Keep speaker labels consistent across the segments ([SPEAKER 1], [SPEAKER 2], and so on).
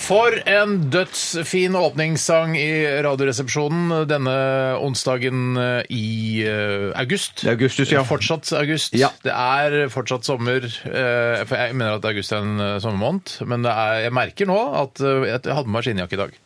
[SPEAKER 1] For en dødsfin åpningssang i Radioresepsjonen denne onsdagen i eh, august. Eh,
[SPEAKER 2] Det er augustus, ja.
[SPEAKER 1] Fortsatt august.
[SPEAKER 2] Ja.
[SPEAKER 1] Det er fortsatt sommer. eh, For jeg mener at august er en eh, sommermåned, men det er, jeg merker nå at eh, jeg hadde på meg skinnjakke i dag.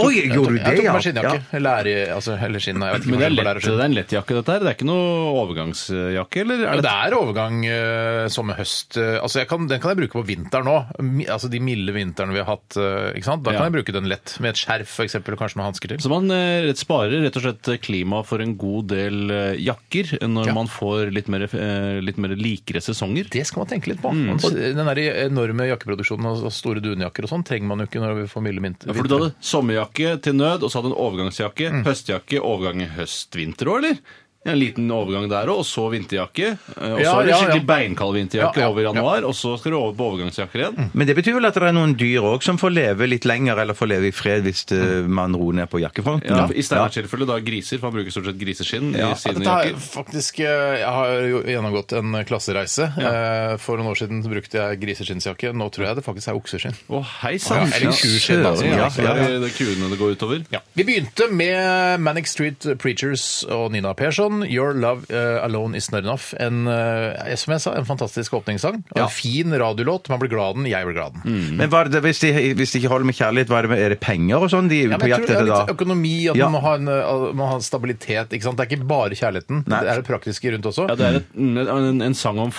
[SPEAKER 2] Oi,
[SPEAKER 1] Jeg tok-
[SPEAKER 2] gjorde du det,
[SPEAKER 1] Jeg tok på
[SPEAKER 2] ja?
[SPEAKER 1] meg skinnjakke. Lære, altså, eller skinn, jeg vet ikke
[SPEAKER 3] Men det er,
[SPEAKER 1] forskjell på
[SPEAKER 3] lett,
[SPEAKER 1] lær og
[SPEAKER 3] det
[SPEAKER 1] skinn.
[SPEAKER 3] er en lettjakke, dette her. Det er ikke noe overgangsjakke, eller?
[SPEAKER 1] Ja,
[SPEAKER 3] Er det,
[SPEAKER 1] men det er overgang eh, sommer, høst. eh, altså jeg kan, den kan jeg bruke på vinteren òg. Altså de milde vintrene vi har hatt. eh, ikke sant? Da
[SPEAKER 3] Ja.
[SPEAKER 1] kan jeg bruke den lett. Med et skjerf f.eks. og kanskje noen hansker til.
[SPEAKER 3] så man eh, rett- sparer rett og slett klima for en god del eh, jakker når
[SPEAKER 1] Ja.
[SPEAKER 3] man får litt mer, eh, litt mer likere sesonger.
[SPEAKER 1] Det skal man tenke litt på.
[SPEAKER 3] Mm.
[SPEAKER 1] Man- Den der enorme jakkeproduksjonen og og store dunjakker og sånn trenger man jo ikke når vi får milde mint-
[SPEAKER 3] Ja, for du hadde sommerjakke til nød, og så hadde du en overgangsjakke,
[SPEAKER 1] Mm.
[SPEAKER 3] høstjakke, overgang i høst-vinter òg, eller? En liten overgang der òg, og så vinterjakke. eh, Og så
[SPEAKER 1] Ja,
[SPEAKER 3] er det
[SPEAKER 1] ja, ja.
[SPEAKER 3] skikkelig beinkald vinterjakke
[SPEAKER 1] Ja, Mm. ja,
[SPEAKER 3] over januar, og så skal du over på overgangsjakker igjen.
[SPEAKER 2] Men det betyr vel at det er noen dyr òg som får leve litt lenger, eller får leve i fred hvis eh, man roer ned på jakkefronten?
[SPEAKER 3] Ja, I Steinars tilfelle da griser, for han bruker stort sett griseskinn i sine
[SPEAKER 1] Dette er
[SPEAKER 3] jakker.
[SPEAKER 1] faktisk, eh, Jeg har jo gjennomgått en klassereise. Eh, For noen år siden så brukte jeg griseskinnsjakke. Nå tror jeg det faktisk er okseskinn.
[SPEAKER 3] Å, hei
[SPEAKER 1] Ja,
[SPEAKER 3] sann!
[SPEAKER 1] eller kuskinn, da, som
[SPEAKER 2] Ja,
[SPEAKER 1] det
[SPEAKER 3] Så
[SPEAKER 1] er.
[SPEAKER 3] det er det kuene det går utover.
[SPEAKER 1] Ja. Vi begynte med Manic Street Preachers og Nina Persson. Your Love eh, Alone Is Not Enough. En, eh, som jeg sa, en fantastisk åpningssang. Og
[SPEAKER 3] Ja.
[SPEAKER 1] En fin radiolåt. Man blir glad av den, jeg blir glad av den.
[SPEAKER 2] Men var det, hvis, de, hvis de ikke holder med kjærlighet, hva er, det, med- er det penger og sånn de er
[SPEAKER 1] Ja,
[SPEAKER 2] ute på
[SPEAKER 1] men jeg
[SPEAKER 2] jakt
[SPEAKER 1] tror det
[SPEAKER 2] etter
[SPEAKER 1] er
[SPEAKER 2] da?
[SPEAKER 1] litt økonomi, at
[SPEAKER 2] Ja.
[SPEAKER 1] man, må ha en, eh, man har stabilitet. Ikke sant? Det er ikke bare kjærligheten.
[SPEAKER 2] Nei.
[SPEAKER 1] Det er det praktiske rundt også.
[SPEAKER 3] Ja, Det er et, en, en sang om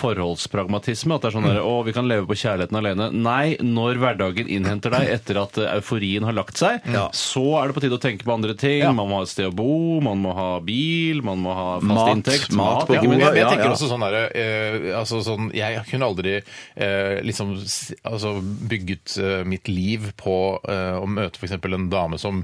[SPEAKER 3] forholdspragmatisme. At det er sånn der, å, vi kan leve på kjærligheten alene. Nei, når hverdagen innhenter deg etter at eh, euforien har lagt seg, så er det på tide å tenke på andre ting. Man må ha et sted å bo, man må ha bil, man må ha fast
[SPEAKER 2] Mat,
[SPEAKER 3] inntekt.
[SPEAKER 2] mat på
[SPEAKER 3] ja,
[SPEAKER 1] Ja, men
[SPEAKER 3] men-
[SPEAKER 1] jeg, men jeg
[SPEAKER 2] ja,
[SPEAKER 1] tenker
[SPEAKER 2] ja.
[SPEAKER 1] også sånn der, eh, altså sånn, Jeg kunne aldri eh, liksom, s- altså, bygget eh, mitt liv på eh, å møte f.eks. en dame som,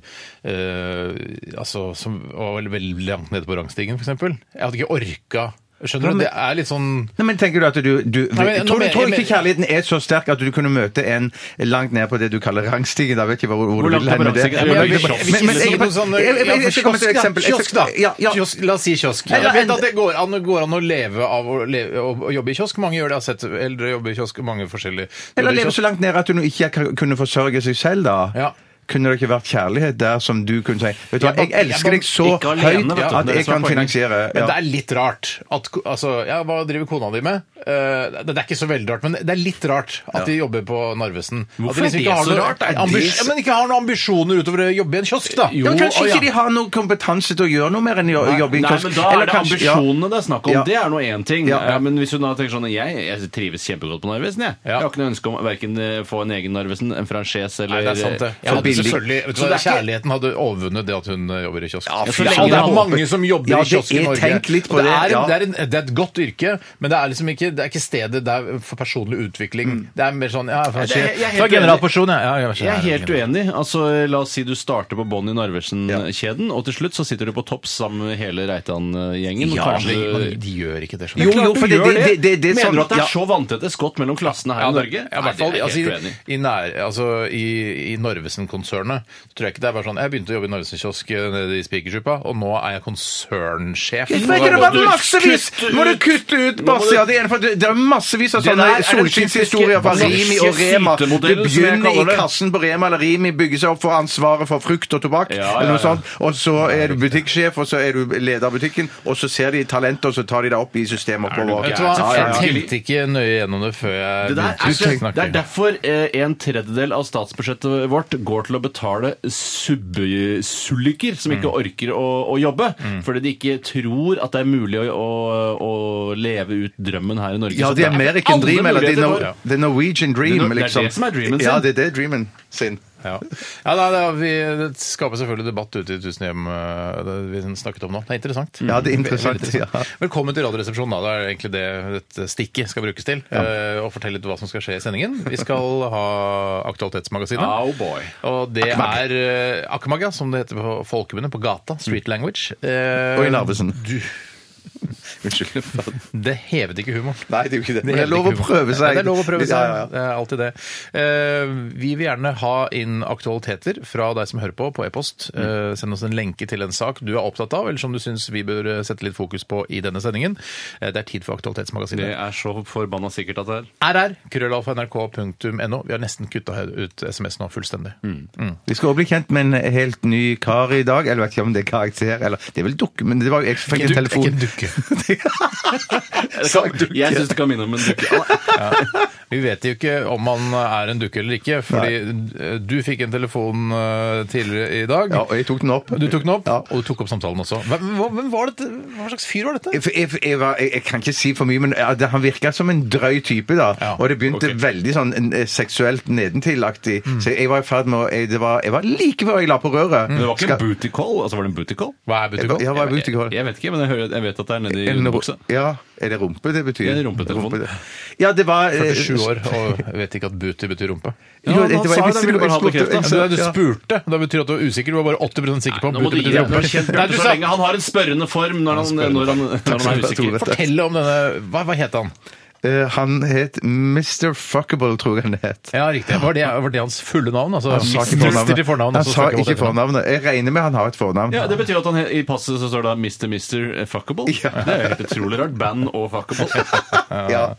[SPEAKER 1] eh, altså, som var veldig, veldig langt nede på rangstigen, f.eks. Jeg hadde ikke orka. Skjønner du? Det er litt sånn
[SPEAKER 2] Nei, men tenker du at du, du
[SPEAKER 1] Nei, men-
[SPEAKER 2] Tror du
[SPEAKER 1] nå-
[SPEAKER 2] tror du
[SPEAKER 1] jeg-
[SPEAKER 2] ikke kjærligheten er så sterk at du kunne møte en langt ned på det du kaller rangstigen? Da vet ikke hvor, hvor,
[SPEAKER 3] Hvor
[SPEAKER 2] du
[SPEAKER 3] langt
[SPEAKER 2] vil
[SPEAKER 3] er
[SPEAKER 2] hen med det.
[SPEAKER 3] rangstigen?
[SPEAKER 2] Men-
[SPEAKER 3] Ja,
[SPEAKER 2] men-
[SPEAKER 3] vi- vi-
[SPEAKER 2] men- men-
[SPEAKER 1] Hvis det er
[SPEAKER 2] jeg-
[SPEAKER 1] noe sånn,
[SPEAKER 2] jeg- jeg- jeg-
[SPEAKER 1] ja,
[SPEAKER 2] jeg skal komme til et
[SPEAKER 1] kiosk,
[SPEAKER 2] eksempel. Jeg skal-
[SPEAKER 1] Kiosk, da.
[SPEAKER 2] Ja, ja.
[SPEAKER 1] Kiosk, la oss si kiosk.
[SPEAKER 2] Eller
[SPEAKER 1] Jeg vet
[SPEAKER 2] en-
[SPEAKER 1] at det går an, går an å leve av å, leve, å, å jobbe i kiosk. Mange gjør det. Jeg har sett eldre jobbe i kiosk. Mange forskjellige
[SPEAKER 2] Eller
[SPEAKER 1] jobber i
[SPEAKER 2] leve
[SPEAKER 1] kiosk.
[SPEAKER 2] så langt ned at hun ikke kan- kunne forsørge seg selv, da.
[SPEAKER 1] Ja.
[SPEAKER 2] Kunne det ikke vært kjærlighet der som du kunne si Vet du hva,
[SPEAKER 1] Jeg
[SPEAKER 2] jeg
[SPEAKER 1] må- jeg
[SPEAKER 2] elsker
[SPEAKER 1] må-
[SPEAKER 2] deg så
[SPEAKER 3] ikke alene,
[SPEAKER 2] høyt
[SPEAKER 3] vet du,
[SPEAKER 2] at
[SPEAKER 3] det er
[SPEAKER 2] jeg
[SPEAKER 3] det som er
[SPEAKER 2] kan
[SPEAKER 3] poenget.
[SPEAKER 2] finansiere ja.
[SPEAKER 1] Men det er litt rart at ko- altså, ja, Hva driver kona di med? Eh, det er ikke så veldig rart, men det er litt rart at de jobber på Narvesen.
[SPEAKER 3] Hvorfor
[SPEAKER 1] at de liksom
[SPEAKER 3] er det
[SPEAKER 1] ikke har
[SPEAKER 3] så
[SPEAKER 1] noe-
[SPEAKER 3] rart? Er det
[SPEAKER 1] ambis-
[SPEAKER 3] så-
[SPEAKER 1] ja, men ikke har noen ambisjoner utover å jobbe i en kiosk, da.
[SPEAKER 2] Ja, men kanskje
[SPEAKER 1] Å,
[SPEAKER 2] ikke
[SPEAKER 1] ja.
[SPEAKER 2] de har noe kompetanse til å gjøre noe mer enn å jobbe i
[SPEAKER 3] Nei,
[SPEAKER 2] kiosk.
[SPEAKER 3] men Da
[SPEAKER 2] Eller
[SPEAKER 3] er det
[SPEAKER 2] kanskje- ja.
[SPEAKER 3] ambisjonene det er snakk om.
[SPEAKER 2] Ja.
[SPEAKER 3] Det er nå én ting.
[SPEAKER 2] Ja.
[SPEAKER 3] Ja, men hvis hun da tenker sånn Jeg, jeg trives kjempegodt på Narvesen. Jeg.
[SPEAKER 1] Ja.
[SPEAKER 3] jeg har ikke noe ønske om verken få en egen Narvesen, en franchise eller eh,
[SPEAKER 1] Nei, det er sant, det. Jeg
[SPEAKER 3] for
[SPEAKER 1] hadde
[SPEAKER 3] billig.
[SPEAKER 1] selvfølgelig, vet du,
[SPEAKER 3] Så det
[SPEAKER 1] hva,
[SPEAKER 3] er ikke-
[SPEAKER 1] kjærligheten hadde overvunnet det at hun eh, jobber i kiosk.
[SPEAKER 3] fy faen,
[SPEAKER 1] så lenge det
[SPEAKER 3] det
[SPEAKER 1] er
[SPEAKER 3] er
[SPEAKER 1] mange
[SPEAKER 2] håpet.
[SPEAKER 1] som jobber
[SPEAKER 2] Ja,
[SPEAKER 1] i kiosk
[SPEAKER 2] det
[SPEAKER 1] i
[SPEAKER 2] er-
[SPEAKER 1] Norge.
[SPEAKER 2] tenk litt på
[SPEAKER 1] Og det,
[SPEAKER 2] det,
[SPEAKER 1] er,
[SPEAKER 2] ja.
[SPEAKER 1] det, er en, det er et godt yrke, men det er liksom ikke, det er ikke stedet der for personlig utvikling. Det er mer sånn ja, for,
[SPEAKER 3] Mm. jeg- jeg er helt
[SPEAKER 1] for generalporsjon, ja. ja,
[SPEAKER 3] Jeg er helt uenig. Altså, La oss si du starter på bånn i Narvesen-kjeden, og til slutt så sitter du på topp sammen med hele Reitan-gjengen. og
[SPEAKER 1] Ja,
[SPEAKER 3] kanskje
[SPEAKER 1] men
[SPEAKER 3] du-
[SPEAKER 1] de, de gjør ikke det. skjønner
[SPEAKER 2] Jo,
[SPEAKER 1] du.
[SPEAKER 2] jo,
[SPEAKER 3] Du
[SPEAKER 2] for det,
[SPEAKER 3] gjør
[SPEAKER 2] det, det, det, det
[SPEAKER 3] Mener
[SPEAKER 2] sånn-
[SPEAKER 3] du at det er
[SPEAKER 2] ja.
[SPEAKER 3] så vanntette skott mellom klassene her
[SPEAKER 1] Ja,
[SPEAKER 3] i
[SPEAKER 1] det-
[SPEAKER 3] Norge?
[SPEAKER 1] Ja, i
[SPEAKER 3] Nei,
[SPEAKER 1] hvert fall
[SPEAKER 3] det er
[SPEAKER 1] altså,
[SPEAKER 3] jeg helt
[SPEAKER 1] i,
[SPEAKER 3] uenig i.
[SPEAKER 1] i, nær- altså, i, i Narvesen-konsernet. så tror jeg ikke det er bare sånn Jeg begynte å jobbe i Narvesen-kiosk eh, nede i Spikersuppa, og nå er jeg konsernsjef.
[SPEAKER 2] Men ikke det
[SPEAKER 3] må
[SPEAKER 2] var
[SPEAKER 3] du
[SPEAKER 2] massevis!
[SPEAKER 3] kutte
[SPEAKER 2] Må du
[SPEAKER 3] ut-
[SPEAKER 2] kutte ut
[SPEAKER 3] Nå må
[SPEAKER 2] masse
[SPEAKER 3] du-
[SPEAKER 2] av det ene, for det det er massevis av
[SPEAKER 3] Det der er
[SPEAKER 2] sånne
[SPEAKER 3] den
[SPEAKER 2] solskinnshistorier fra
[SPEAKER 3] typiske
[SPEAKER 2] Rimi og Rema. Du
[SPEAKER 3] sytemodellen, som jeg
[SPEAKER 2] begynner i
[SPEAKER 3] kaller det.
[SPEAKER 2] kassen på Rema eller Rimi, bygger seg opp for ansvaret for frukt og tobakk,
[SPEAKER 3] Ja, ja,
[SPEAKER 2] eller noe
[SPEAKER 3] ja.
[SPEAKER 2] sånt, og så er du butikksjef, og så er du leder av butikken, og så ser de talentet, og så tar de deg opp i systemet oppover.
[SPEAKER 1] Vet du hva?
[SPEAKER 2] Ja, ja, ja.
[SPEAKER 1] Jeg tenkte ikke nøye gjennom det før jeg
[SPEAKER 3] Det, der
[SPEAKER 1] begynte
[SPEAKER 3] er,
[SPEAKER 1] å
[SPEAKER 3] så-
[SPEAKER 1] snakke.
[SPEAKER 3] det er derfor eh, en tredjedel av statsbudsjettet vårt går til å betale subsuliker som ikke orker å, å jobbe, fordi de ikke tror at det er mulig å, å, å leve ut drømmen her i Norge.
[SPEAKER 2] Ja,
[SPEAKER 3] Så
[SPEAKER 2] det er
[SPEAKER 3] der
[SPEAKER 2] American
[SPEAKER 3] alle
[SPEAKER 2] Dream, eller the,
[SPEAKER 3] muligheter
[SPEAKER 2] Nor-
[SPEAKER 3] for-
[SPEAKER 2] the Norwegian
[SPEAKER 3] Det er
[SPEAKER 2] Dream,
[SPEAKER 3] det
[SPEAKER 2] liksom.
[SPEAKER 3] som er dreamen sin.
[SPEAKER 2] Ja, det er det dreamen sin.
[SPEAKER 1] Ja, ja da, da, vi, Det skaper selvfølgelig debatt ute i tusen hjem, eh, det vi snakket om nå. Det er interessant.
[SPEAKER 2] Ja, det er interessant,
[SPEAKER 1] Veldig interessant.
[SPEAKER 2] ja.
[SPEAKER 1] Velkommen til Radioresepsjonen. da. Det er egentlig det dette stikket skal brukes til. eh, Og fortelle litt hva som skal skje i sendingen. Vi skal ha Aktualitetsmagasinet.
[SPEAKER 3] Oh boy.
[SPEAKER 1] Og det er uh, akmaga, som det heter på folkemunne, på gata. Street language. Eh,
[SPEAKER 2] Og i Narvesen.
[SPEAKER 1] Du,
[SPEAKER 2] Unnskyld.
[SPEAKER 1] Det hevet ikke humoren.
[SPEAKER 2] Nei, det er jo ikke det. Men det er
[SPEAKER 1] hevet
[SPEAKER 2] lov å
[SPEAKER 1] ikke humoren.
[SPEAKER 2] prøve seg.
[SPEAKER 1] Ja, det er lov å prøve seg.
[SPEAKER 2] Ja, ja, ja.
[SPEAKER 1] Det er alltid det. Eh, Vi vil gjerne ha inn aktualiteter fra deg som hører på, på e-post.
[SPEAKER 2] Mm.
[SPEAKER 1] Eh, Send oss en lenke til en sak du er opptatt av, eller som du syns vi bør eh, sette litt fokus på i denne sendingen. Eh, Det er tid for
[SPEAKER 3] Det
[SPEAKER 1] Aktualitetsmagasinet.
[SPEAKER 3] er så forbanna sikkert at det er.
[SPEAKER 1] RR, krøllalfa.nrk.no. Vi har nesten kutta ut SMS nå fullstendig.
[SPEAKER 2] Mm. Vi skal også bli kjent med en helt ny kar i dag. Eller vet ikke om det er karakter eller Det er vel dukke, men det var jo jeg som fikk en
[SPEAKER 1] Ikke en
[SPEAKER 2] telefon.
[SPEAKER 1] dukke.
[SPEAKER 2] Sagt dukke.
[SPEAKER 3] Jeg syns det kan minne om en dukke.
[SPEAKER 1] Vi vet jo ikke om han er en dukke eller ikke, fordi eh, du fikk en telefon eh, tidligere i dag.
[SPEAKER 2] Ja, og jeg tok den opp.
[SPEAKER 1] Du tok den opp,
[SPEAKER 2] Ja.
[SPEAKER 1] og du tok opp samtalen også. Hvem, hva- hvem var dette? Hva slags fyr var dette?
[SPEAKER 2] Jeg, jeg, jeg, var, jeg, jeg kan ikke si for mye, men ja, det, han virka som en drøy type. da,
[SPEAKER 1] Ja,
[SPEAKER 2] Og det begynte
[SPEAKER 3] ok. Mm.
[SPEAKER 2] veldig sånn eh, seksuelt nedentilaktig. Så jeg var i ferd med å jeg, det var, jeg var like før jeg la på røret.
[SPEAKER 3] Men Mm. det var ikke
[SPEAKER 2] Skal-
[SPEAKER 3] en booty call? Altså, var det en booty call?
[SPEAKER 1] Hva
[SPEAKER 2] Jeg
[SPEAKER 1] er
[SPEAKER 2] var-
[SPEAKER 1] butikk?
[SPEAKER 2] jeg var i butikken.
[SPEAKER 3] Jeg vet ikke, men jeg, hører, jeg vet at det er nedi
[SPEAKER 2] En ro-
[SPEAKER 3] underbuksa.
[SPEAKER 2] Ja, er det rumpe det betyr?
[SPEAKER 3] Ja, det er rumpetelefon.
[SPEAKER 2] Ja, det var eh,
[SPEAKER 1] 47 år og jeg vet ikke at booty betyr rumpe.
[SPEAKER 2] jo,
[SPEAKER 3] Ja, han
[SPEAKER 2] det var-
[SPEAKER 3] sa
[SPEAKER 2] jeg
[SPEAKER 3] jo det, ville
[SPEAKER 2] visste det,
[SPEAKER 3] bare ha
[SPEAKER 2] jeg spurte-
[SPEAKER 3] bekreftet.
[SPEAKER 2] jeg
[SPEAKER 1] Så det er du
[SPEAKER 2] ja.
[SPEAKER 1] spurte, da betyr at du var usikker. Du var bare 8 sikker på
[SPEAKER 3] Nå
[SPEAKER 1] om
[SPEAKER 3] må du
[SPEAKER 1] booty
[SPEAKER 3] gi deg. Du har
[SPEAKER 1] betyr
[SPEAKER 3] kjent
[SPEAKER 1] rumpe. Nei,
[SPEAKER 3] Bjarte
[SPEAKER 1] du
[SPEAKER 3] så
[SPEAKER 1] sa
[SPEAKER 3] lenge. Han har en spørrende form når han, når han, når han er usikker.
[SPEAKER 1] Fortell om denne Hva, hva het han?
[SPEAKER 2] Eh, Han het Mr. Fuckable, tror jeg han het.
[SPEAKER 1] Ja, riktig. Var det, var det hans fulle navn? Altså,
[SPEAKER 2] Han sa ikke
[SPEAKER 1] Mister
[SPEAKER 2] fornavnet.
[SPEAKER 1] til fornavn,
[SPEAKER 2] Han
[SPEAKER 1] og så
[SPEAKER 2] sa
[SPEAKER 1] snakker vi om
[SPEAKER 2] ikke
[SPEAKER 1] etternavn.
[SPEAKER 2] fornavnet. Jeg regner med han har et fornavn.
[SPEAKER 3] Ja, Det betyr at han he- i passet så står det 'Mr. Mr. eh, Fuckable'. Det er jo helt utrolig rart. Band og fuckable.
[SPEAKER 2] Ja.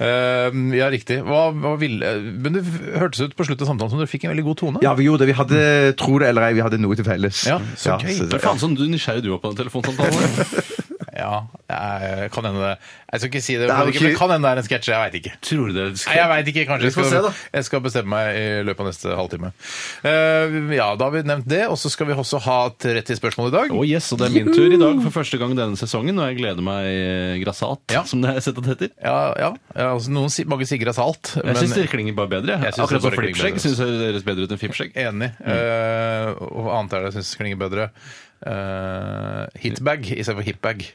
[SPEAKER 1] Eh, ja, riktig. Hva, hva ville Men det hørtes ut på slutten av samtalen som dere fikk en veldig god tone.
[SPEAKER 2] Ja, vi gjorde det. Vi hadde, tro det Eh, eller ei, vi hadde noe til felles.
[SPEAKER 1] Ja, så gøy.
[SPEAKER 3] Men
[SPEAKER 2] det-
[SPEAKER 3] faen som du nysgjerrig du var på den telefonsamtalen.
[SPEAKER 1] Ja, eh, kan hende det. Jeg skal ikke si det,
[SPEAKER 2] Det er jo
[SPEAKER 1] men det men
[SPEAKER 2] ikke-
[SPEAKER 1] kan hende det er en sketsj. Jeg veit ikke.
[SPEAKER 3] Tror du det?
[SPEAKER 1] Nei, jeg vet ikke, kanskje jeg
[SPEAKER 2] får
[SPEAKER 1] skal,
[SPEAKER 2] se,
[SPEAKER 1] jeg skal bestemme meg i løpet av neste halvtime. Eh, ja, da har vi nevnt det, og så skal vi også ha et rett til spørsmål i dag.
[SPEAKER 3] Å yes, og det er min tur i dag for første gang denne sesongen, og jeg gleder meg eh, grassat,
[SPEAKER 1] Ja.
[SPEAKER 3] som det er sett at det heter.
[SPEAKER 1] Ja, ja, ja altså noen, si- Mange sier grassat,
[SPEAKER 3] Jeg syns
[SPEAKER 1] men
[SPEAKER 3] det klinger bare bedre.
[SPEAKER 1] Jeg synes det
[SPEAKER 3] Akkurat som
[SPEAKER 1] bare klinger bedre.
[SPEAKER 3] flippskjegg syns jeg det høres bedre ut enn fippskjegg.
[SPEAKER 1] enig. Eh, og hva annet er det jeg syns klinger bedre? Uh, hitbag istedenfor hipbag.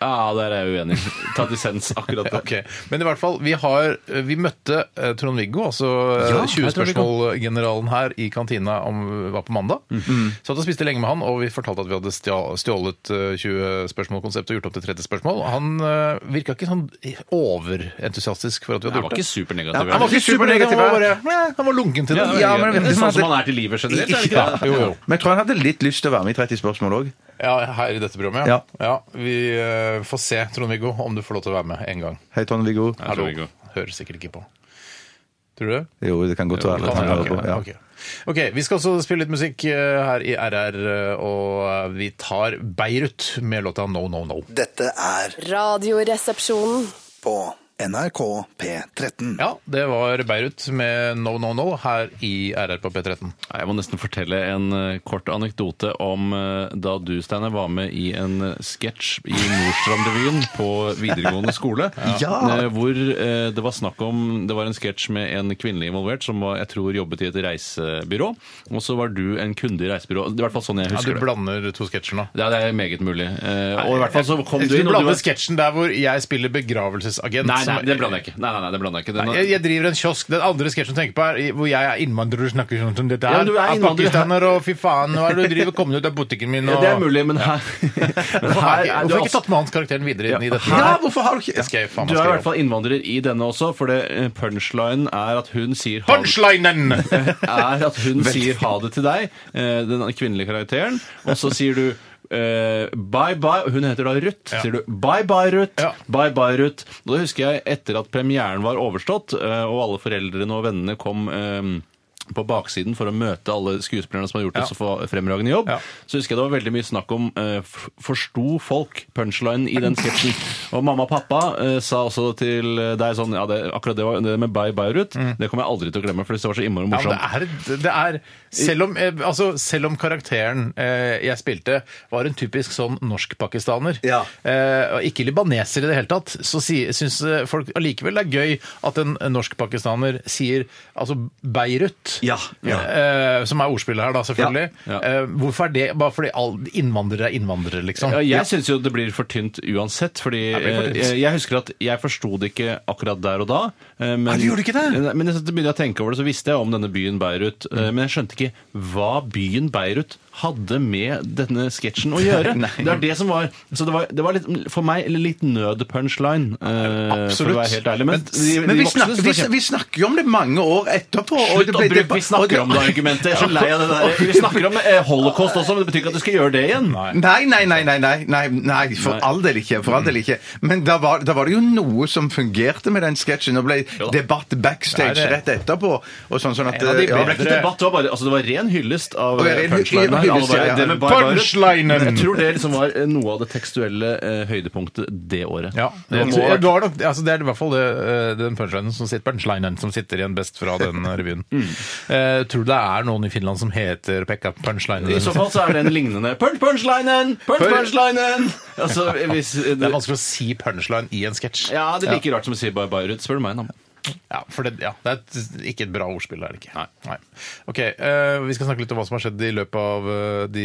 [SPEAKER 3] Ja, der er jeg uenig. Ta dissens akkurat der.
[SPEAKER 1] Ok, Men i hvert fall, vi, har, vi møtte eh, Trond-Viggo, altså eh,
[SPEAKER 3] Ja,
[SPEAKER 1] 20-spørsmål-generalen her i kantina om eh, var på mandag.
[SPEAKER 3] Mhm.
[SPEAKER 1] Satt og spiste lenge med han, og vi fortalte at vi hadde stja- stjålet eh, 20-spørsmål-konseptet og gjort opp til 30 spørsmål. Han eh, virka ikke sånn overentusiastisk for at vi hadde
[SPEAKER 3] Jeg var
[SPEAKER 1] gjort
[SPEAKER 3] ikke
[SPEAKER 1] det.
[SPEAKER 3] supernegativ.
[SPEAKER 2] han var ikke supernegativ,
[SPEAKER 1] supernegativ, han var bare eh, Han var lunken til det.
[SPEAKER 3] Ja,
[SPEAKER 2] Ja, men-
[SPEAKER 3] men det er sånn som han er til livet generelt. Er det ikke
[SPEAKER 1] Ja,
[SPEAKER 3] det?
[SPEAKER 1] jo, jo.
[SPEAKER 2] Men jeg tror han hadde litt lyst til å være med i 30 spørsmål òg.
[SPEAKER 1] ja, her i dette programmet, ja. ja vi eh, får se, Trond-Viggo, om du får lov til å være med en gang.
[SPEAKER 2] Hei, Trond-Viggo.
[SPEAKER 1] Hallo.
[SPEAKER 3] Trond-Viggo.
[SPEAKER 1] Hører sikkert ikke på. Tror du det?
[SPEAKER 2] Jo, det kan godt være. at han
[SPEAKER 1] Kan
[SPEAKER 2] hører
[SPEAKER 1] jeg,
[SPEAKER 2] på, ja.
[SPEAKER 1] ok, ok. Ok, Vi skal også spille litt musikk eh, her i RR, eh, og eh, vi tar Beirut med låta No No No.
[SPEAKER 4] Dette er
[SPEAKER 5] Radioresepsjonen.
[SPEAKER 4] på NRK P13.
[SPEAKER 1] Ja, det var Beirut med No No No her i RR på P13.
[SPEAKER 3] Nei, Jeg må nesten fortelle en eh, kort anekdote om eh, da du, Steinar, var med i en eh, sketsj i Nordstrandrevyen på videregående skole. Eh, Hvor eh, det var snakk om Det var en sketsj med en kvinnelig involvert som var, jeg tror jobbet i et reisebyrå. Og så var du en kunde i reisebyrå. Det er i hvert fall sånn jeg
[SPEAKER 1] Ja, du
[SPEAKER 3] husker det.
[SPEAKER 1] blander to sketsjer nå.
[SPEAKER 3] Ja, det er meget mulig. Eh, Og i hvert fall så kom
[SPEAKER 1] Du
[SPEAKER 3] du inn og du
[SPEAKER 1] blander
[SPEAKER 3] var-
[SPEAKER 1] sketsjen der hvor jeg spiller begravelsesagent.
[SPEAKER 3] Nei, nei,
[SPEAKER 1] som-
[SPEAKER 3] det blander jeg ikke. Nei, nei, nei, det blander jeg ikke. Den-
[SPEAKER 1] Jeg, jeg driver en kiosk. Den andre sketsjen du tenker på, er i- hvor jeg er innvandrer og snakker sånn som dette her.
[SPEAKER 3] Ja, du er
[SPEAKER 1] At
[SPEAKER 3] innvandrer.
[SPEAKER 1] Pakistaner og fy faen, nå er det du driver kommet ut av butikken min
[SPEAKER 3] Ja,
[SPEAKER 1] og
[SPEAKER 3] det er mulig, men her, men
[SPEAKER 1] Hvorfor har jeg
[SPEAKER 3] her
[SPEAKER 1] ikke- hvorfor har jeg
[SPEAKER 3] du altså-
[SPEAKER 1] ikke tatt med hans karakteren videre inn i dette?
[SPEAKER 3] Ja,
[SPEAKER 1] hvorfor har du ikke skal jeg faen meg
[SPEAKER 3] Du er i
[SPEAKER 1] skrive
[SPEAKER 3] hvert fall innvandrer i denne også, for det eh, punchlinen er at hun sier ha,
[SPEAKER 1] Punchlinen!
[SPEAKER 3] er at hun sier ha det til deg, eh, den kvinnelige karakteren, og så sier du eh, bye bye, og hun heter da Ruth. Sier du bye bye, Ruth.
[SPEAKER 1] Ja.
[SPEAKER 3] Bye bye, Ruth. Og det husker jeg etter at premieren var overstått, eh, og alle foreldrene og vennene kom eh, på baksiden for å møte alle skuespillerne som har gjort
[SPEAKER 1] Ja.
[SPEAKER 3] det så få- fremragende jobb.
[SPEAKER 1] Ja.
[SPEAKER 3] Så husker jeg det var veldig mye snakk om eh, f- forsto folk punchline i den sketsjen. Og mamma og pappa eh, sa også til deg sånn ja, det, akkurat det, var, det med bye bye, Ruth, det kommer jeg aldri til å glemme, for det var så innmari
[SPEAKER 1] Mm. Ja,
[SPEAKER 3] morsomt.
[SPEAKER 1] men det er, det er selv, om, eh, altså, selv om karakteren eh, jeg spilte, var en typisk sånn norsk-pakistaner,
[SPEAKER 4] Ja.
[SPEAKER 1] eh, og ikke libaneser i det hele tatt, så si, syns eh, folk allikevel det er gøy at en norsk-pakistaner sier altså Beirut
[SPEAKER 3] Ja.
[SPEAKER 1] Eh, som er ordspillet her, da, selvfølgelig.
[SPEAKER 3] Ja.
[SPEAKER 1] Eh, hvorfor er det bare fordi alle innvandrere er innvandrere, liksom?
[SPEAKER 3] Ja, jeg syns jo det blir for tynt uansett, fordi
[SPEAKER 1] Det blir for tynt.
[SPEAKER 3] eh, jeg, jeg husker at jeg forsto det ikke akkurat der og da. eh, Men,
[SPEAKER 1] Ah, du gjorde ikke det?
[SPEAKER 3] Nei, Men jeg begynte jeg å tenke over det, så visste jeg om denne byen Beirut. eh, Men jeg skjønte ikke hva byen Beirut hadde med denne sketsjen å gjøre. det er det som var Så det var, det var litt, for meg litt nød-punchline, eh, for å være helt ærlig. Men, de,
[SPEAKER 2] Men
[SPEAKER 3] de
[SPEAKER 2] vi
[SPEAKER 3] voksne
[SPEAKER 2] snakker,
[SPEAKER 3] synes
[SPEAKER 2] vi,
[SPEAKER 3] det var kjempe-
[SPEAKER 2] vi snakker jo om det mange år etterpå. og det
[SPEAKER 3] Slutt å
[SPEAKER 2] ble- det-
[SPEAKER 3] bruke 'vi snakker
[SPEAKER 2] og
[SPEAKER 3] om det'-argumentet. Jeg er så lei av det der. Vi snakker om eh, holocaust også, men det betyr ikke at du skal gjøre det igjen.
[SPEAKER 2] Nei, nei, nei, nei, nei, nei, nei for
[SPEAKER 3] Nei.
[SPEAKER 2] all del ikke. for all del ikke. Men da var, da var det jo noe som fungerte med den sketsjen. Det ble
[SPEAKER 3] Jo da.
[SPEAKER 2] debatt backstage
[SPEAKER 1] Det er
[SPEAKER 2] rett
[SPEAKER 1] det.
[SPEAKER 2] etterpå. og sånn sånn at...
[SPEAKER 1] En av de
[SPEAKER 2] ja.
[SPEAKER 3] Det ble ikke
[SPEAKER 1] Dere-
[SPEAKER 3] debatt, det var, bare, altså det var ren hyllest av
[SPEAKER 2] Det var ren hy-
[SPEAKER 3] punchlinen. her. Alle
[SPEAKER 2] hyllest,
[SPEAKER 3] bare,
[SPEAKER 2] ja, ja.
[SPEAKER 3] det med Bye Bye Ruth.
[SPEAKER 1] Punchlinen!
[SPEAKER 3] Jeg tror det liksom var eh, noe av det tekstuelle eh, høydepunktet det året.
[SPEAKER 1] Ja,
[SPEAKER 3] det
[SPEAKER 1] jeg
[SPEAKER 3] må
[SPEAKER 1] tror-
[SPEAKER 3] ha
[SPEAKER 1] ja,
[SPEAKER 3] vært-
[SPEAKER 1] du har nok, altså det er i hvert fall det, eh, den punchlinen som sitter, punchlinen som sitter igjen best fra den revyen.
[SPEAKER 3] Mm.
[SPEAKER 1] Eh, tror du det er noen i Finland som heter Pekka Punchlinen?
[SPEAKER 3] I så fall så er det en lignende punch punchlinen! Punch punchlinen! Altså, hvis,
[SPEAKER 1] Det er vanskelig å si punchline i en sketsj.
[SPEAKER 3] ja, det er like rart som å si Bye Bye Ruth, spør du meg. Da.
[SPEAKER 1] Ja, for det, ja, det er et, ikke et bra ordspill, er det ikke?
[SPEAKER 3] Nei.
[SPEAKER 1] Ok, eh, Vi skal snakke litt om hva som har skjedd i løpet av eh, de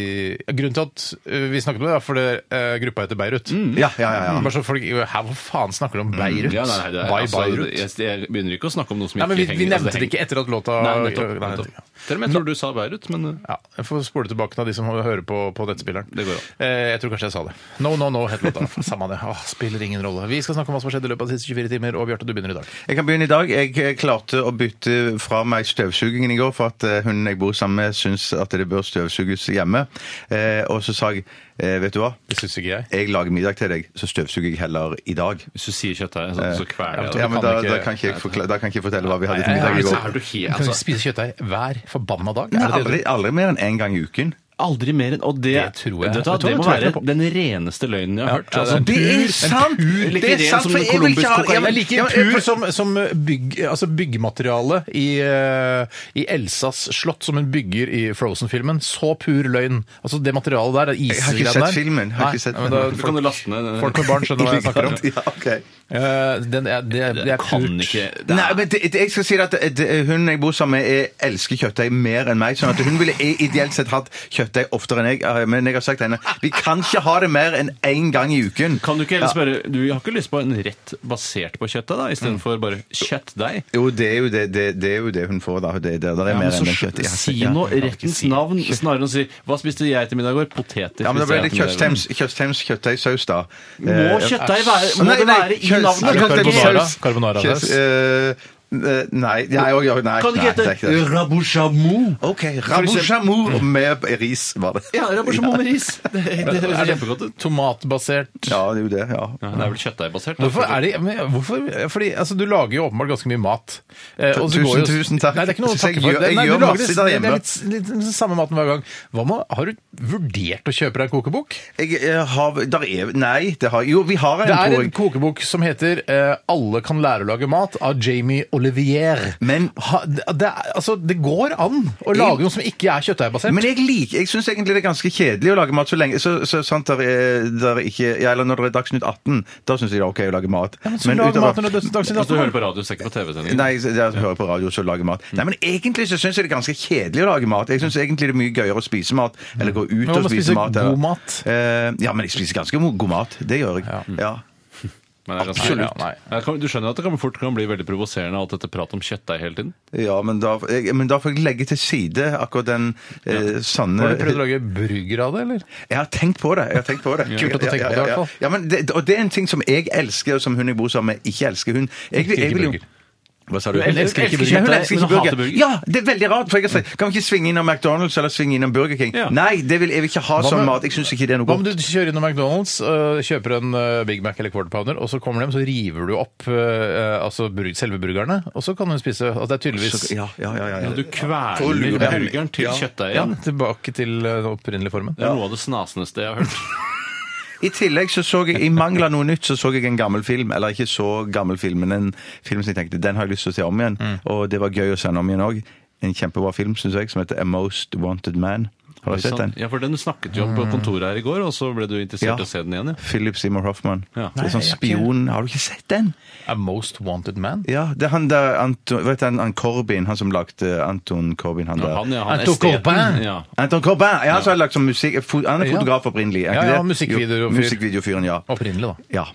[SPEAKER 1] Grunnen til at eh, vi snakket om det, er fordi eh, gruppa heter Beirut.
[SPEAKER 3] Mm.
[SPEAKER 2] Ja, ja, ja, ja.
[SPEAKER 1] Bare så folk Hæ, hva faen snakker du om Beirut?
[SPEAKER 3] Ja, nei, nei, det er,
[SPEAKER 1] Why
[SPEAKER 3] altså,
[SPEAKER 1] Beirut?
[SPEAKER 3] jeg, jeg begynner ikke å snakke om noe som
[SPEAKER 1] Nei,
[SPEAKER 3] ikke
[SPEAKER 1] men vi, vi
[SPEAKER 3] henger altså,
[SPEAKER 1] nevnte det ikke
[SPEAKER 3] henger-
[SPEAKER 1] etter at låta
[SPEAKER 3] Nei, nettopp.
[SPEAKER 1] Nei,
[SPEAKER 3] nettopp.
[SPEAKER 1] nettopp.
[SPEAKER 3] Selv om jeg tror du sa Beirut, men eh,
[SPEAKER 1] Ja, jeg får spole tilbake til de som hører på, på nettspilleren.
[SPEAKER 3] Det går an.
[SPEAKER 1] eh, jeg tror kanskje jeg sa det. No, no, no, het låta. Samme det. Åh, spiller ingen rolle. Vi skal snakke om hva som har skjedd i løpet av de siste 24 timer, og Bjarte, du begynner i dag.
[SPEAKER 2] Jeg kan begynne i dag. Jeg eh, klarte å bytte fra meg støvsugingen i går, for at eh, hun jeg bor sammen med, syns at det bør støvsuges hjemme. Eh, og så sa jeg eh, Vet du hva?
[SPEAKER 1] Det syns ikke jeg.
[SPEAKER 2] Jeg lager middag til deg, så støvsuger jeg heller i dag.
[SPEAKER 3] hvis du sier kjøttdeig, så, så kveler jeg
[SPEAKER 2] Ja,
[SPEAKER 3] det.
[SPEAKER 2] men
[SPEAKER 1] kan
[SPEAKER 2] da,
[SPEAKER 1] ikke-
[SPEAKER 2] da, kan ikke jeg forkla- da kan ikke jeg fortelle hva vi hadde til
[SPEAKER 1] Nei,
[SPEAKER 2] middag i
[SPEAKER 1] nei,
[SPEAKER 2] går.
[SPEAKER 3] Er du helt
[SPEAKER 1] Kan
[SPEAKER 3] altså,
[SPEAKER 1] vi spise kjøttdeig hver forbanna dag?
[SPEAKER 2] Nei,
[SPEAKER 1] Er det det du-
[SPEAKER 2] aldri, aldri mer enn én gang i uken.
[SPEAKER 3] Aldri mer enn Og det,
[SPEAKER 1] Det tror
[SPEAKER 3] Vet
[SPEAKER 1] jeg.
[SPEAKER 3] du hva,
[SPEAKER 1] Vet du hva,
[SPEAKER 3] det
[SPEAKER 1] det
[SPEAKER 3] må
[SPEAKER 1] tror jeg
[SPEAKER 3] være
[SPEAKER 1] ikke på.
[SPEAKER 3] den reneste løgnen jeg har hørt.
[SPEAKER 1] Ja,
[SPEAKER 3] altså,
[SPEAKER 1] det er
[SPEAKER 3] pur-
[SPEAKER 1] en pur-
[SPEAKER 3] like ren som
[SPEAKER 2] for jeg vil
[SPEAKER 3] colombisk
[SPEAKER 2] ikke ha-
[SPEAKER 3] kokain.
[SPEAKER 2] jeg
[SPEAKER 1] Jeg
[SPEAKER 2] vil-
[SPEAKER 1] er like
[SPEAKER 2] ja, men-
[SPEAKER 1] pur som, som bygg, altså byggemateriale i, eh, i Elsas slott som hun bygger i Frozen-filmen. Så pur løgn. Altså Det materialet der, det
[SPEAKER 2] har ikke
[SPEAKER 1] isgreiene der.
[SPEAKER 2] sett filmen, jeg har ikke sett
[SPEAKER 1] Nei, men da-
[SPEAKER 2] filmen.
[SPEAKER 3] Du kan jo laste ned den.
[SPEAKER 1] Folk med barn skjønner hva jeg snakker om.
[SPEAKER 2] Ja, ok.
[SPEAKER 1] Eh, Den er, det, er- det er
[SPEAKER 3] Jeg kan
[SPEAKER 1] purt.
[SPEAKER 3] ikke det er,
[SPEAKER 2] Nei, men det, det, jeg skal si at det, det, Hun jeg bor sammen med, er- elsker kjøttdeig mer enn meg. sånn at Hun ville i- ideelt sett hatt kjøttdeig oftere enn jeg, eh, men jeg har sagt til henne vi kan ikke ha det mer enn én gang i uken.
[SPEAKER 3] Kan du ikke heller spørre Du har ikke lyst på en rett basert på kjøttet, da,
[SPEAKER 1] Mm.
[SPEAKER 3] istedenfor bare kjøttdeig?
[SPEAKER 2] Jo, det er jo det, det, det, er jo det hun får, da. Det, det, det er
[SPEAKER 3] Ja,
[SPEAKER 2] mer
[SPEAKER 3] men
[SPEAKER 2] enn
[SPEAKER 3] så
[SPEAKER 2] den kjøtt. Ja,
[SPEAKER 3] si
[SPEAKER 2] ja.
[SPEAKER 3] nå rettens navn, snarere enn å si 'Hva spiste jeg til middag i går?' Poteter.
[SPEAKER 2] Ja, men da
[SPEAKER 3] spiste
[SPEAKER 2] ble
[SPEAKER 3] jeg
[SPEAKER 2] det
[SPEAKER 3] til middag i går.
[SPEAKER 2] Tjøstheims Tjøstheims kjøttdeigsaus, da. Eh,
[SPEAKER 3] Må kjøttdeig være, må
[SPEAKER 2] Nei,
[SPEAKER 3] det
[SPEAKER 2] nei,
[SPEAKER 3] være i
[SPEAKER 2] kjøtt-
[SPEAKER 3] navnet?
[SPEAKER 1] Er det
[SPEAKER 2] Kjøttdeigsaus.
[SPEAKER 1] carbonara? Carbonara-saus?
[SPEAKER 2] Kjøtt- eh, eh, Nei, nei, oi, oi, nei.
[SPEAKER 3] Kan det
[SPEAKER 2] nei,
[SPEAKER 3] ikke
[SPEAKER 2] det er
[SPEAKER 3] hete
[SPEAKER 2] ikke det.
[SPEAKER 3] rabouchamou?
[SPEAKER 2] OK. Rabouchamour med
[SPEAKER 1] Mm.
[SPEAKER 2] ris, var det.
[SPEAKER 3] Ja, rabouchamou med ris. Det, det høres
[SPEAKER 1] Er
[SPEAKER 3] kjempegodt ut.
[SPEAKER 1] det tomatbasert?
[SPEAKER 2] Ja, det er jo det. ja.
[SPEAKER 3] Ja, det er vel kjøttdeigbasert. da.
[SPEAKER 1] Hvorfor er det, men hvorfor? Fordi altså, Du lager jo åpenbart ganske mye mat. Eh, og så
[SPEAKER 2] Tusen,
[SPEAKER 1] går jo-
[SPEAKER 2] tusen takk.
[SPEAKER 1] Nei, det er ikke noe å
[SPEAKER 2] Synes jeg
[SPEAKER 1] takke for.
[SPEAKER 2] gjør- jeg
[SPEAKER 1] Nei, du
[SPEAKER 2] gjør
[SPEAKER 1] lager
[SPEAKER 2] masse
[SPEAKER 1] det-
[SPEAKER 2] der
[SPEAKER 1] Det er
[SPEAKER 2] hjemme.
[SPEAKER 1] litt, litt den samme maten hver gang. Hva med, Har du vurdert å kjøpe deg en kokebok?
[SPEAKER 2] Jeg, eh, har der er, Nei, det har Jo, vi har en,
[SPEAKER 1] Det er
[SPEAKER 2] tror
[SPEAKER 1] en
[SPEAKER 2] jeg.
[SPEAKER 1] kokebok som heter eh, 'Alle kan lære å lage mat' av Jamie Olivier.
[SPEAKER 2] Men-
[SPEAKER 1] ha, det, det er, altså, det går an å lage noe som ikke er kjøttdeigbasert.
[SPEAKER 2] Men jeg liker, jeg syns egentlig det er ganske kjedelig å lage mat så lenge så, så sant der er, der er ikke, ja, Eller når det er Dagsnytt 18, da syns jeg det er OK å lage mat.
[SPEAKER 1] Ja, men så lag
[SPEAKER 2] utover-
[SPEAKER 1] mat når det er dødsdags i
[SPEAKER 3] Hvis du hører
[SPEAKER 1] dag.
[SPEAKER 3] på radio, så er det ikke på TV-sendingen.
[SPEAKER 2] Nei, jeg jeg hører på radio så lager mat. Nei, men egentlig så syns jeg det er ganske kjedelig å lage mat. Jeg syns egentlig det er mye gøyere å spise mat, eller gå ut
[SPEAKER 1] Men man
[SPEAKER 2] og
[SPEAKER 1] må
[SPEAKER 2] spise
[SPEAKER 1] spise
[SPEAKER 2] mat.
[SPEAKER 1] god
[SPEAKER 2] eller-
[SPEAKER 1] mat.
[SPEAKER 2] Eh, ja, men jeg spiser ganske mo- god mat. Det gjør jeg. Ja.
[SPEAKER 3] Men det er ganske-
[SPEAKER 1] Absolutt.
[SPEAKER 3] Nei, nei. Jeg kan- Du skjønner at det kan fort kan bli veldig provoserende alt dette pratet om kjøttdeig hele tiden?
[SPEAKER 2] Ja, men, da, jeg, men da får jeg legge til side akkurat den eh, sanne
[SPEAKER 1] Har du prøvd å lage burger av det, eller?
[SPEAKER 2] Jeg har tenkt på det. jeg har tenkt på det.
[SPEAKER 1] Kult at du tenker på det, i hvert fall.
[SPEAKER 2] Ja, men det, og det er en ting som jeg elsker, og som hun jeg bor sammen med, ikke elsker. Hun jeg, jeg,
[SPEAKER 1] Ikke
[SPEAKER 2] vil jo-
[SPEAKER 1] burger.
[SPEAKER 2] Hva sa du?
[SPEAKER 1] Hun elsker ikke burger.
[SPEAKER 2] Nei, Hun elsker
[SPEAKER 3] Men
[SPEAKER 2] ikke
[SPEAKER 3] hun hater
[SPEAKER 2] burger.
[SPEAKER 3] burger.
[SPEAKER 2] Ja, det er veldig rart. for jeg har sagt, Kan vi ikke svinge innom McDonald's eller svinge innom Burger King?
[SPEAKER 3] Ja.
[SPEAKER 2] Nei, det vil, jeg vil ikke ha
[SPEAKER 1] Hva
[SPEAKER 2] sånn
[SPEAKER 1] med-
[SPEAKER 2] mat. Jeg syns ikke det er noe
[SPEAKER 1] Hva om
[SPEAKER 2] godt.
[SPEAKER 1] du kjører innom McDonald's, øh, kjøper en øh, Big Mac eller Quarter Pounder, og så kommer de, så river du opp øh, altså burg- selve burgerne, og så kan hun spise altså Det er tydeligvis
[SPEAKER 2] Ja, ja, ja, ja, ja.
[SPEAKER 3] Du kveler
[SPEAKER 2] Får lure henne.
[SPEAKER 3] burgeren til
[SPEAKER 2] Ja.
[SPEAKER 1] ja,
[SPEAKER 3] kjøttdeigen.
[SPEAKER 1] tilbake til øh, den opprinnelige formen.
[SPEAKER 3] Det er noe av det snasneste jeg har hørt.
[SPEAKER 2] I tillegg så så jeg, i mangel av noe nytt, så så jeg en gammel film. Eller ikke så gammel film, men en film som jeg tenkte den har jeg lyst til å se om igjen. Og det var gøy å sende om igjen òg. En kjempebra film, syns jeg, som heter A Most Wanted Man. Har du
[SPEAKER 3] Oi,
[SPEAKER 2] sett
[SPEAKER 3] sant.
[SPEAKER 2] den? Mm.
[SPEAKER 3] Ja, for den snakket jo om på kontoret her i går, og så ble du interessert i å se den igjen, ja.
[SPEAKER 2] Philip Seymour Hoffman.
[SPEAKER 3] Ja.
[SPEAKER 2] Det er sånn
[SPEAKER 1] Nei, jeg har
[SPEAKER 2] spion Har du ikke sett den?
[SPEAKER 1] A Most Wanted Man?
[SPEAKER 2] Ja, det er han der Anton, vet du, han, han Corbin, han som lagde Anton Corbin, han der.
[SPEAKER 3] Han, ja, han
[SPEAKER 1] Han tok
[SPEAKER 3] esteten,
[SPEAKER 1] Corbin.
[SPEAKER 3] Ja.
[SPEAKER 2] Anton Corbin! Ja, han som har lagd sånn musikk fo- Han er
[SPEAKER 1] Ja.
[SPEAKER 2] fotograf opprinnelig. er
[SPEAKER 1] Ja,
[SPEAKER 2] ikke
[SPEAKER 1] ja,
[SPEAKER 2] det?
[SPEAKER 1] musikkvideofyr.
[SPEAKER 2] Jo, Musikkvideofyren, ja.
[SPEAKER 1] Opprinnelig, da.
[SPEAKER 2] ja.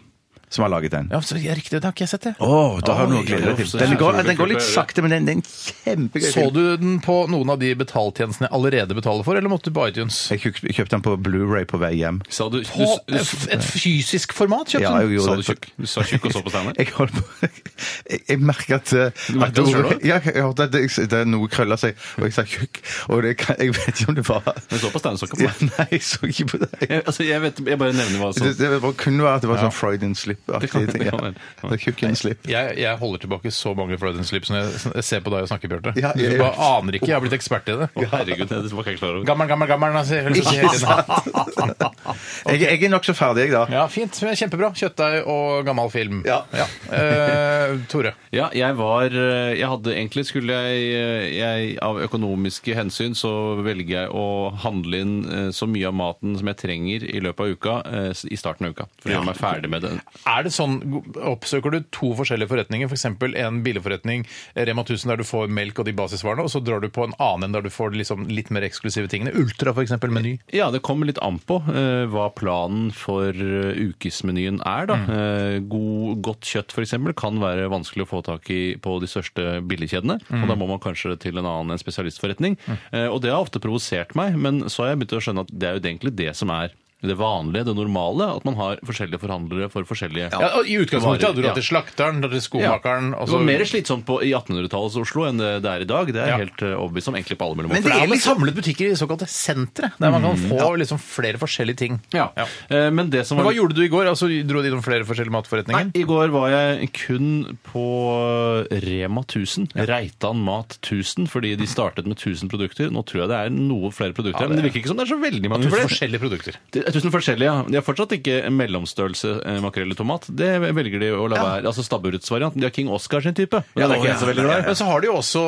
[SPEAKER 2] Som har laget den. Å,
[SPEAKER 1] Ja, så, ja, riktig, det har ikke jeg sett, det.
[SPEAKER 2] da har du noe å glede deg
[SPEAKER 3] så
[SPEAKER 2] til. Den går,
[SPEAKER 3] kjempegøy.
[SPEAKER 2] den går litt sakte, men den, den er kjempegøy.
[SPEAKER 1] Så du den på noen av de betaltjenestene jeg allerede betaler for, eller måtte du på iTunes?
[SPEAKER 2] Jeg kjøp- kjøpte den på Blu-ray på vei hjem.
[SPEAKER 3] Sa du, du,
[SPEAKER 1] På
[SPEAKER 3] du,
[SPEAKER 1] et fysisk format kjøpte
[SPEAKER 2] Ja, jeg
[SPEAKER 1] den?
[SPEAKER 2] gjorde
[SPEAKER 3] sa
[SPEAKER 2] det.
[SPEAKER 3] du tjukk? Du sa tjukk og så på Steinar?
[SPEAKER 2] Jeg holdt på Jeg, jeg merker at, eh,
[SPEAKER 3] merker
[SPEAKER 2] at
[SPEAKER 3] det selv
[SPEAKER 2] ordet-
[SPEAKER 3] også?
[SPEAKER 2] ja, jeg hørte at det, det er noe krølla seg, og jeg sa tjukk. Og det, kan- jeg vet ikke om det var
[SPEAKER 3] Du så på Steinar så ikke på
[SPEAKER 2] ja,
[SPEAKER 3] meg.
[SPEAKER 2] Nei, jeg så ikke på deg.
[SPEAKER 3] Jeg, altså, jeg, vet, jeg bare nevner hva som
[SPEAKER 2] Det, det var- kunne være at det var
[SPEAKER 3] Ja.
[SPEAKER 2] sånn Freudian
[SPEAKER 3] Det kan-
[SPEAKER 2] slip-aktig
[SPEAKER 3] det
[SPEAKER 2] ting. Ja.
[SPEAKER 3] kan være. Ja.
[SPEAKER 2] Det er Tjukken slip.
[SPEAKER 1] Jeg, jeg holder tilbake så mange Freudian slips når jeg s- ser på deg og snakker, Bjarte.
[SPEAKER 2] Ja,
[SPEAKER 1] Du
[SPEAKER 2] jeg-
[SPEAKER 1] bare aner ikke. Jeg har blitt ekspert i det.
[SPEAKER 3] Å, Herregud, det var ikke jeg klar over.
[SPEAKER 1] Gammel, gammel, gammel. Altså. jeg hører så
[SPEAKER 2] Ikke
[SPEAKER 1] hele tiden.
[SPEAKER 2] sant? Jeg, jeg er nokså ferdig, jeg, da.
[SPEAKER 1] Ja, fint. Kjempebra. Kjøttdeig og gammel film.
[SPEAKER 2] Ja.
[SPEAKER 1] Eh, Tore.
[SPEAKER 3] Ja, jeg var eh, Jeg hadde egentlig skulle jeg, eh, jeg Av økonomiske hensyn så velger jeg å handle inn eh, så mye av maten som jeg trenger i løpet av uka, eh, s- i starten av uka. For å gjøre meg ferdig med den.
[SPEAKER 1] Er det sånn, Oppsøker du to forskjellige forretninger, f.eks. eksempel en billigforretning, Rema 1000, der du får melk og de basisvarene, og så drar du på en annen en der du får liksom litt mer eksklusive tingene? Ultra, f.eks. Meny.
[SPEAKER 3] Ja, det kommer litt an på eh, hva planen for eh, ukesmenyen er,
[SPEAKER 1] Mm.
[SPEAKER 3] da. Eh, god, godt kjøtt f.eks. kan være vanskelig å få tak i på de største billigkjedene. Og
[SPEAKER 1] Mm.
[SPEAKER 3] da må man kanskje til en annen en spesialistforretning. Eh, og det har ofte provosert meg, men så har jeg begynt å skjønne at det er jo egentlig det som er det vanlige, det normale, at man har forskjellige forhandlere for forskjellige
[SPEAKER 1] Ja, og I utgangspunktet hadde du
[SPEAKER 3] Ja.
[SPEAKER 1] dratt til slakteren, dratt til skomakeren og
[SPEAKER 3] Det
[SPEAKER 1] så-
[SPEAKER 3] var mer slitsomt på, i 1800-tallets Oslo enn det det er i dag. Det er
[SPEAKER 1] Ja.
[SPEAKER 3] jeg helt eh, overbevist om, egentlig på alle mulige måter.
[SPEAKER 2] Men
[SPEAKER 1] For det
[SPEAKER 2] Det er
[SPEAKER 1] er sånn- man
[SPEAKER 2] liksom-
[SPEAKER 1] samlet butikker i såkalte sentre, der man kan få liksom flere forskjellige ting.
[SPEAKER 3] Ja.
[SPEAKER 1] Ja.
[SPEAKER 3] Eh, men det som
[SPEAKER 1] Men
[SPEAKER 3] var
[SPEAKER 1] hva gjorde du i går? Altså, dro du innom flere forskjellige
[SPEAKER 3] Nei,
[SPEAKER 1] matforretninger?
[SPEAKER 3] i går var jeg kun på eh, Rema 1000. Reitan Mat 1000, fordi de startet med 1000 produkter. Nå tror jeg det er noe flere produkter, men det virker ikke som det er så veldig mange
[SPEAKER 1] Tusen
[SPEAKER 3] flere.
[SPEAKER 1] forskjellige produkter.
[SPEAKER 3] Det er Tusen forskjellige, ja. De har fortsatt ikke mellomstørrelse eh, makrell i tomat. Det velger de å la være. Altså stabburets variant. De har King Oscar sin type. Men den er ikke jeg så veldig glad i.
[SPEAKER 1] Men så har de jo også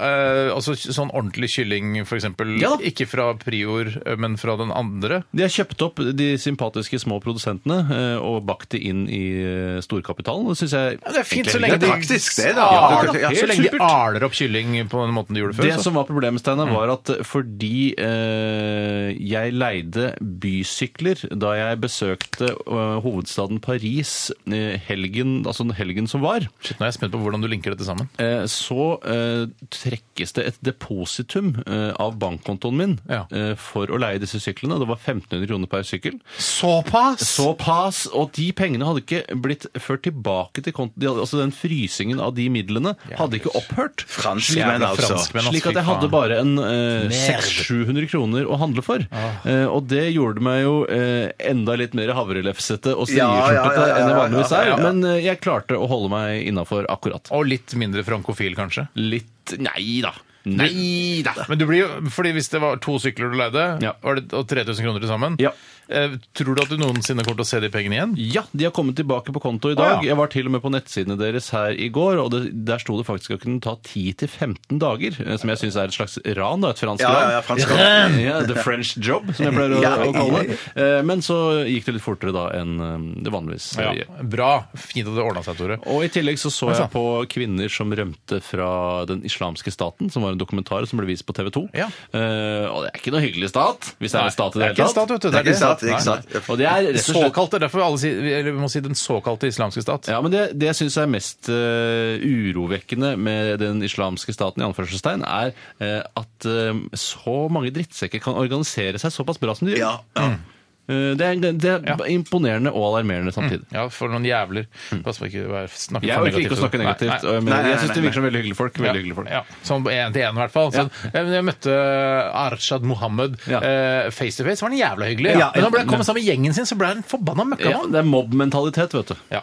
[SPEAKER 1] eh, altså, sånn ordentlig kylling, f.eks.
[SPEAKER 3] Ja da.
[SPEAKER 1] Ikke fra Prior, eh, men fra den andre.
[SPEAKER 3] De har kjøpt opp de sympatiske små produsentene eh, og bakt det inn i eh, storkapitalen. Det syns jeg
[SPEAKER 1] det er fint så
[SPEAKER 3] egentlig
[SPEAKER 1] lenge
[SPEAKER 3] er
[SPEAKER 2] Det er
[SPEAKER 3] greit.
[SPEAKER 2] praktisk, det, da.
[SPEAKER 1] Ja,
[SPEAKER 2] Du kan- ja,
[SPEAKER 1] så
[SPEAKER 3] helt
[SPEAKER 1] lenge de
[SPEAKER 3] supert.
[SPEAKER 1] aler opp kylling på den måten de gjorde før.
[SPEAKER 3] Det
[SPEAKER 1] så.
[SPEAKER 3] som var problemet, Steinar, var at fordi eh, jeg leide bysykler da jeg besøkte eh, hovedstaden Paris eh, helgen, altså den helgen som var,
[SPEAKER 1] Shit, nå er jeg spent på hvordan du linker dette sammen.
[SPEAKER 3] eh, så eh, trekkes det et depositum eh, av bankkontoen min
[SPEAKER 1] Ja.
[SPEAKER 3] eh, for å leie disse syklene. Det var 1500 kroner per sykkel.
[SPEAKER 1] Såpass!
[SPEAKER 3] Så pass, og de pengene hadde ikke blitt ført tilbake til kontoen. De hadde- Altså den frysingen av de midlene hadde ikke opphørt.
[SPEAKER 2] Franskmenn,
[SPEAKER 1] Jævla
[SPEAKER 2] altså.
[SPEAKER 1] franskmenn, ass,
[SPEAKER 3] Slik at
[SPEAKER 1] fy
[SPEAKER 3] jeg hadde
[SPEAKER 1] faen.
[SPEAKER 3] bare en eh, 600-700 kroner å handle for. Eh, og det gjorde meg jo eh, enda litt mer havrelefsete og
[SPEAKER 2] Ja, ja,
[SPEAKER 3] strieslurpete
[SPEAKER 2] ja, ja,
[SPEAKER 3] enn jeg
[SPEAKER 2] ja,
[SPEAKER 3] vanligvis
[SPEAKER 2] ja,
[SPEAKER 3] er,
[SPEAKER 2] ja, ja.
[SPEAKER 3] men eh, jeg klarte å holde meg innafor akkurat.
[SPEAKER 1] Og litt mindre frankofil, kanskje.
[SPEAKER 3] Litt Nei da. Nei da.
[SPEAKER 1] Men du blir jo, fordi Hvis det var to sykler du leide,
[SPEAKER 3] Ja.
[SPEAKER 1] var det, og 3000 kroner til sammen,
[SPEAKER 3] Ja.
[SPEAKER 1] eh, tror du at du noensinne kommer til å se de pengene igjen?
[SPEAKER 3] Ja, de har kommet tilbake på konto i
[SPEAKER 1] ja.
[SPEAKER 3] dag. Jeg var til og med på nettsidene deres her i går, og det, der sto det faktisk at det kunne ta 10-15 dager, eh, som jeg syns er et slags ran, da, et fransk
[SPEAKER 2] Ja,
[SPEAKER 3] ran.
[SPEAKER 2] ja, ja, fransk
[SPEAKER 3] ran. Ja, the French job, som jeg pleier å,
[SPEAKER 2] Ja, ja,
[SPEAKER 3] å kalle
[SPEAKER 2] ja.
[SPEAKER 3] det. Eh, Men så gikk det litt fortere da enn eh, det vanligvis
[SPEAKER 1] Ja.
[SPEAKER 3] gjør.
[SPEAKER 1] Bra. Fint at det ordna seg, Tore.
[SPEAKER 3] Og i tillegg så, så
[SPEAKER 1] Oi,
[SPEAKER 3] jeg
[SPEAKER 1] sann.
[SPEAKER 3] på kvinner som rømte fra den islamske staten, som var en dokumentar som ble vist på TV 2.
[SPEAKER 1] Ja.
[SPEAKER 3] Eh, og det er ikke noe hyggelig stat, hvis det er en stat i
[SPEAKER 1] Det
[SPEAKER 3] det
[SPEAKER 1] er ikke en
[SPEAKER 3] hele
[SPEAKER 1] stat,
[SPEAKER 3] tatt.
[SPEAKER 1] vet du.
[SPEAKER 2] Det er ikke en stat, det er
[SPEAKER 1] Nei.
[SPEAKER 2] ikke en stat.
[SPEAKER 3] Og det er rett og slett
[SPEAKER 1] Såkalt, det er derfor alle sier, eller vi må si den såkalte islamske stat.
[SPEAKER 3] Ja, men Det, det jeg syns er mest eh, urovekkende med den islamske staten, i anførselstegn, er eh, at eh, så mange drittsekker kan organisere seg såpass bra som de gjør.
[SPEAKER 2] Ja,
[SPEAKER 3] Eh,
[SPEAKER 2] ja.
[SPEAKER 3] det er, det, det er
[SPEAKER 1] Ja. Mm.
[SPEAKER 3] imponerende og alarmerende samtidig.
[SPEAKER 1] Ja, for noen jævler. Pass på ikke å være- snakke
[SPEAKER 3] Mm. Jeg
[SPEAKER 1] for
[SPEAKER 3] orker
[SPEAKER 1] negativt.
[SPEAKER 3] ikke å snakke
[SPEAKER 1] Nei,
[SPEAKER 3] negativt.
[SPEAKER 1] nei.
[SPEAKER 3] eh, Men
[SPEAKER 2] Nei, nei,
[SPEAKER 3] jeg syns det
[SPEAKER 2] nei,
[SPEAKER 3] virker som veldig hyggelige folk. Veldig hyggelige folk.
[SPEAKER 1] Ja, som en til en, i hvert fall. Så, eh, men Jeg møtte eh, Arshad Mohammed
[SPEAKER 3] Ja.
[SPEAKER 1] eh, face to face. var han jævla hyggelig.
[SPEAKER 2] Ja, ja.
[SPEAKER 1] men når han ble- kom sammen med gjengen sin, så ble han
[SPEAKER 3] Ja,
[SPEAKER 1] forbanna
[SPEAKER 3] Mm.
[SPEAKER 1] møkkamann.
[SPEAKER 3] det er mobbmentalitet, vet du.
[SPEAKER 1] Ja.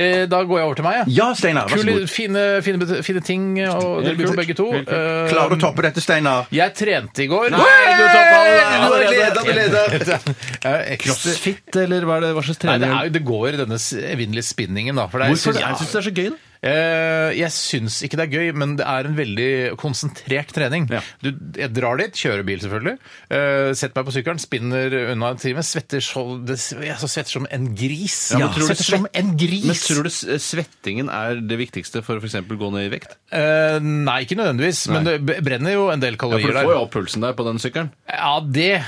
[SPEAKER 1] Eh, Da går jeg over til meg, jeg.
[SPEAKER 2] Ja, Steinar. Vær så
[SPEAKER 1] Kule,
[SPEAKER 2] god.
[SPEAKER 1] fine, fine, bet- fine ting, eh, og dere
[SPEAKER 3] Helt kult.
[SPEAKER 1] kule begge to.
[SPEAKER 3] Helt kult.
[SPEAKER 1] Eh,
[SPEAKER 2] Klarer du å toppe dette, Steinar?
[SPEAKER 1] Jeg trente i går.
[SPEAKER 2] du tar ballen allerede.
[SPEAKER 1] Du har leder, Crossfit.
[SPEAKER 3] Crossfit, eller hva, er det, hva slags
[SPEAKER 1] Nei, det,
[SPEAKER 3] trening?
[SPEAKER 1] er, jo- det går i denne s- evinnelige spinningen, da. For det er-
[SPEAKER 3] Hvorfor?
[SPEAKER 1] jeg
[SPEAKER 3] Jeg syns det er så gøy, da.
[SPEAKER 1] Eh, jeg syns ikke det er gøy, men det er en veldig konsentrert trening.
[SPEAKER 3] Ja.
[SPEAKER 1] Du, jeg drar dit, kjører bil selvfølgelig, eh, setter meg på sykkelen, spinner unna en time, svetter, så, det, jeg så svetter som en gris.
[SPEAKER 3] men tror du
[SPEAKER 1] svetter
[SPEAKER 3] svett-
[SPEAKER 1] som en gris!
[SPEAKER 3] Men tror du s- svettingen er det viktigste for å for eksempel gå ned i vekt?
[SPEAKER 1] Eh, nei, ikke nødvendigvis, men
[SPEAKER 3] Nei.
[SPEAKER 1] det b- brenner jo en del
[SPEAKER 3] Ja, for
[SPEAKER 1] kalorier
[SPEAKER 3] du får jo
[SPEAKER 1] der.
[SPEAKER 3] opp pulsen der på den sykkelen.
[SPEAKER 1] Ja, det,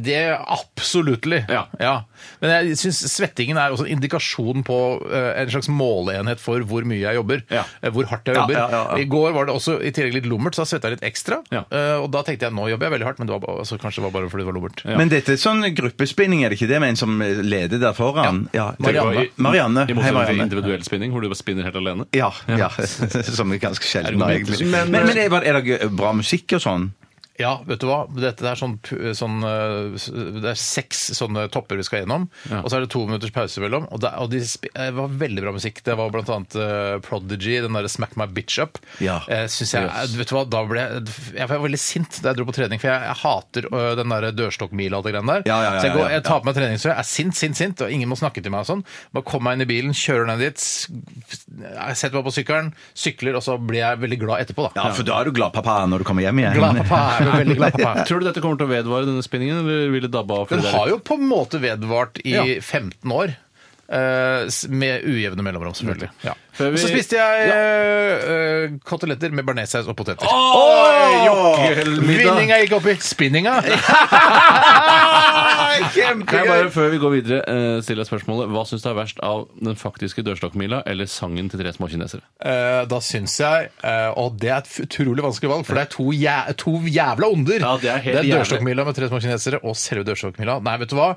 [SPEAKER 1] det absoluttlig.
[SPEAKER 3] Ja.
[SPEAKER 1] Men jeg syns svettingen er også en indikasjon på eh, en slags måleenhet for hvor mye jeg jobber.
[SPEAKER 3] Ja.
[SPEAKER 1] eh, Hvor hardt jeg
[SPEAKER 3] Ja,
[SPEAKER 1] jobber.
[SPEAKER 3] ja, ja, ja.
[SPEAKER 1] I går var det også i tillegg litt lummert, så da svetta jeg litt ekstra.
[SPEAKER 3] Ja.
[SPEAKER 1] Eh, og da tenkte jeg nå jobber jeg veldig hardt, men det var, ba- altså, kanskje det var bare fordi det var lummert.
[SPEAKER 2] Men dette er sånn gruppespinning, er det ikke det? Med en som eh, leder der foran? Ja.
[SPEAKER 1] Marianne.
[SPEAKER 2] Marianne.
[SPEAKER 3] I
[SPEAKER 2] Hei,
[SPEAKER 3] motsetning til
[SPEAKER 2] Marianne.
[SPEAKER 3] individuell spinning, hvor du bare spinner helt alene.
[SPEAKER 2] Ja, ja. som er ganske sjelden,
[SPEAKER 3] Er det
[SPEAKER 2] egentlig.
[SPEAKER 3] noe
[SPEAKER 2] Men, men er, det- er det bra musikk og sånn?
[SPEAKER 1] Ja, vet du hva? Dette er sånn, pu- sånn eh, s- Det er seks sånne topper vi skal gjennom.
[SPEAKER 3] Ja.
[SPEAKER 1] Og så er det to minutters pause imellom. Og, det, og de sp- eh, var veldig bra musikk. Det var blant annet eh, Prodigy, den derre 'Smack My Bitch Up'.
[SPEAKER 2] Ja.
[SPEAKER 1] Eh, synes jeg,
[SPEAKER 3] Yes.
[SPEAKER 1] vet du hva, da ble jeg, jeg var veldig sint da jeg dro på trening, for jeg, jeg hater ø, den der dørstokkmila og alt det greiene der.
[SPEAKER 2] Ja, ja, ja,
[SPEAKER 1] så jeg, går,
[SPEAKER 2] ja, ja.
[SPEAKER 1] jeg tar på meg treningstøy, er sint, sint, sint, og ingen må snakke til meg og sånn. Bare kommer meg inn i bilen, kjører ned dit, s- jeg setter meg på sykkelen, sykler, og så blir jeg veldig glad etterpå, da.
[SPEAKER 2] Ja, for da er du glad pappa når du kommer hjem igjen.
[SPEAKER 1] Glad pappa, jeg er veldig glad pappa.
[SPEAKER 3] Tror du dette kommer til å vedvare, denne spinningen, eller vil det dabbe av? fordi
[SPEAKER 1] Den
[SPEAKER 3] det er-
[SPEAKER 1] har jo på en måte vedvart i
[SPEAKER 3] Ja.
[SPEAKER 1] 15 år. eh, s- Med ujevne mellomrom, selvfølgelig. Ja.
[SPEAKER 3] Før vi-
[SPEAKER 1] Så spiste jeg eh, eh, koteletter med bearnéssaus og poteter.
[SPEAKER 3] Oi, jokkelmiddag.
[SPEAKER 1] Vinninga gikk opp i spinninga!
[SPEAKER 3] Kan jeg bare, før vi går videre, eh, stille deg spørsmålet Hva syns du er verst av den faktiske dørstokkmila eller sangen til tre små kinesere?
[SPEAKER 1] Eh, Da syns jeg eh, Og det er et utrolig vanskelig valg, for det er to, jæ to jævla onder.
[SPEAKER 3] Ja, det er helt
[SPEAKER 1] det er
[SPEAKER 3] jævlig.
[SPEAKER 1] dørstokkmila med tre små kinesere og selve dørstokkmila. Nei, vet du hva?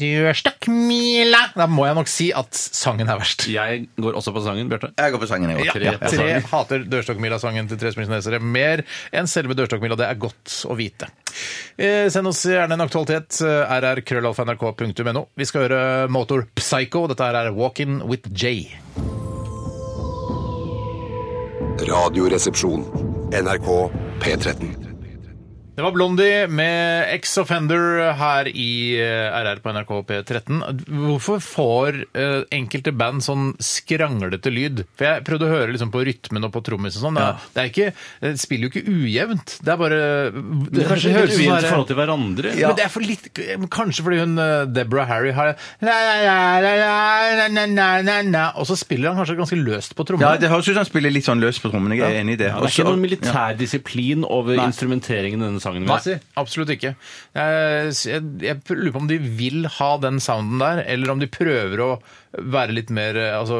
[SPEAKER 1] Dørstokkmila! Da må jeg nok si at sangen er verst.
[SPEAKER 3] Jeg går også på sangen, Bjarte.
[SPEAKER 2] Jeg går på sangen, jeg òg.
[SPEAKER 1] Ja,
[SPEAKER 3] Tre
[SPEAKER 1] ja,
[SPEAKER 3] på
[SPEAKER 1] tre
[SPEAKER 3] sangen.
[SPEAKER 1] hater Dørstokkmila-sangen til Tre små kinesere mer enn selve Dørstokkmila. Det er godt å vite. Eh, send oss gjerne en aktualitet. eh, rrkrøllalfa.nrk.no. Vi skal høre Motor Psycho. Dette her er Walking with Jay.
[SPEAKER 6] Radioresepsjon. NRK P13.
[SPEAKER 1] Det var Blondie med Ex-Offender her i eh, RR på NRK P13. Hvorfor får eh, enkelte band sånn skranglete lyd? For jeg prøvde å høre liksom på rytmen og på trommisen og sånn. Det er- Det, er ikke, det spiller jo ikke ujevnt. Det er bare Det,
[SPEAKER 3] Kanskje
[SPEAKER 1] høres
[SPEAKER 3] høres
[SPEAKER 1] ut som sånn
[SPEAKER 3] ujevnt
[SPEAKER 1] det
[SPEAKER 3] i
[SPEAKER 1] er-
[SPEAKER 3] forhold til hverandre?
[SPEAKER 1] Men det er for litt Kanskje fordi hun eh, Deborah Harry har la, la, la, la, la, la, la, la, la, Og så spiller han kanskje ganske løst på trommene.
[SPEAKER 2] Ja, det høres ut som han spiller litt sånn løs på trommene. Jeg er enig i det.
[SPEAKER 3] Ja, det er
[SPEAKER 2] Også-
[SPEAKER 3] ikke noen militær disiplin over instrumenteringen i denne sangen. vil jeg si.
[SPEAKER 1] Nei, absolutt ikke. Jeg, jeg, jeg lurer på om de vil ha den sounden der, eller om de prøver å være litt mer eh, altså,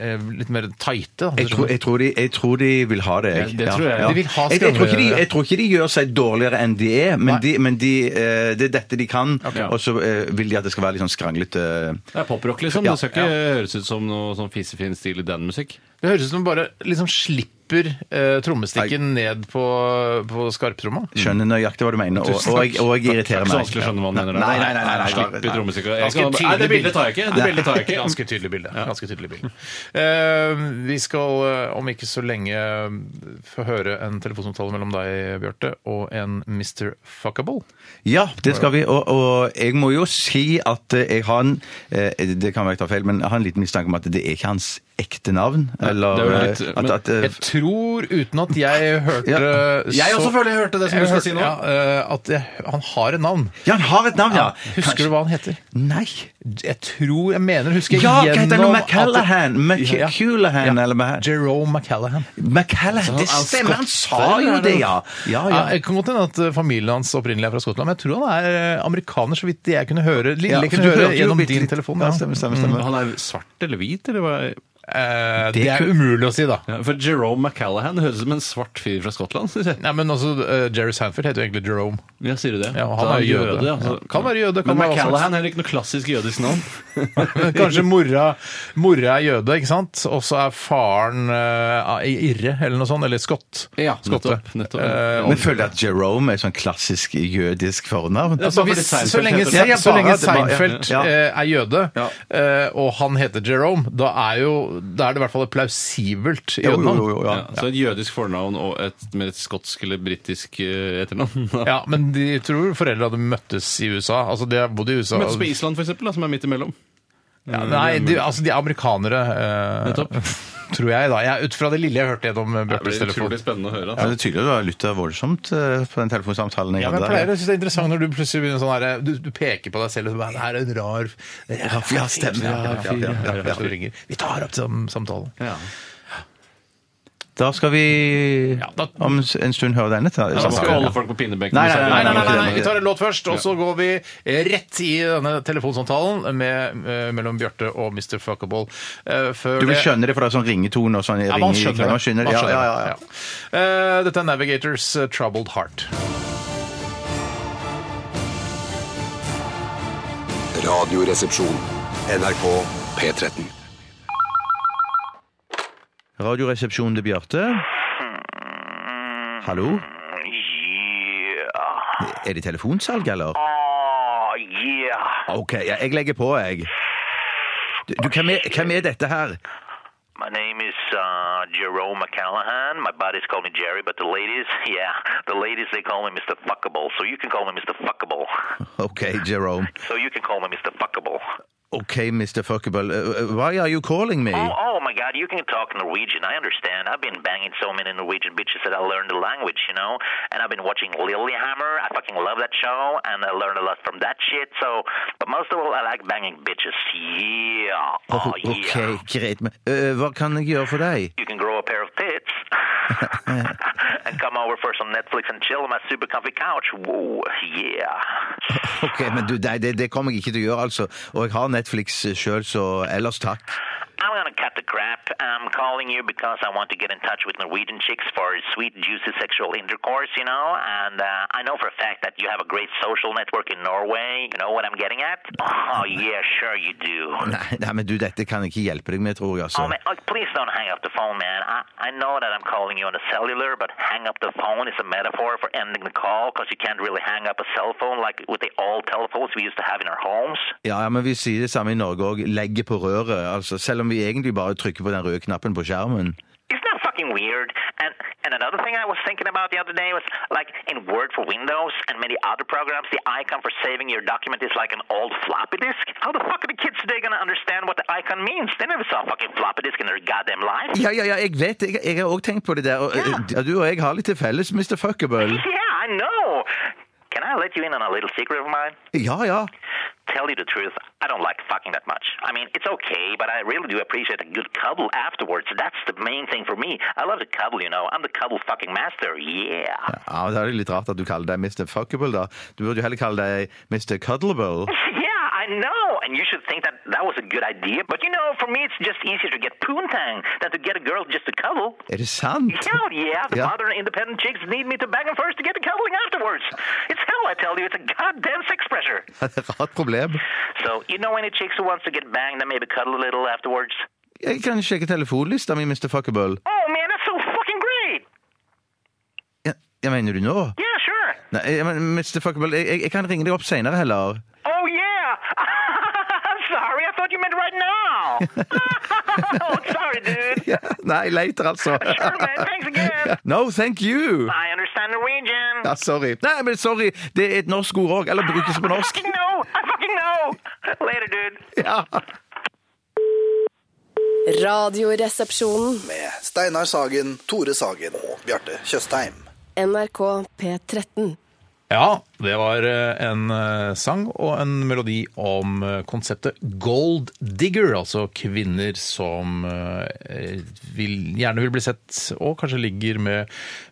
[SPEAKER 1] eh, litt mer tighte. da.
[SPEAKER 2] Jeg tror, jeg, tror de, jeg tror de vil ha det. Jeg.
[SPEAKER 3] Ja, det tror jeg.
[SPEAKER 1] De vil ha
[SPEAKER 2] jeg, jeg, tror ikke de,
[SPEAKER 1] skrangler.
[SPEAKER 2] jeg tror ikke de gjør seg dårligere enn de er, men,
[SPEAKER 1] Nei.
[SPEAKER 2] de, men de, eh, det er dette de kan.
[SPEAKER 3] Ok.
[SPEAKER 2] Og så eh, vil de at det skal være litt sånn skranglete
[SPEAKER 3] Det er poprock, liksom.
[SPEAKER 2] Ja,
[SPEAKER 3] Det skal ikke høres ut som noe sånn fisefin stil i den musikk.
[SPEAKER 1] Det høres ut som de bare liksom slipper eh, trommestikken ned på, på skarptromma.
[SPEAKER 2] Skjønner nøyaktig hva du mener, og, og, jeg, og jeg
[SPEAKER 3] Ikke så
[SPEAKER 2] irriterer meg.
[SPEAKER 3] vanskelig å skjønne hva han mener. der.
[SPEAKER 2] Nei, nei, nei, nei, nei,
[SPEAKER 3] Slipp i
[SPEAKER 2] nei.
[SPEAKER 3] trommestikket. Jeg
[SPEAKER 1] Ganske
[SPEAKER 3] kan- Eh, Nei, det
[SPEAKER 1] tydelig
[SPEAKER 3] bildet tar jeg ikke. Det bildet tar jeg ikke.
[SPEAKER 1] Ganske tydelig bilde. Ganske tydelig bilde. Eh, vi skal eh, om ikke så lenge eh, få høre en telefonsamtale mellom deg, Bjarte, og en Mr. Fuckable.
[SPEAKER 2] Ja, det skal vi. Og, og jeg må jo si at eh, jeg har en eh, Det kan være jeg tar feil, men jeg har en liten mistanke om at det er ikke hans ekte navn. Eller
[SPEAKER 3] det er jo
[SPEAKER 2] eh,
[SPEAKER 3] litt-
[SPEAKER 2] at,
[SPEAKER 3] men-
[SPEAKER 2] at, eh,
[SPEAKER 1] Jeg tror, uten at jeg hørte
[SPEAKER 2] Ja.
[SPEAKER 3] Jeg også føler jeg hørte det som du
[SPEAKER 1] Jeg
[SPEAKER 3] skal
[SPEAKER 1] hørte-
[SPEAKER 3] si nå.
[SPEAKER 1] Ja, eh, at jeg, han har et navn.
[SPEAKER 2] Ja, han har et navn, ja!
[SPEAKER 1] Husker du hva han heter?
[SPEAKER 2] Nei.
[SPEAKER 1] Jeg tror, jeg mener, husker jeg
[SPEAKER 2] Ja, hva heter han?
[SPEAKER 1] gjennom at-
[SPEAKER 2] McCallahan?
[SPEAKER 1] Ja.
[SPEAKER 2] McCulahan,
[SPEAKER 1] Ja.
[SPEAKER 2] eller hva?
[SPEAKER 1] Jerome McCallahan.
[SPEAKER 2] McCallahan, det
[SPEAKER 3] han
[SPEAKER 2] stemmer! Han sa
[SPEAKER 3] skotter,
[SPEAKER 2] jo
[SPEAKER 3] eller?
[SPEAKER 2] det, ja! Ja, ja.
[SPEAKER 1] Ja, jeg kan godt hende at eh, familien hans opprinnelig er fra Skottland, men jeg tror han er eh, amerikaner, så vidt jeg kunne høre, lille,
[SPEAKER 2] Ja,
[SPEAKER 1] jeg
[SPEAKER 2] for
[SPEAKER 1] kunne
[SPEAKER 2] du
[SPEAKER 1] høre
[SPEAKER 2] hørte jo
[SPEAKER 1] gjennom
[SPEAKER 2] bitte
[SPEAKER 1] din
[SPEAKER 2] litt.
[SPEAKER 1] telefon.
[SPEAKER 2] Ja,
[SPEAKER 1] Ja. Mm.
[SPEAKER 2] stemmer, stemmer. stemmer.
[SPEAKER 3] Han er svart eller hvit, eller hva?
[SPEAKER 1] Eh, det er umulig å si, da.
[SPEAKER 3] Ja, For Jerome McCallahan høres ut som en svart fyr fra Skottland. Synes jeg.
[SPEAKER 1] Nei, men altså, eh, Jerry Sanford heter jo egentlig Jerome.
[SPEAKER 3] Ja, sier du det?
[SPEAKER 1] Ja, han
[SPEAKER 3] Så
[SPEAKER 1] er jo jøde.
[SPEAKER 3] ja, så-
[SPEAKER 1] Ja, kan være jøde, kan
[SPEAKER 3] Men
[SPEAKER 1] være hva
[SPEAKER 3] McCallahan er ikke noe klassisk jødisk navn.
[SPEAKER 1] Men Kanskje mora, mora er jøde, ikke sant? Og så er faren eh, irre, eller noe sånt. Eller skott.
[SPEAKER 3] Ja,
[SPEAKER 1] Skotte.
[SPEAKER 3] nettopp, nettopp.
[SPEAKER 1] Eh,
[SPEAKER 2] Men føler du at Jerome er sånn klassisk jødisk fornavn?
[SPEAKER 1] Altså,
[SPEAKER 3] Bare fordi
[SPEAKER 1] hvis, så
[SPEAKER 3] Seinfeld
[SPEAKER 1] lenge,
[SPEAKER 3] heter
[SPEAKER 2] det. Ja, ja,
[SPEAKER 1] så lenge
[SPEAKER 2] bare at det bare-
[SPEAKER 1] Seinfeld
[SPEAKER 2] ja.
[SPEAKER 1] eh, er jøde,
[SPEAKER 2] Ja.
[SPEAKER 1] eh, og han heter Jerome, da er, jo, da er det i hvert fall et plausibelt
[SPEAKER 2] Jo, jo,
[SPEAKER 1] jødenavn.
[SPEAKER 2] jo, jo, ja.
[SPEAKER 3] Ja, så et jødisk fornavn og et med et skotsk eller britisk eh, etternavn.
[SPEAKER 1] Ja, men de tror foreldre hadde møttes i USA. Altså, de har bodd i USA.
[SPEAKER 3] Møtes på Island, for eksempel, da, som er midt imellom.
[SPEAKER 1] Ja, nei, de, altså, de er amerikanere. eh,
[SPEAKER 3] Nettopp.
[SPEAKER 1] Tror jeg, da. Jeg, ut fra det lille jeg hørte gjennom eh,
[SPEAKER 3] Det
[SPEAKER 1] Bjørtes
[SPEAKER 3] blir
[SPEAKER 1] telefon.
[SPEAKER 3] utrolig spennende å høre.
[SPEAKER 2] Ja,
[SPEAKER 3] Altså.
[SPEAKER 2] det er tydelig at du har lytta voldsomt eh, på den telefonsamtalen. jeg
[SPEAKER 1] Ja, men jeg
[SPEAKER 2] hadde
[SPEAKER 1] pleier
[SPEAKER 2] der.
[SPEAKER 1] å synes det er interessant når du plutselig begynner sånn her, du, du peker på deg selv og så bare, det her er en rar eh, ja,
[SPEAKER 2] ja, stemmer. Ja, ja, ja, ja, ja.
[SPEAKER 1] Så du ringer. Vi tar opp sam samtalen.
[SPEAKER 3] Ja.
[SPEAKER 2] Da skal vi
[SPEAKER 1] da-
[SPEAKER 2] om s- en stund høre denne.
[SPEAKER 3] Da
[SPEAKER 2] ta-
[SPEAKER 3] skal vi holde
[SPEAKER 2] samtalen.
[SPEAKER 3] folk på pinebenken.
[SPEAKER 2] Nei,
[SPEAKER 3] hvis det er-
[SPEAKER 1] Nei, nei, nei, nei,
[SPEAKER 2] det
[SPEAKER 1] nei,
[SPEAKER 2] er
[SPEAKER 1] vi
[SPEAKER 2] det.
[SPEAKER 1] tar en låt først, og så går vi rett i denne telefonsamtalen med, eh, mellom Bjørte og Mr. Fuckable. Eh, før
[SPEAKER 2] Du vil
[SPEAKER 1] det-
[SPEAKER 2] skjønne det, for det er sånn ringetone og sånn.
[SPEAKER 1] Ja,
[SPEAKER 2] ringer
[SPEAKER 1] man
[SPEAKER 2] i
[SPEAKER 1] skjønner
[SPEAKER 2] kveld,
[SPEAKER 1] det.
[SPEAKER 2] Man skjønner det.
[SPEAKER 1] Man
[SPEAKER 2] Ja, ja,
[SPEAKER 1] skjønner
[SPEAKER 2] ja, ja.
[SPEAKER 1] det, ja. Eh, Dette er Navigators eh, Troubled Heart.
[SPEAKER 6] Radioresepsjon. NRK P13.
[SPEAKER 2] Radioresepsjonen til Bjarte. Hallo? Er det telefonsalg, eller? OK, ja, jeg legger på, jeg. Du, du, hvem, er, hvem er dette her?
[SPEAKER 7] My name is uh, Jerome McCallahan. My buddies call me Jerry, but the ladies, yeah, the ladies, they call me Mr. Fuckable. So you can call me Mr. Fuckable.
[SPEAKER 2] OK, Jerome.
[SPEAKER 7] So you can call me Mr. Fuckable.
[SPEAKER 2] OK, Mr. Fuckable. Uh, uh, Why are you calling me?
[SPEAKER 7] Oh, oh my God, you can talk Norwegian. I understand. I've been banging so many Norwegian bitches that I learned the language, you know? And I've been watching Lilyhammer. I fucking love that show, and I learned a lot from that shit. So, but most of all, I like banging bitches. Yeah. Oh, yeah.
[SPEAKER 2] OK, greit. Men uh, hva kan jeg gjøre for deg?
[SPEAKER 7] you can grow a pair of tits and come over for some Netflix and chill on my super comfy couch. Whoa, yeah.
[SPEAKER 2] OK, men du, nei, det, det kommer jeg ikke til å gjøre, altså. Og jeg har Netflix sjøl, så ellers takk.
[SPEAKER 7] I'm gonna cut the crap. I'm calling you because I want to get in touch with Norwegian chicks for sweet, juicy sexual intercourse, you know? And uh, I know for a fact that you have a great social network in Norway. You know what I'm getting at? Oh, yeah, sure you do.
[SPEAKER 2] Nei, nei, men du, dette kan jeg ikke hjelpe deg med, tror jeg, altså.
[SPEAKER 7] Oh, man, oh, please don't hang up the phone, man. I, I know that I'm calling you on a cellular, but hang up the phone is a metaphor for ending the call because you can't really hang up a cell phone like with the old telephones we used to have in our homes.
[SPEAKER 2] Ja, ja, men vi sier det samme i Norge òg. Legge på røret. altså Selv om vi egentlig bare trykker på den røde knappen på skjermen.
[SPEAKER 7] Isn't that fucking weird? And and another thing I was thinking about the other day was like in Word for Windows and many other programs, the icon for saving your document is like an old floppy disk. How the fuck are the kids today gonna understand what the icon means? They never saw a fucking floppy disk in their goddamn life.
[SPEAKER 2] Ja, ja, ja, jeg vet det. Jeg, jeg har òg tenkt på det der. Og, ja. Du og jeg har litt til felles, Mr. Fuckable.
[SPEAKER 7] Yeah, I know. Can I let you in on a little secret of mine?
[SPEAKER 2] Ja, ja.
[SPEAKER 7] Tell you the truth, I don't like fucking that much. I mean, it's okay, but I really do appreciate a good cuddle afterwards. That's the main thing for me. I love to cuddle, you know. I'm the cuddle fucking master. Yeah.
[SPEAKER 2] Ja, men Da er det litt rart at du kaller deg Mr. Fuckable, da. Du burde jo heller kalle deg Mr. Cuddleable.
[SPEAKER 7] Yeah, I know. And you should think that that was a good idea. But you know, for me, it's just easier to get poontang than to get a girl just to cuddle.
[SPEAKER 2] Er det sant?
[SPEAKER 7] Hell yeah, the
[SPEAKER 2] Yeah.
[SPEAKER 7] modern independent chicks need me to bang them first to get to cuddling afterwards. It's hell, I tell you. It's a goddamn sex pressure.
[SPEAKER 2] Ja, det er et rart problem.
[SPEAKER 7] So, you know any chicks who wants to get banged and maybe cuddle a little afterwards?
[SPEAKER 2] Jeg kan sjekke telefonlista mi, Mr. Fuckable.
[SPEAKER 7] Oh, man, that's so fucking great.
[SPEAKER 2] Ja, jeg mener du nå?
[SPEAKER 7] Yeah, sure.
[SPEAKER 2] Nei, jeg, men, Mr. Fuckable, jeg, jeg- jeg kan ringe deg opp seinere heller.
[SPEAKER 7] Oh, yeah. I'm sorry. I thought you meant right now. oh, sorry, dude.
[SPEAKER 2] Ja, nei, later, altså.
[SPEAKER 7] Sure, man. Thanks again.
[SPEAKER 2] No, thank you!
[SPEAKER 7] I understand Norwegian.
[SPEAKER 2] Ja, sorry. Nei, men sorry, det er et norsk ord òg. Eller brukes på
[SPEAKER 7] I
[SPEAKER 2] norsk.
[SPEAKER 7] fucking know. I fucking know. Later, dude.
[SPEAKER 2] Ja.
[SPEAKER 5] Radioresepsjonen.
[SPEAKER 4] Med Steinar Sagen, Tore Sagen og Bjarte Tjøstheim.
[SPEAKER 5] NRK P13.
[SPEAKER 1] Ja, det var eh, en eh, sang og en melodi om eh, konseptet gold digger, altså kvinner som eh, vil, gjerne vil bli sett, og kanskje ligger med,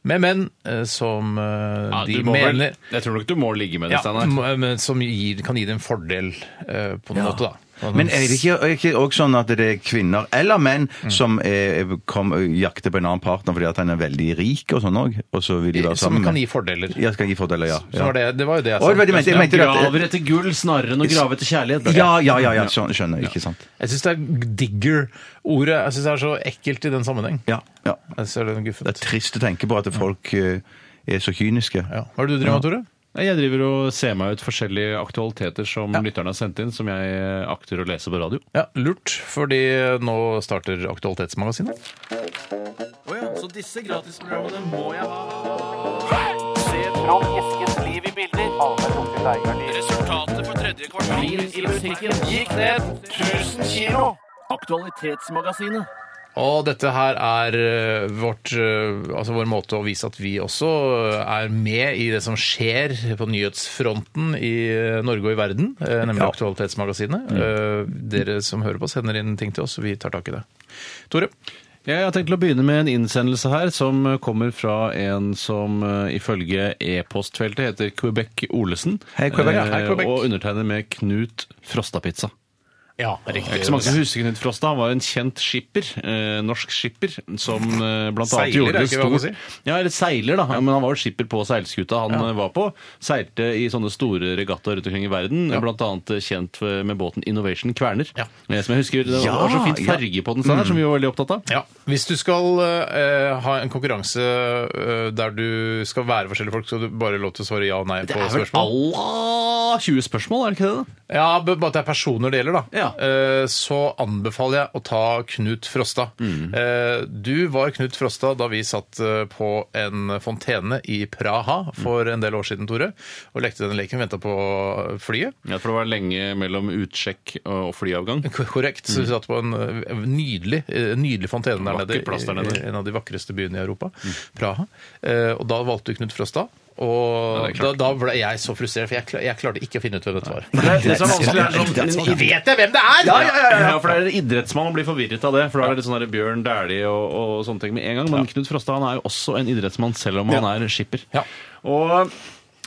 [SPEAKER 1] med menn eh, som eh,
[SPEAKER 3] Ja,
[SPEAKER 1] de
[SPEAKER 3] du må vel,
[SPEAKER 1] mener
[SPEAKER 3] jeg tror nok du må ligge med det,
[SPEAKER 1] ja,
[SPEAKER 3] Steinar.
[SPEAKER 1] må- men som gir, kan gi dem en fordel eh, på noen måte, da.
[SPEAKER 2] Mhm. Men er det ikke, er det ikke også sånn at det er kvinner eller menn
[SPEAKER 1] Mm.
[SPEAKER 2] som er, kom, jakter på en annen partner fordi at han er veldig rik og sånn òg? Og så vil de være
[SPEAKER 1] Som
[SPEAKER 2] sammen
[SPEAKER 1] kan
[SPEAKER 2] med-
[SPEAKER 1] gi fordeler.
[SPEAKER 2] Ja, skal gi fordeler, ja.
[SPEAKER 1] Så var
[SPEAKER 2] ja.
[SPEAKER 1] det, det var jo det jeg
[SPEAKER 2] Å, det var det jeg mente.
[SPEAKER 1] sa.
[SPEAKER 2] Jeg mente at-
[SPEAKER 3] graver etter gull snarere enn å grave etter kjærlighet. det er
[SPEAKER 2] Ja, ja, ja, ja, sånn, skjønner. Ikke sant.
[SPEAKER 1] Jeg syns det er digger-ordet jeg synes det er så ekkelt i den sammenheng.
[SPEAKER 2] Ja, ja.
[SPEAKER 1] Jeg ser det guffent.
[SPEAKER 2] Det er trist å tenke på at folk eh, er så kyniske.
[SPEAKER 1] Ja. Hva er det du driver med, Tore?
[SPEAKER 3] Nei, Jeg driver og ser meg ut forskjellige aktualiteter som lytterne har sendt inn, som jeg eh, akter å lese på radio.
[SPEAKER 1] Ja, lurt, fordi nå starter Aktualitetsmagasinet.
[SPEAKER 3] Så disse gratisprogrammene må jeg ha. Resultatet på tredje kvartal i musikken gikk ned 1000 kilo. Aktualitetsmagasinet.
[SPEAKER 1] Og dette her er eh, vårt, eh, altså vår måte å vise at vi også eh, er med i det som skjer på nyhetsfronten i eh, Norge og i verden, eh, nemlig
[SPEAKER 2] Ja. Mm.
[SPEAKER 1] Aktualitetsmagasinet. Eh, Dere som hører på, oss, sender inn ting til oss, og vi tar tak i det. Tore?
[SPEAKER 3] Jeg har tenkt til å begynne med en innsendelse her som eh, kommer fra en som eh, ifølge e-postfeltet heter Quebec Olesen.
[SPEAKER 2] Hei, Quebec.
[SPEAKER 3] Eh,
[SPEAKER 1] Hei, Quebec.
[SPEAKER 3] Og undertegner med Knut Frostapizza.
[SPEAKER 1] Ja,
[SPEAKER 3] Det er Ikke så mange som husker Knut Frosta. Han var en kjent skipper, eh, norsk skipper, som eh, blant annet
[SPEAKER 1] Seiler,
[SPEAKER 3] gjorde
[SPEAKER 1] er
[SPEAKER 3] det
[SPEAKER 1] ikke hva man
[SPEAKER 3] stort. Ja, eller seiler, da. Men han var jo skipper på seilskuta han eh, var på. Seilte i sånne store regattaer rundt omkring i verden, blant annet eh, kjent eh, med båten Innovation Kverner.
[SPEAKER 1] Ja.
[SPEAKER 3] Eh, Som jeg husker, det var var så fint farge på den, Steinar, som vi var veldig opptatt av.
[SPEAKER 1] Ja, Hvis du skal eh, ha en konkurranse eh, der du skal være forskjellige folk, skal du bare lov til å svare ja og nei
[SPEAKER 3] Det
[SPEAKER 1] på
[SPEAKER 3] er vel
[SPEAKER 1] spørsmål?
[SPEAKER 3] alla 20 spørsmål, er det ikke det? da?
[SPEAKER 1] Ja, b- Bare at det er personer det gjelder, da.
[SPEAKER 3] Ja.
[SPEAKER 1] Eh, så anbefaler jeg å ta Knut Frosta.
[SPEAKER 3] Mm.
[SPEAKER 1] Eh, du var Knut Frosta da vi satt eh, på en fontene i Praha for en del år siden, Tore, og lekte denne leken. Venta på flyet.
[SPEAKER 3] Ja, for det var lenge mellom utsjekk og flyavgang.
[SPEAKER 1] K- Korrekt. Så vi satt på en eh, nydelig, eh, nydelig fontene der
[SPEAKER 3] Vakker
[SPEAKER 1] nede.
[SPEAKER 3] plass der
[SPEAKER 1] i-
[SPEAKER 3] nede. Mm.
[SPEAKER 1] i En av de vakreste byene i Europa. Praha. Eh, Og da valgte du Knut Frosta. Og
[SPEAKER 3] det er
[SPEAKER 1] da,
[SPEAKER 3] klart.
[SPEAKER 1] da ble jeg så frustrert, for jeg, kla- jeg klarte ikke å finne ut hvem dette var.
[SPEAKER 3] Det, det som er vanskelig, er sånn
[SPEAKER 1] Men vet jeg hvem det er?!
[SPEAKER 3] Ja, for det er idrettsmann og blir forvirret av det. For da er det litt sånn der Bjørn Dæhlie og, og sånne ting med en gang. Men Knut Frosta han er jo også en idrettsmann, selv om han er skipper.
[SPEAKER 1] Ja.
[SPEAKER 3] Og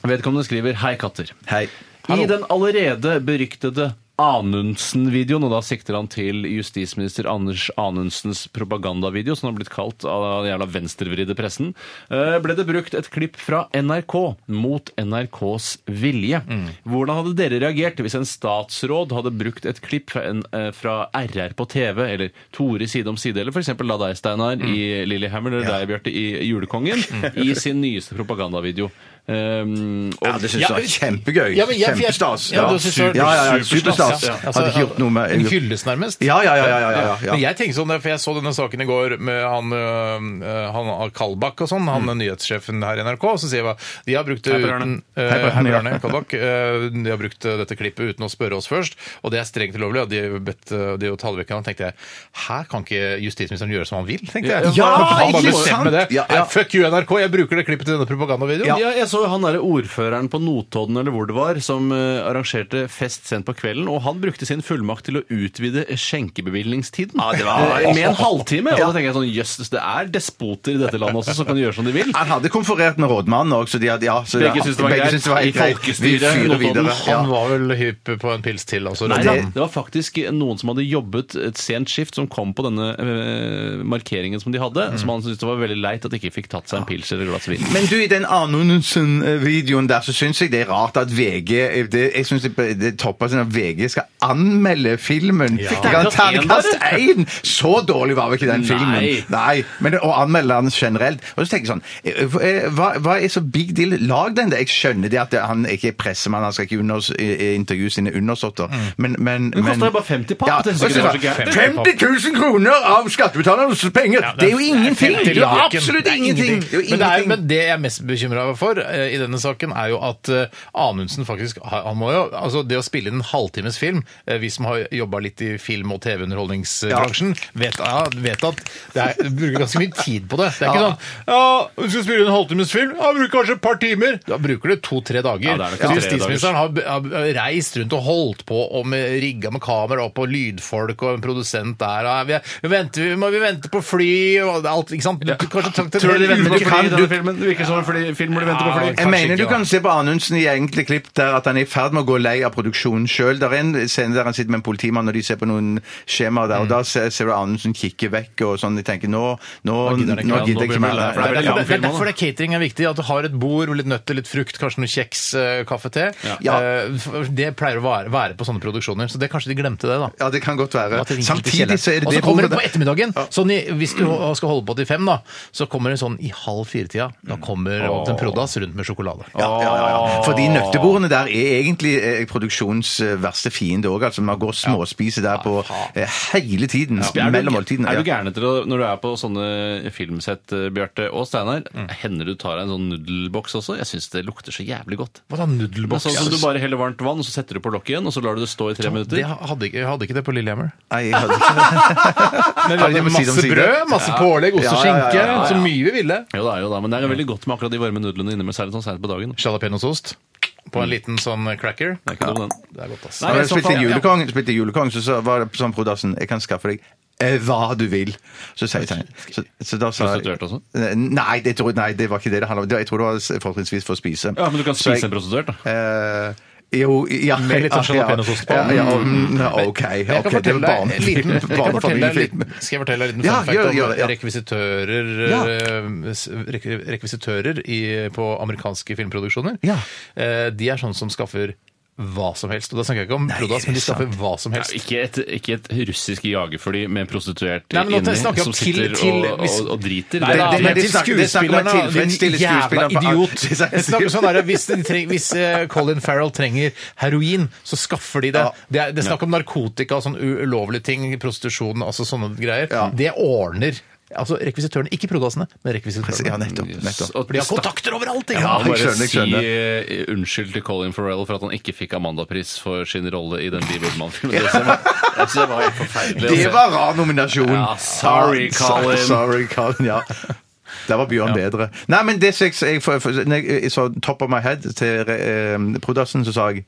[SPEAKER 3] vedkommende skriver Hei, katter.
[SPEAKER 2] Hei.
[SPEAKER 3] I den allerede beryktede Anundsen-videoen, og da sikter han til justisminister Anders Anundsens propagandavideo, som har blitt kalt av den jævla venstrevridde pressen, eh, ble det brukt et klipp fra NRK mot NRKs vilje.
[SPEAKER 2] Mm.
[SPEAKER 3] Hvordan hadde dere reagert hvis en statsråd hadde brukt et klipp fra, en, eh, fra RR på TV, eller Tore side om side, eller for eksempel da deg, Steinar,
[SPEAKER 2] Mm.
[SPEAKER 3] i Lillehammer, eller deg, Bjarte, i Julekongen, i sin nyeste propagandavideo? Um, og
[SPEAKER 2] Ja, det syns jeg var kjempegøy.
[SPEAKER 1] Ja, men jeg- jeg-
[SPEAKER 2] Kjempestas.
[SPEAKER 1] Ja, du synes det var
[SPEAKER 2] ja, ja, ja,
[SPEAKER 1] superstas.
[SPEAKER 2] superstas.
[SPEAKER 1] Ja, altså,
[SPEAKER 2] Hadde ikke gjort noe med
[SPEAKER 1] En hyllest, nærmest.
[SPEAKER 2] Ja, ja, ja, ja, ja, ja, ja.
[SPEAKER 1] Men jeg tenker sånn, for jeg så denne saken i går med han, øh, han Kalbakk og sånn, han er nyhetssjefen her i NRK, og så sier jeg hva de har brukt det
[SPEAKER 3] Hei på
[SPEAKER 1] uten
[SPEAKER 3] hjørnet.
[SPEAKER 2] Mm.
[SPEAKER 1] øh,
[SPEAKER 2] Hei på
[SPEAKER 1] Hei på
[SPEAKER 2] hjørnet,
[SPEAKER 1] hjørnet, Kalbakk. øh, De har brukt øh, dette klippet uten å spørre oss først, og det er strengt ulovlig. Og de har bedt øh, de å ta det vekk. Og da tenkte jeg her kan ikke justisministeren gjøre som han vil, tenkte jeg.
[SPEAKER 2] Ja,
[SPEAKER 1] han bare
[SPEAKER 2] ikke
[SPEAKER 1] bestemmer
[SPEAKER 2] sant?
[SPEAKER 1] det.
[SPEAKER 2] Ja, ja.
[SPEAKER 1] Nei, Fuck you, NRK, jeg bruker det klippet til denne propagandavideoen.
[SPEAKER 3] Ja, jeg så jo han der ordføreren på Notodden eller hvor det var, som eh, arrangerte fest sent på kvelden, og han brukte sin fullmakt til å utvide skjenkebevilgningstiden Eh, med en halvtime. Og da tenker jeg sånn, jøss, det er despoter i dette landet også som kan gjøre som de vil.
[SPEAKER 2] Han hadde konferert med rådmannen òg, så de hadde ja, så
[SPEAKER 3] Begge
[SPEAKER 2] ja,
[SPEAKER 3] syntes det var greit.
[SPEAKER 2] syntes det
[SPEAKER 3] I
[SPEAKER 2] helt greit.
[SPEAKER 3] folkestyret,
[SPEAKER 2] Vi fyrer
[SPEAKER 3] Notodden,
[SPEAKER 2] videre. Ja.
[SPEAKER 1] Han var vel hypp på en pils til, altså.
[SPEAKER 3] Nei,
[SPEAKER 1] Rødland.
[SPEAKER 3] det, det var faktisk noen som hadde jobbet et sent skift, som kom på denne eh, markeringen som de hadde, som han syntes det var veldig leit at de ikke fikk tatt seg en pils eller et glass vin.
[SPEAKER 2] Men du, i den Anundsen-videoen der, så syns jeg det er rart at VG det, Jeg synes det, det topper seg når VG skal anmelde filmen. Ja.
[SPEAKER 3] dere
[SPEAKER 2] Kan
[SPEAKER 3] kast én,
[SPEAKER 2] terningkast én! Så dårlig var vel ikke den filmen. Nei. Men å anmelde den generelt Og så tenker jeg sånn eh, eh, hva, hva er så big deal? Lag den der. Jeg skjønner det at det- han er ikke er pressemann, han skal ikke unders, eh, intervjue sine undersåtter, men Men, men
[SPEAKER 3] koster jo bare 50 papp,
[SPEAKER 2] Ja,
[SPEAKER 3] det synes jeg
[SPEAKER 2] og så
[SPEAKER 3] ikke det var
[SPEAKER 2] sa-
[SPEAKER 3] så gærent.
[SPEAKER 2] 50 000 kroner av skattebetalernes penger! det, er jo ingenting! Det er absolutt ingenting! Det er jo
[SPEAKER 1] Men det, er,
[SPEAKER 2] ingenting.
[SPEAKER 1] men det jeg er mest bekymra for eh, i denne saken, er jo at eh, Anundsen faktisk har- han må jo, altså Det å spille inn en halvtimes film eh, Vi som har jobba litt i film- og TV-underholdningsbransjen, vet, ja, vet at det er, du bruker ganske mye tid på det. Det er ikke sånn Ja, du skal spille inn en halvtimes film? Ja, bruker kanskje et par timer. Da bruker du to-tre dager.
[SPEAKER 3] Ja, det er nok
[SPEAKER 1] Så
[SPEAKER 3] tre
[SPEAKER 1] Justisministeren har, har reist rundt og holdt på og med, rigga med kamera opp og lydfolk og en produsent der. og Vi, vi, venter, vi, må, vi venter på fly og alt, ikke sant? Du, kanskje takk til
[SPEAKER 3] Tror du de venter på
[SPEAKER 1] Ulike
[SPEAKER 3] fly i
[SPEAKER 1] kan-
[SPEAKER 3] denne
[SPEAKER 1] du-
[SPEAKER 3] filmen? Det virker som en fly- film hvor de venter på fly.
[SPEAKER 1] Ja,
[SPEAKER 2] Jeg
[SPEAKER 1] Kanskje
[SPEAKER 2] mener
[SPEAKER 1] ikke,
[SPEAKER 2] du kan se på Anundsen i enkelte klipp der at han er i ferd med å gå lei av produksjonen sjøl. Der er en scene der han sitter med en politimann og de ser på noen skjemaer der, og
[SPEAKER 1] Mm.
[SPEAKER 2] da ser, ser du Anundsen kikke vekk og sånn. De tenker nå, nå, nå
[SPEAKER 1] gidder
[SPEAKER 2] gidder
[SPEAKER 1] han ikke, ja,
[SPEAKER 2] jeg
[SPEAKER 3] nå
[SPEAKER 2] ikke
[SPEAKER 3] blir
[SPEAKER 2] mer.
[SPEAKER 3] det lei, for
[SPEAKER 2] Nei,
[SPEAKER 1] Det er,
[SPEAKER 2] nei,
[SPEAKER 3] lang
[SPEAKER 1] derfor, det er
[SPEAKER 3] film,
[SPEAKER 1] derfor det catering er viktig. At du har et bord med litt nøtter, litt frukt, kanskje noe kjeks, eh, kaffe, te.
[SPEAKER 2] Ja.
[SPEAKER 1] Eh, for Det pleier å være, være på sånne produksjoner. Så det kanskje de glemte det, da.
[SPEAKER 2] Ja, det kan godt være.
[SPEAKER 1] At det ligger litt i
[SPEAKER 2] Samtidig så er
[SPEAKER 1] kjelleren.
[SPEAKER 2] det
[SPEAKER 1] Og så
[SPEAKER 2] det
[SPEAKER 1] kommer det på
[SPEAKER 2] problemet-
[SPEAKER 1] ettermiddagen. Sånn i, hvis du ho- skal holde på til fem, da, så kommer det sånn i halv fire-tida. Da kommer det opp til en prodas rundt med sjokolade.
[SPEAKER 2] Ja, ja, ja, ja. Fordi nøttebordene der er egentlig eh, produksjonens eh, verste fiende òg. Altså, man går småspiser der på eh, hele tiden.
[SPEAKER 3] Er du,
[SPEAKER 2] Mellom måltidene.
[SPEAKER 3] er du
[SPEAKER 2] ja.
[SPEAKER 3] gæren etter å- når du er på sånne filmsett, eh, Bjarte og Steinar?
[SPEAKER 1] Mm.
[SPEAKER 3] Hender du tar deg en sånn nudelboks også? Jeg syns det lukter så jævlig godt.
[SPEAKER 1] Hva da, nudelboks?
[SPEAKER 3] Sånn som du bare heller varmt vann, og så setter du på lokket igjen, og så lar du det stå i tre minutter.
[SPEAKER 1] Det hadde ikke, jeg hadde ikke det på Lillehammer.
[SPEAKER 2] Nei, jeg hadde ikke
[SPEAKER 1] Men
[SPEAKER 2] vi hadde masse brød,
[SPEAKER 1] masse pålegg, ost og skinke. Så mye vi ville.
[SPEAKER 3] Jo da, jo da, men det er veldig godt med akkurat de varme nudlene inne, men særlig sånn seint på dagen.
[SPEAKER 1] Jalapeñosost på en liten sånn cracker.
[SPEAKER 3] Det er ikke noe med den.
[SPEAKER 1] Det er godt, ass.
[SPEAKER 3] Nei,
[SPEAKER 2] Da
[SPEAKER 3] i
[SPEAKER 2] jeg
[SPEAKER 3] så
[SPEAKER 2] spilte
[SPEAKER 3] fall-
[SPEAKER 2] julekong, spilte julekong så, så var det sånn Brodassen, jeg kan skaffe deg eh, hva du vil. Så sier jeg så, så da sa jeg Eh,
[SPEAKER 3] Prostituert også?
[SPEAKER 2] Nei, det, tror, nei, det var ikke det det handla om. Det- Jeg tror det var s- fortrinnsvis for å spise.
[SPEAKER 3] Ja, men du kan
[SPEAKER 2] Så jeg-
[SPEAKER 3] spise en prostituert, da.
[SPEAKER 2] Eh, jo, ja
[SPEAKER 1] Med litt
[SPEAKER 2] ja,
[SPEAKER 1] sånn
[SPEAKER 2] ja.
[SPEAKER 1] jalapeñosost på.
[SPEAKER 2] Ja, ja, mm, OK.
[SPEAKER 1] Jeg kan
[SPEAKER 2] ok, det
[SPEAKER 1] fortelle
[SPEAKER 2] var
[SPEAKER 1] deg en
[SPEAKER 2] barne-
[SPEAKER 1] liten- jeg kan
[SPEAKER 2] barne-
[SPEAKER 1] fortelle deg en
[SPEAKER 2] familiefilm.
[SPEAKER 1] liten- Skal jeg fortelle deg en liten
[SPEAKER 2] Ja,
[SPEAKER 1] fun fact
[SPEAKER 2] gjør-
[SPEAKER 1] om
[SPEAKER 2] gjør det, ja.
[SPEAKER 1] rekvisitører,
[SPEAKER 2] Ja.
[SPEAKER 1] eh, s- rek- rekvisitører i, på amerikanske filmproduksjoner?
[SPEAKER 2] Ja.
[SPEAKER 1] Eh, De er sånn som skaffer hva som helst. Og da snakker jeg ikke om Prodas,
[SPEAKER 2] det er
[SPEAKER 1] men de skaffer
[SPEAKER 2] sant.
[SPEAKER 1] hva som
[SPEAKER 3] Ja,
[SPEAKER 1] helst.
[SPEAKER 3] ikke, et, ikke et russisk jagerfly med en prostituert
[SPEAKER 1] Nei, men nå
[SPEAKER 3] inni
[SPEAKER 1] snakker jeg om
[SPEAKER 3] som
[SPEAKER 1] til-
[SPEAKER 3] sitter
[SPEAKER 1] til-
[SPEAKER 3] og,
[SPEAKER 1] hvis-
[SPEAKER 3] og, og driter.
[SPEAKER 1] Nei,
[SPEAKER 2] Det-
[SPEAKER 1] da,
[SPEAKER 2] det-
[SPEAKER 1] men
[SPEAKER 2] det
[SPEAKER 1] til
[SPEAKER 2] snakker- det snakker
[SPEAKER 1] skuespillerne,
[SPEAKER 2] om
[SPEAKER 1] da,
[SPEAKER 2] tilfredsstille
[SPEAKER 1] din jævla
[SPEAKER 2] skuespillerne på-
[SPEAKER 1] idiot.
[SPEAKER 2] Det snakker-
[SPEAKER 1] Jeg snakker sånn der, hvis, de treng, hvis eh, Colin Farrell trenger heroin, så skaffer de det.
[SPEAKER 2] Ja.
[SPEAKER 1] Det er, det er snakk om narkotika og sånn u- ulovlige ting, prostitusjon, altså sånne greier.
[SPEAKER 2] Ja.
[SPEAKER 1] Det ordner altså rekvisitørene, ikke prodassene, men rekvisitørene.
[SPEAKER 2] Ja, nettopp. nettopp.
[SPEAKER 3] Og
[SPEAKER 1] For de har kontakter overalt! ikke
[SPEAKER 2] Ja,
[SPEAKER 1] sant?
[SPEAKER 3] Og bare
[SPEAKER 2] jeg skjønner, jeg skjønner.
[SPEAKER 3] si eh, unnskyld til Colin Farrell for at han ikke fikk Amanda-pris for sin rolle i den Liv Ullmann-filmen. Det synes jeg var- jeg synes det var helt forferdelig. å
[SPEAKER 2] Det
[SPEAKER 3] se.
[SPEAKER 2] var rar nominasjon.
[SPEAKER 3] Ja, sorry,
[SPEAKER 2] Ah, so-
[SPEAKER 3] Colin.
[SPEAKER 2] Sorry, Colin, ja. Der var Bjørn bedre. Nei, men det som jeg, jeg, for- for- når jeg så top of my head til eh, Prodassen, så sa jeg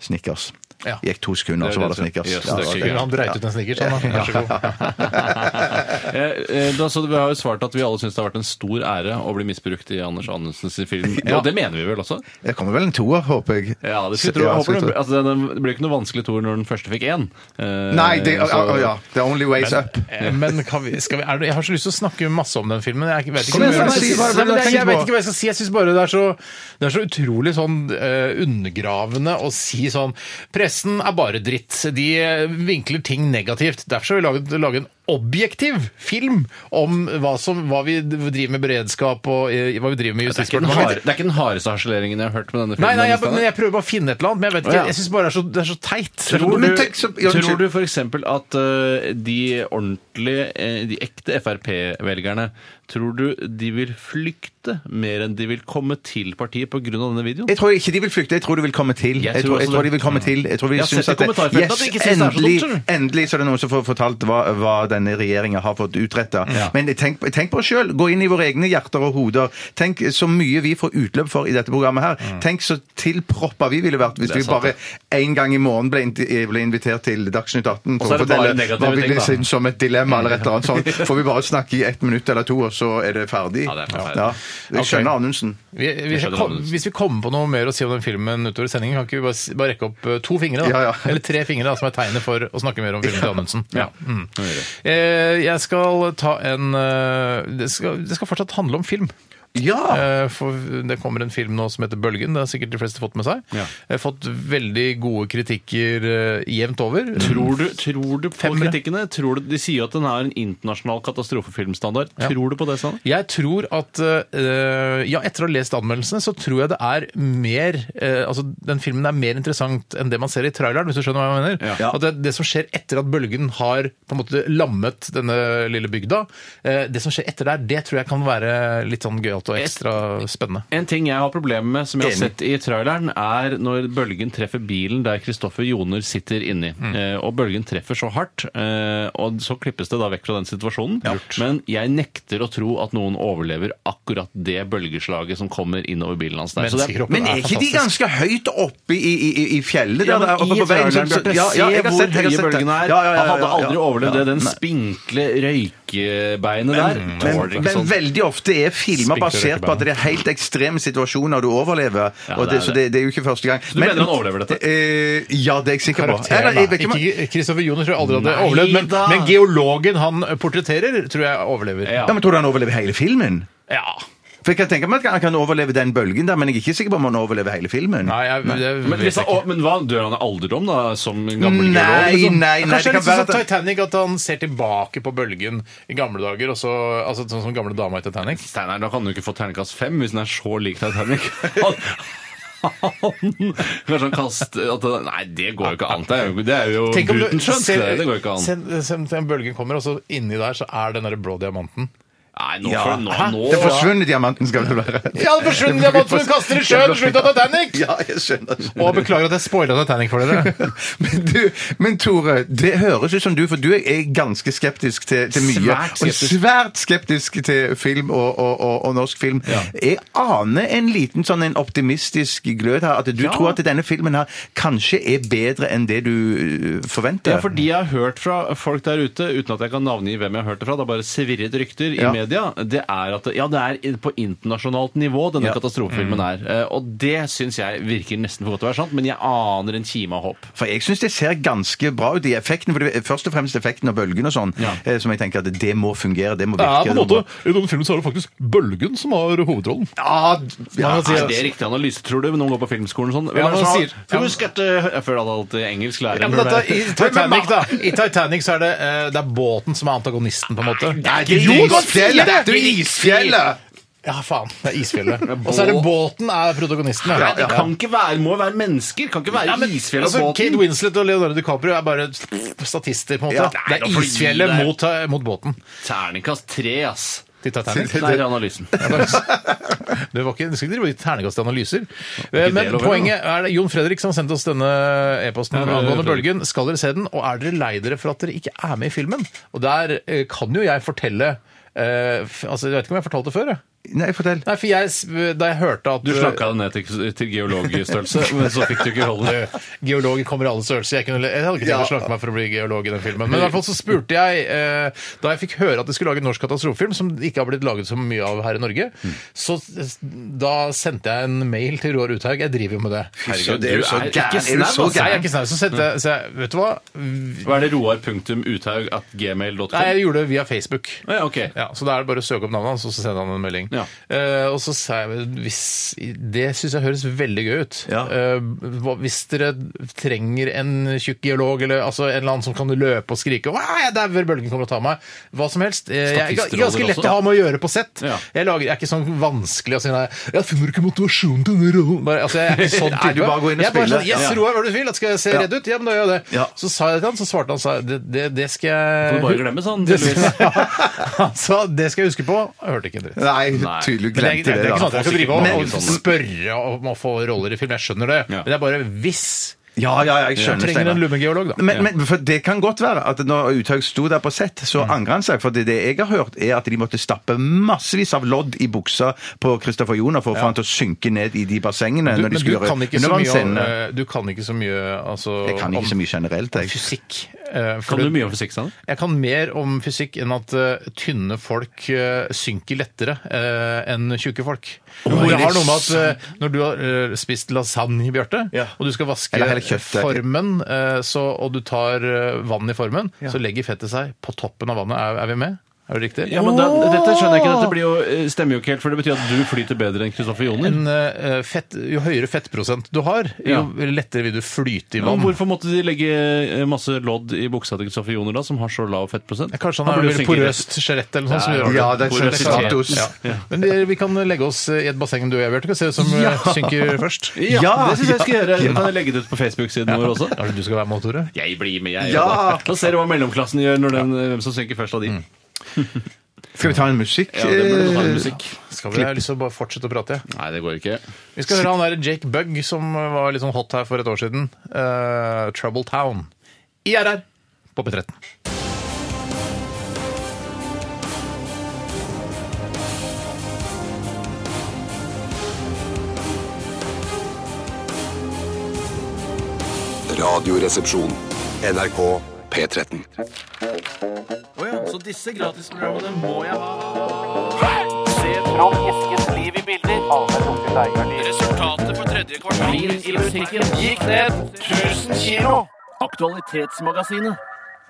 [SPEAKER 2] Snickers.
[SPEAKER 1] Ja.
[SPEAKER 2] Gikk to sekunder,
[SPEAKER 3] Det er
[SPEAKER 2] så var
[SPEAKER 3] det
[SPEAKER 2] det
[SPEAKER 3] som-
[SPEAKER 2] Snickers.
[SPEAKER 3] Yes,
[SPEAKER 2] Ja,
[SPEAKER 3] det er
[SPEAKER 2] ok.
[SPEAKER 3] ikke gøy.
[SPEAKER 1] Han dreit ut en snickers, han da. Vær så god.
[SPEAKER 3] Eh, eh, da, så vi har jo svart at vi alle syns det har vært en stor ære å bli misbrukt i Anders Anundsens film. Og det mener vi vel også?
[SPEAKER 2] Det kommer vel en toer, håper jeg.
[SPEAKER 3] Ja, det skulle jeg tro.
[SPEAKER 2] Ja,
[SPEAKER 3] Jeg håper
[SPEAKER 2] skulle
[SPEAKER 3] det,
[SPEAKER 2] jeg tro.
[SPEAKER 3] altså, den- det blir ikke noe vanskelig toer når den første fikk én. Eh,
[SPEAKER 2] Nei, det, å,
[SPEAKER 3] så-
[SPEAKER 2] å, ja. The only way's up.
[SPEAKER 1] Eh, Men kan vi, skal vi, er det, jeg har så lyst til å snakke masse om den filmen. Jeg vet ikke,
[SPEAKER 2] Kom igjen,
[SPEAKER 1] om jeg,
[SPEAKER 2] Steinar, si hva- hva
[SPEAKER 1] Nei, men det-
[SPEAKER 2] du tenker
[SPEAKER 1] jeg vet
[SPEAKER 2] på.
[SPEAKER 1] ikke hva jeg skal si. Jeg syns bare det er så, det er så utrolig sånn eh, undergravende å si sånn Pressen er bare dritt. De eh, vinkler ting negativt. Derfor skal vi lage, lage en objektiv film om hva, som, hva vi driver med beredskap og eh, hva vi driver med i
[SPEAKER 3] det, er ikke den harde,
[SPEAKER 1] Justisdepartementet.
[SPEAKER 3] det er ikke den hardeste harseleringen jeg har hørt med denne filmen.
[SPEAKER 1] Nei, nei, jeg,
[SPEAKER 3] Anders Tanner.
[SPEAKER 1] men jeg prøver bare å finne et eller annet, men jeg vet
[SPEAKER 3] Å,
[SPEAKER 1] ikke.
[SPEAKER 3] ja.
[SPEAKER 1] Jeg syns bare det er så, det er så teit.
[SPEAKER 3] Tror
[SPEAKER 2] Men
[SPEAKER 3] du,
[SPEAKER 2] tenk så- ja,
[SPEAKER 3] tror
[SPEAKER 2] unnskyld.
[SPEAKER 3] du f.eks. at eh, de ordentlige, eh, de ekte Frp-velgerne, tror du de vil flykte mer enn de vil komme til partiet pga. denne videoen?
[SPEAKER 2] Jeg tror ikke de vil flykte, jeg tror de vil komme til. Jeg tror, jeg
[SPEAKER 3] også
[SPEAKER 2] tror
[SPEAKER 3] det.
[SPEAKER 2] de vil komme til. Jeg tror vi
[SPEAKER 3] Jeg har
[SPEAKER 2] synes
[SPEAKER 3] sett i
[SPEAKER 2] at det-
[SPEAKER 3] kommentarfeltet at de ikke synes det er så dumt,
[SPEAKER 2] endelig,
[SPEAKER 3] skjønner
[SPEAKER 2] endelig så er det noen som får fortalt hva, hva denne regjeringen har fått utretta. Men tenk, tenk på oss sjøl. Gå inn i våre egne hjerter og hoder. Tenk så mye vi får utløp for i dette programmet her. Tenk så tilproppa vi ville vært hvis
[SPEAKER 3] Mm. Det er
[SPEAKER 2] vi
[SPEAKER 3] sant,
[SPEAKER 2] bare en gang i måneden ble, in- ble invitert til Dagsnytt 18
[SPEAKER 3] Og så er det bare negative
[SPEAKER 2] hva vi
[SPEAKER 3] ting,
[SPEAKER 2] ville
[SPEAKER 3] da.
[SPEAKER 2] synes som et dilemma eller et eller annet sånt. Får vi bare snakke i ett minutt eller to, og så er det ferdig.
[SPEAKER 3] Ja, det er forferdelig.
[SPEAKER 2] Ja. Jeg skjønner
[SPEAKER 1] Ok.
[SPEAKER 2] Anundsen.
[SPEAKER 1] Vi, vi,
[SPEAKER 3] skjønner
[SPEAKER 1] kom,
[SPEAKER 3] hva du-
[SPEAKER 1] hvis vi kommer på noe mer å si om den filmen utover sendingen, kan ikke vi bare, s- bare rekke opp eh, to fingre? Da?
[SPEAKER 2] Ja, ja.
[SPEAKER 1] Eller tre fingre, da, som er tegnet for å snakke mer om filmen til Amundsen.
[SPEAKER 3] Ja.
[SPEAKER 1] Mm.
[SPEAKER 3] Nå gjør det.
[SPEAKER 1] Eh, Jeg skal ta en eh, det skal, det skal fortsatt handle om film.
[SPEAKER 2] Ja!
[SPEAKER 1] Eh, For det kommer en film nå som heter Bølgen. Det har sikkert de fleste fått med seg.
[SPEAKER 3] Ja.
[SPEAKER 1] Jeg har fått veldig gode kritikker eh, jevnt over.
[SPEAKER 3] Tror du, tror du på
[SPEAKER 1] Femmere.
[SPEAKER 3] kritikkene? Tror du, de sier at den er en internasjonal katastrofefilmstandard.
[SPEAKER 1] Ja.
[SPEAKER 3] Tror du på det, Sanne?
[SPEAKER 1] Jeg tror at eh, Ja, etter å ha lest anmeldelsene, så tror jeg det er mer eh, Altså, den filmen er mer interessant enn det man ser i traileren, hvis du skjønner hva jeg mener.
[SPEAKER 3] Ja.
[SPEAKER 1] At det, det som skjer etter at bølgen har på en måte lammet denne lille bygda, eh, det som skjer etter der, det tror jeg kan være litt sånn gøyalt og ekstra spennende.
[SPEAKER 3] En ting jeg har problemer med, som jeg har sett i traileren, er når bølgen treffer bilen der Kristoffer Joner sitter inni. Eh, og bølgen treffer så hardt, eh, og så klippes det da vekk fra den situasjonen. Men jeg nekter å tro at noen overlever akkurat det bølgeslaget som kommer innover bilen hans der. Så det er,
[SPEAKER 1] Menneskekroppen
[SPEAKER 2] Men er ikke de
[SPEAKER 1] fantastisk.
[SPEAKER 2] ganske høyt oppe i, i, i- i fjellet?
[SPEAKER 3] ja,
[SPEAKER 2] der,
[SPEAKER 3] men
[SPEAKER 2] der oppe
[SPEAKER 3] I
[SPEAKER 2] på veien,
[SPEAKER 3] traileren,
[SPEAKER 2] så-
[SPEAKER 3] Bjarte,
[SPEAKER 2] ja, ja,
[SPEAKER 3] se
[SPEAKER 2] jeg har
[SPEAKER 3] hvor
[SPEAKER 2] sett- jeg har
[SPEAKER 3] høye
[SPEAKER 2] sett det.
[SPEAKER 3] bølgene er.
[SPEAKER 2] Ja, ja, ja, ja,
[SPEAKER 3] Han hadde
[SPEAKER 2] ja.
[SPEAKER 3] aldri overlevd det. Den
[SPEAKER 2] Nei.
[SPEAKER 3] spinkle røykebeinet der.
[SPEAKER 2] Men,
[SPEAKER 3] tåler ikke sånn.
[SPEAKER 2] men
[SPEAKER 3] sånt.
[SPEAKER 2] veldig ofte er filmer
[SPEAKER 1] Spinkle
[SPEAKER 2] basert på at det er helt ekstreme situasjoner du overlever.
[SPEAKER 3] Ja,
[SPEAKER 2] og
[SPEAKER 3] det er
[SPEAKER 2] det, så
[SPEAKER 3] det.
[SPEAKER 2] det, det er jo ikke første gang.
[SPEAKER 3] du mener han overlever dette?
[SPEAKER 2] Eh, ja, det er jeg sikker på.
[SPEAKER 1] Karakteren,
[SPEAKER 2] Eller, jeg vet ikke
[SPEAKER 1] da.
[SPEAKER 2] om-
[SPEAKER 1] Ikke Kristoffer Joner tror jeg aldri hadde
[SPEAKER 3] Nei
[SPEAKER 1] overlevd, men,
[SPEAKER 3] da.
[SPEAKER 1] men geologen han portretterer, tror jeg overlever.
[SPEAKER 3] Ja.
[SPEAKER 2] ja, men Tror du han overlever hele filmen?
[SPEAKER 1] Ja.
[SPEAKER 2] For jeg kan tenke meg at han kan overleve den bølgen der, men jeg er ikke sikker på om han overlever hele filmen.
[SPEAKER 1] Nei, jeg, det
[SPEAKER 3] Men,
[SPEAKER 1] vet
[SPEAKER 3] hvis
[SPEAKER 1] jeg
[SPEAKER 3] han,
[SPEAKER 1] ikke.
[SPEAKER 3] å, men hva, dør han av alderdom, da? Som en gammel
[SPEAKER 2] Nei,
[SPEAKER 3] geolog? liksom?
[SPEAKER 2] nei, nei.
[SPEAKER 1] Kanskje det er litt
[SPEAKER 2] kan
[SPEAKER 1] sånn
[SPEAKER 2] være
[SPEAKER 1] som
[SPEAKER 2] at-
[SPEAKER 1] Titanic, at han ser tilbake på bølgen i gamle dager, og så, altså sånn som gamle dama i Titanic.
[SPEAKER 3] Steinar, da kan du ikke få terningkast fem hvis den er så lik Titanic. Han- han- Kanskje han kaster at det- Nei, det går jo ikke an. Det er jo, det er jo
[SPEAKER 1] Tenk om du
[SPEAKER 3] Gutenschønt,
[SPEAKER 1] ser-
[SPEAKER 3] det. Det går jo ikke an.
[SPEAKER 1] se- se- se- Bølgen kommer, og så inni der så er den der blå diamanten.
[SPEAKER 3] Nei, nå
[SPEAKER 2] Ja.
[SPEAKER 3] får du nå,
[SPEAKER 2] Hæ?
[SPEAKER 3] nå
[SPEAKER 2] Den forsvunne diamanten skal det være.
[SPEAKER 1] Ja, den forsvunne diamanten hun kaster i sjøen i slutten av Titanic!
[SPEAKER 2] Ja, jeg skjønner. skjønner.
[SPEAKER 1] Og beklager at jeg spoila Titanic for dere.
[SPEAKER 2] Men, du, men Tore, det høres ut som du, for du er ganske skeptisk til, til mye.
[SPEAKER 3] Svært skeptisk.
[SPEAKER 2] Og svært skeptisk til film og, og, og, og norsk film. Jeg aner en liten sånn en optimistisk glød her, at du tror at denne filmen her kanskje er bedre enn det du øh, forventer.
[SPEAKER 3] Ja, fordi jeg har hørt fra folk der ute, uten at jeg kan navngi hvem jeg har hørt det fra, det er bare svirret rykter i
[SPEAKER 2] Ja.
[SPEAKER 3] media, det er at det- ja, det er på internasjonalt nivå denne
[SPEAKER 2] Ja.
[SPEAKER 3] katastrofefilmen
[SPEAKER 1] Mm.
[SPEAKER 3] er. Eh, Og det syns jeg virker nesten for godt til å være sant, men jeg aner en kime av håp.
[SPEAKER 2] For jeg syns det ser ganske bra ut i effekten. For det er først og fremst effekten og bølgen og sånn,
[SPEAKER 3] Ja.
[SPEAKER 2] eh, som jeg tenker at det må fungere. Det må
[SPEAKER 1] Det
[SPEAKER 2] virke.
[SPEAKER 1] er på en
[SPEAKER 2] det må-
[SPEAKER 1] måte, I noen filmer så er det faktisk bølgen som har hovedrollen.
[SPEAKER 2] Ja, ja,
[SPEAKER 1] Man kan si-
[SPEAKER 3] er det riktig analyse, tror du? Når man går på filmskolen og sånn?
[SPEAKER 1] Ja,
[SPEAKER 3] Hvem er det
[SPEAKER 1] man
[SPEAKER 3] som
[SPEAKER 1] sier-
[SPEAKER 3] har- Husk at eh, Jeg føler at alt engelsk lærer
[SPEAKER 1] Ja, men dette, I Titanic da I Titanic så er det, eh, det er båten som er antagonisten, på en måte.
[SPEAKER 2] Nei, det er
[SPEAKER 1] Jo,
[SPEAKER 2] jo
[SPEAKER 1] det var fjellet!
[SPEAKER 2] isfjellet! Det er jo isfjellet!
[SPEAKER 1] Ja, faen. Det er isfjellet. Og så er det båten er protagonisten.
[SPEAKER 3] Nei, det kan ikke være, må være mennesker. Kan ikke være
[SPEAKER 1] Ja, men,
[SPEAKER 3] isfjell og
[SPEAKER 1] altså, Kate
[SPEAKER 3] båten.
[SPEAKER 1] Winslet og Leonardo DiCaprio er bare statister, på en måte.
[SPEAKER 3] Ja.
[SPEAKER 1] det
[SPEAKER 3] Nei,
[SPEAKER 1] er
[SPEAKER 3] nå får du gi
[SPEAKER 1] isfjellet
[SPEAKER 3] deg.
[SPEAKER 1] mot, eh, mot båten
[SPEAKER 3] Terningkast tre, ass.
[SPEAKER 1] til Titanic.
[SPEAKER 3] Der er analysen.
[SPEAKER 1] Det var ikke, du skal ikke drive og gi terningkast til analyser. Eh, Men
[SPEAKER 3] det lov,
[SPEAKER 1] poenget er det, Jon Fredrik som sendte oss denne e-posten
[SPEAKER 3] det er
[SPEAKER 1] angående
[SPEAKER 3] Fredrik.
[SPEAKER 1] bølgen. Skal dere se den, og er dere lei dere for at dere ikke er med i filmen? Og der eh, kan jo jeg fortelle eh, f- altså, Jeg vet ikke om jeg fortalte det før. Jeg.
[SPEAKER 2] Nei, fortell.
[SPEAKER 1] Nei, for jeg, s- Da jeg hørte at
[SPEAKER 3] Du slakka det ned til, til geologstørrelse, men så fikk du ikke holde det.
[SPEAKER 1] Geologer kommer i alle størrelser. Jeg, kunne, jeg hadde ikke tenkt å snakke meg for å bli geolog i den filmen. Men i hvert fall så spurte jeg, eh, da jeg fikk høre at de skulle lage en norsk katastrofefilm, som det ikke har blitt laget så mye av her i Norge, så s- da sendte jeg en mail til Roar Uthaug. Jeg driver jo med det.
[SPEAKER 2] Så det er jo så
[SPEAKER 3] du er ikke
[SPEAKER 2] gæren. Er du
[SPEAKER 3] snau,
[SPEAKER 2] så
[SPEAKER 3] altså.
[SPEAKER 1] Nei, jeg er
[SPEAKER 2] gæren?
[SPEAKER 1] ikke snau, så sendte jeg, så jeg Vet du hva? Nei,
[SPEAKER 3] Hva er det roar.uthaug.gmail.com?
[SPEAKER 1] jeg gjorde det via Facebook.
[SPEAKER 3] Ah, ja, ok.
[SPEAKER 1] Ja, så da er det bare å søke opp navnet hans, og så sender han en melding.
[SPEAKER 3] Ja.
[SPEAKER 1] Eh, og så sa jeg vel, hvis, Det syns jeg høres veldig gøy ut.
[SPEAKER 2] Ja.
[SPEAKER 1] Eh, hva- hvis dere trenger en tjukk geolog, eller altså, en eller annen som kan løpe og skrike «Wow, jeg dauer, bølgen kommer og tar meg. Hva som helst. Eh, jeg er
[SPEAKER 3] Statistråder
[SPEAKER 1] ganske lett
[SPEAKER 3] også.
[SPEAKER 1] å ha med å gjøre på sett.
[SPEAKER 3] Ja.
[SPEAKER 1] Jeg, lager, jeg er ikke sånn vanskelig å si nei. Jeg finner ikke motivasjon til den rollen. Bare- Altså, jeg er ikke sånn type.
[SPEAKER 2] Nei, du bare går inn og
[SPEAKER 1] jeg er bare
[SPEAKER 2] spiller.
[SPEAKER 1] sånn, yes,
[SPEAKER 2] Ja.
[SPEAKER 1] Roar, hva du vil, at skal jeg se
[SPEAKER 2] Ja.
[SPEAKER 1] redd ut? Ja, men da gjør jeg det.
[SPEAKER 2] Ja.
[SPEAKER 1] Så sa jeg det til han, så svarte han sa, det, det, det skal jeg
[SPEAKER 3] Får du bare glemme sånn,
[SPEAKER 1] det,
[SPEAKER 3] tydeligvis.
[SPEAKER 1] Han sa, det skal jeg huske på. Jeg hørte ikke en dritt.
[SPEAKER 2] Nei, tydelig
[SPEAKER 1] Men det, er, det
[SPEAKER 2] glemte
[SPEAKER 1] er
[SPEAKER 2] det,
[SPEAKER 1] ikke sånn at
[SPEAKER 2] da.
[SPEAKER 1] jeg skal drive
[SPEAKER 2] Nei,
[SPEAKER 1] og, og
[SPEAKER 2] sånn.
[SPEAKER 1] spørre om å få roller i film. Jeg skjønner det.
[SPEAKER 3] Ja.
[SPEAKER 1] Men det er bare hvis
[SPEAKER 2] Ja, ja, ja, jeg skjønner,
[SPEAKER 1] trenger en lummegeolog, da.
[SPEAKER 2] Men, men for det kan godt være at når Uthaug sto der på sett,
[SPEAKER 1] Mm.
[SPEAKER 2] så angrer han seg. For det, det jeg har hørt, er at de måtte stappe massevis av lodd i buksa på Christopher Joner for å få han til å synke ned i de bassengene.
[SPEAKER 1] du,
[SPEAKER 2] når
[SPEAKER 1] men
[SPEAKER 2] de
[SPEAKER 1] du
[SPEAKER 2] skulle gjøre
[SPEAKER 1] kan ikke så mye om,
[SPEAKER 2] undervannsscenene.
[SPEAKER 1] eh, du kan ikke så mye altså,
[SPEAKER 2] Jeg kan ikke så mye generelt,
[SPEAKER 1] om
[SPEAKER 2] jeg.
[SPEAKER 1] fysikk. eh, for
[SPEAKER 3] Kan du
[SPEAKER 1] det-
[SPEAKER 3] mye om fysikk, Sanne?
[SPEAKER 1] Jeg kan mer om fysikk enn at eh, tynne folk eh, synker lettere eh, enn tjukke folk. det har noe med at eh, når du har eh, spist lasagne, Bjarte, og du skal vaske
[SPEAKER 2] Eller hele kjøttet.
[SPEAKER 1] formen, eh, så, og du tar eh, vann i formen, så legger fettet seg på toppen av vannet. Er, er vi med? Er det riktig?
[SPEAKER 3] Ja, men da, Dette skjønner jeg ikke. Dette blir jo, eh, stemmer jo ikke helt, for det betyr at du flyter bedre enn Kristoffer Joner.
[SPEAKER 1] En, eh, fett, jo høyere fettprosent du har, jo lettere vil du flyte i
[SPEAKER 3] Men
[SPEAKER 1] vann.
[SPEAKER 3] hvorfor måtte de legge eh, masse lodd i buksa til Kristoffer Joner, da, som har så lav fettprosent?
[SPEAKER 1] Kanskje han
[SPEAKER 3] burde
[SPEAKER 1] har
[SPEAKER 3] jo
[SPEAKER 1] vel
[SPEAKER 3] synke
[SPEAKER 1] porøst skjelett eller noe sånt? som gjør
[SPEAKER 2] Ja, det er
[SPEAKER 1] Porøst
[SPEAKER 2] sånn
[SPEAKER 1] skjelett.
[SPEAKER 2] status.
[SPEAKER 1] Ja. Men eh, vi kan legge oss eh, i et basseng du og jeg, Bjarte, og se hvem som eh, synker først.
[SPEAKER 3] rett. Ja,
[SPEAKER 2] Ja,
[SPEAKER 3] det syns jeg jeg skal gjøre.
[SPEAKER 2] ja.
[SPEAKER 3] Kan jeg legge det ut på Facebook-siden vår også?
[SPEAKER 1] Er det du skal være med, Tore?
[SPEAKER 3] Jeg blir med, jeg.
[SPEAKER 2] Ja.
[SPEAKER 3] Da ser du hva mellomklassen gjør, når den, hvem som synker først av de.
[SPEAKER 2] Skal vi ta en musikk?
[SPEAKER 3] Ja, det burde du ta
[SPEAKER 2] eh,
[SPEAKER 3] med musikk.
[SPEAKER 1] Skal vi, jeg har lyst til å bare fortsette å prate. jeg.
[SPEAKER 3] Nei, det går ikke.
[SPEAKER 1] Vi skal høre han der Jake Bugg som var litt sånn hot her for et år siden. Eh, Trouble Town. IRR på P13.
[SPEAKER 6] Radioresepsjon. NRK P13.
[SPEAKER 8] Bilen i butikken gikk ned 1000 kilo. Aktualitetsmagasinet.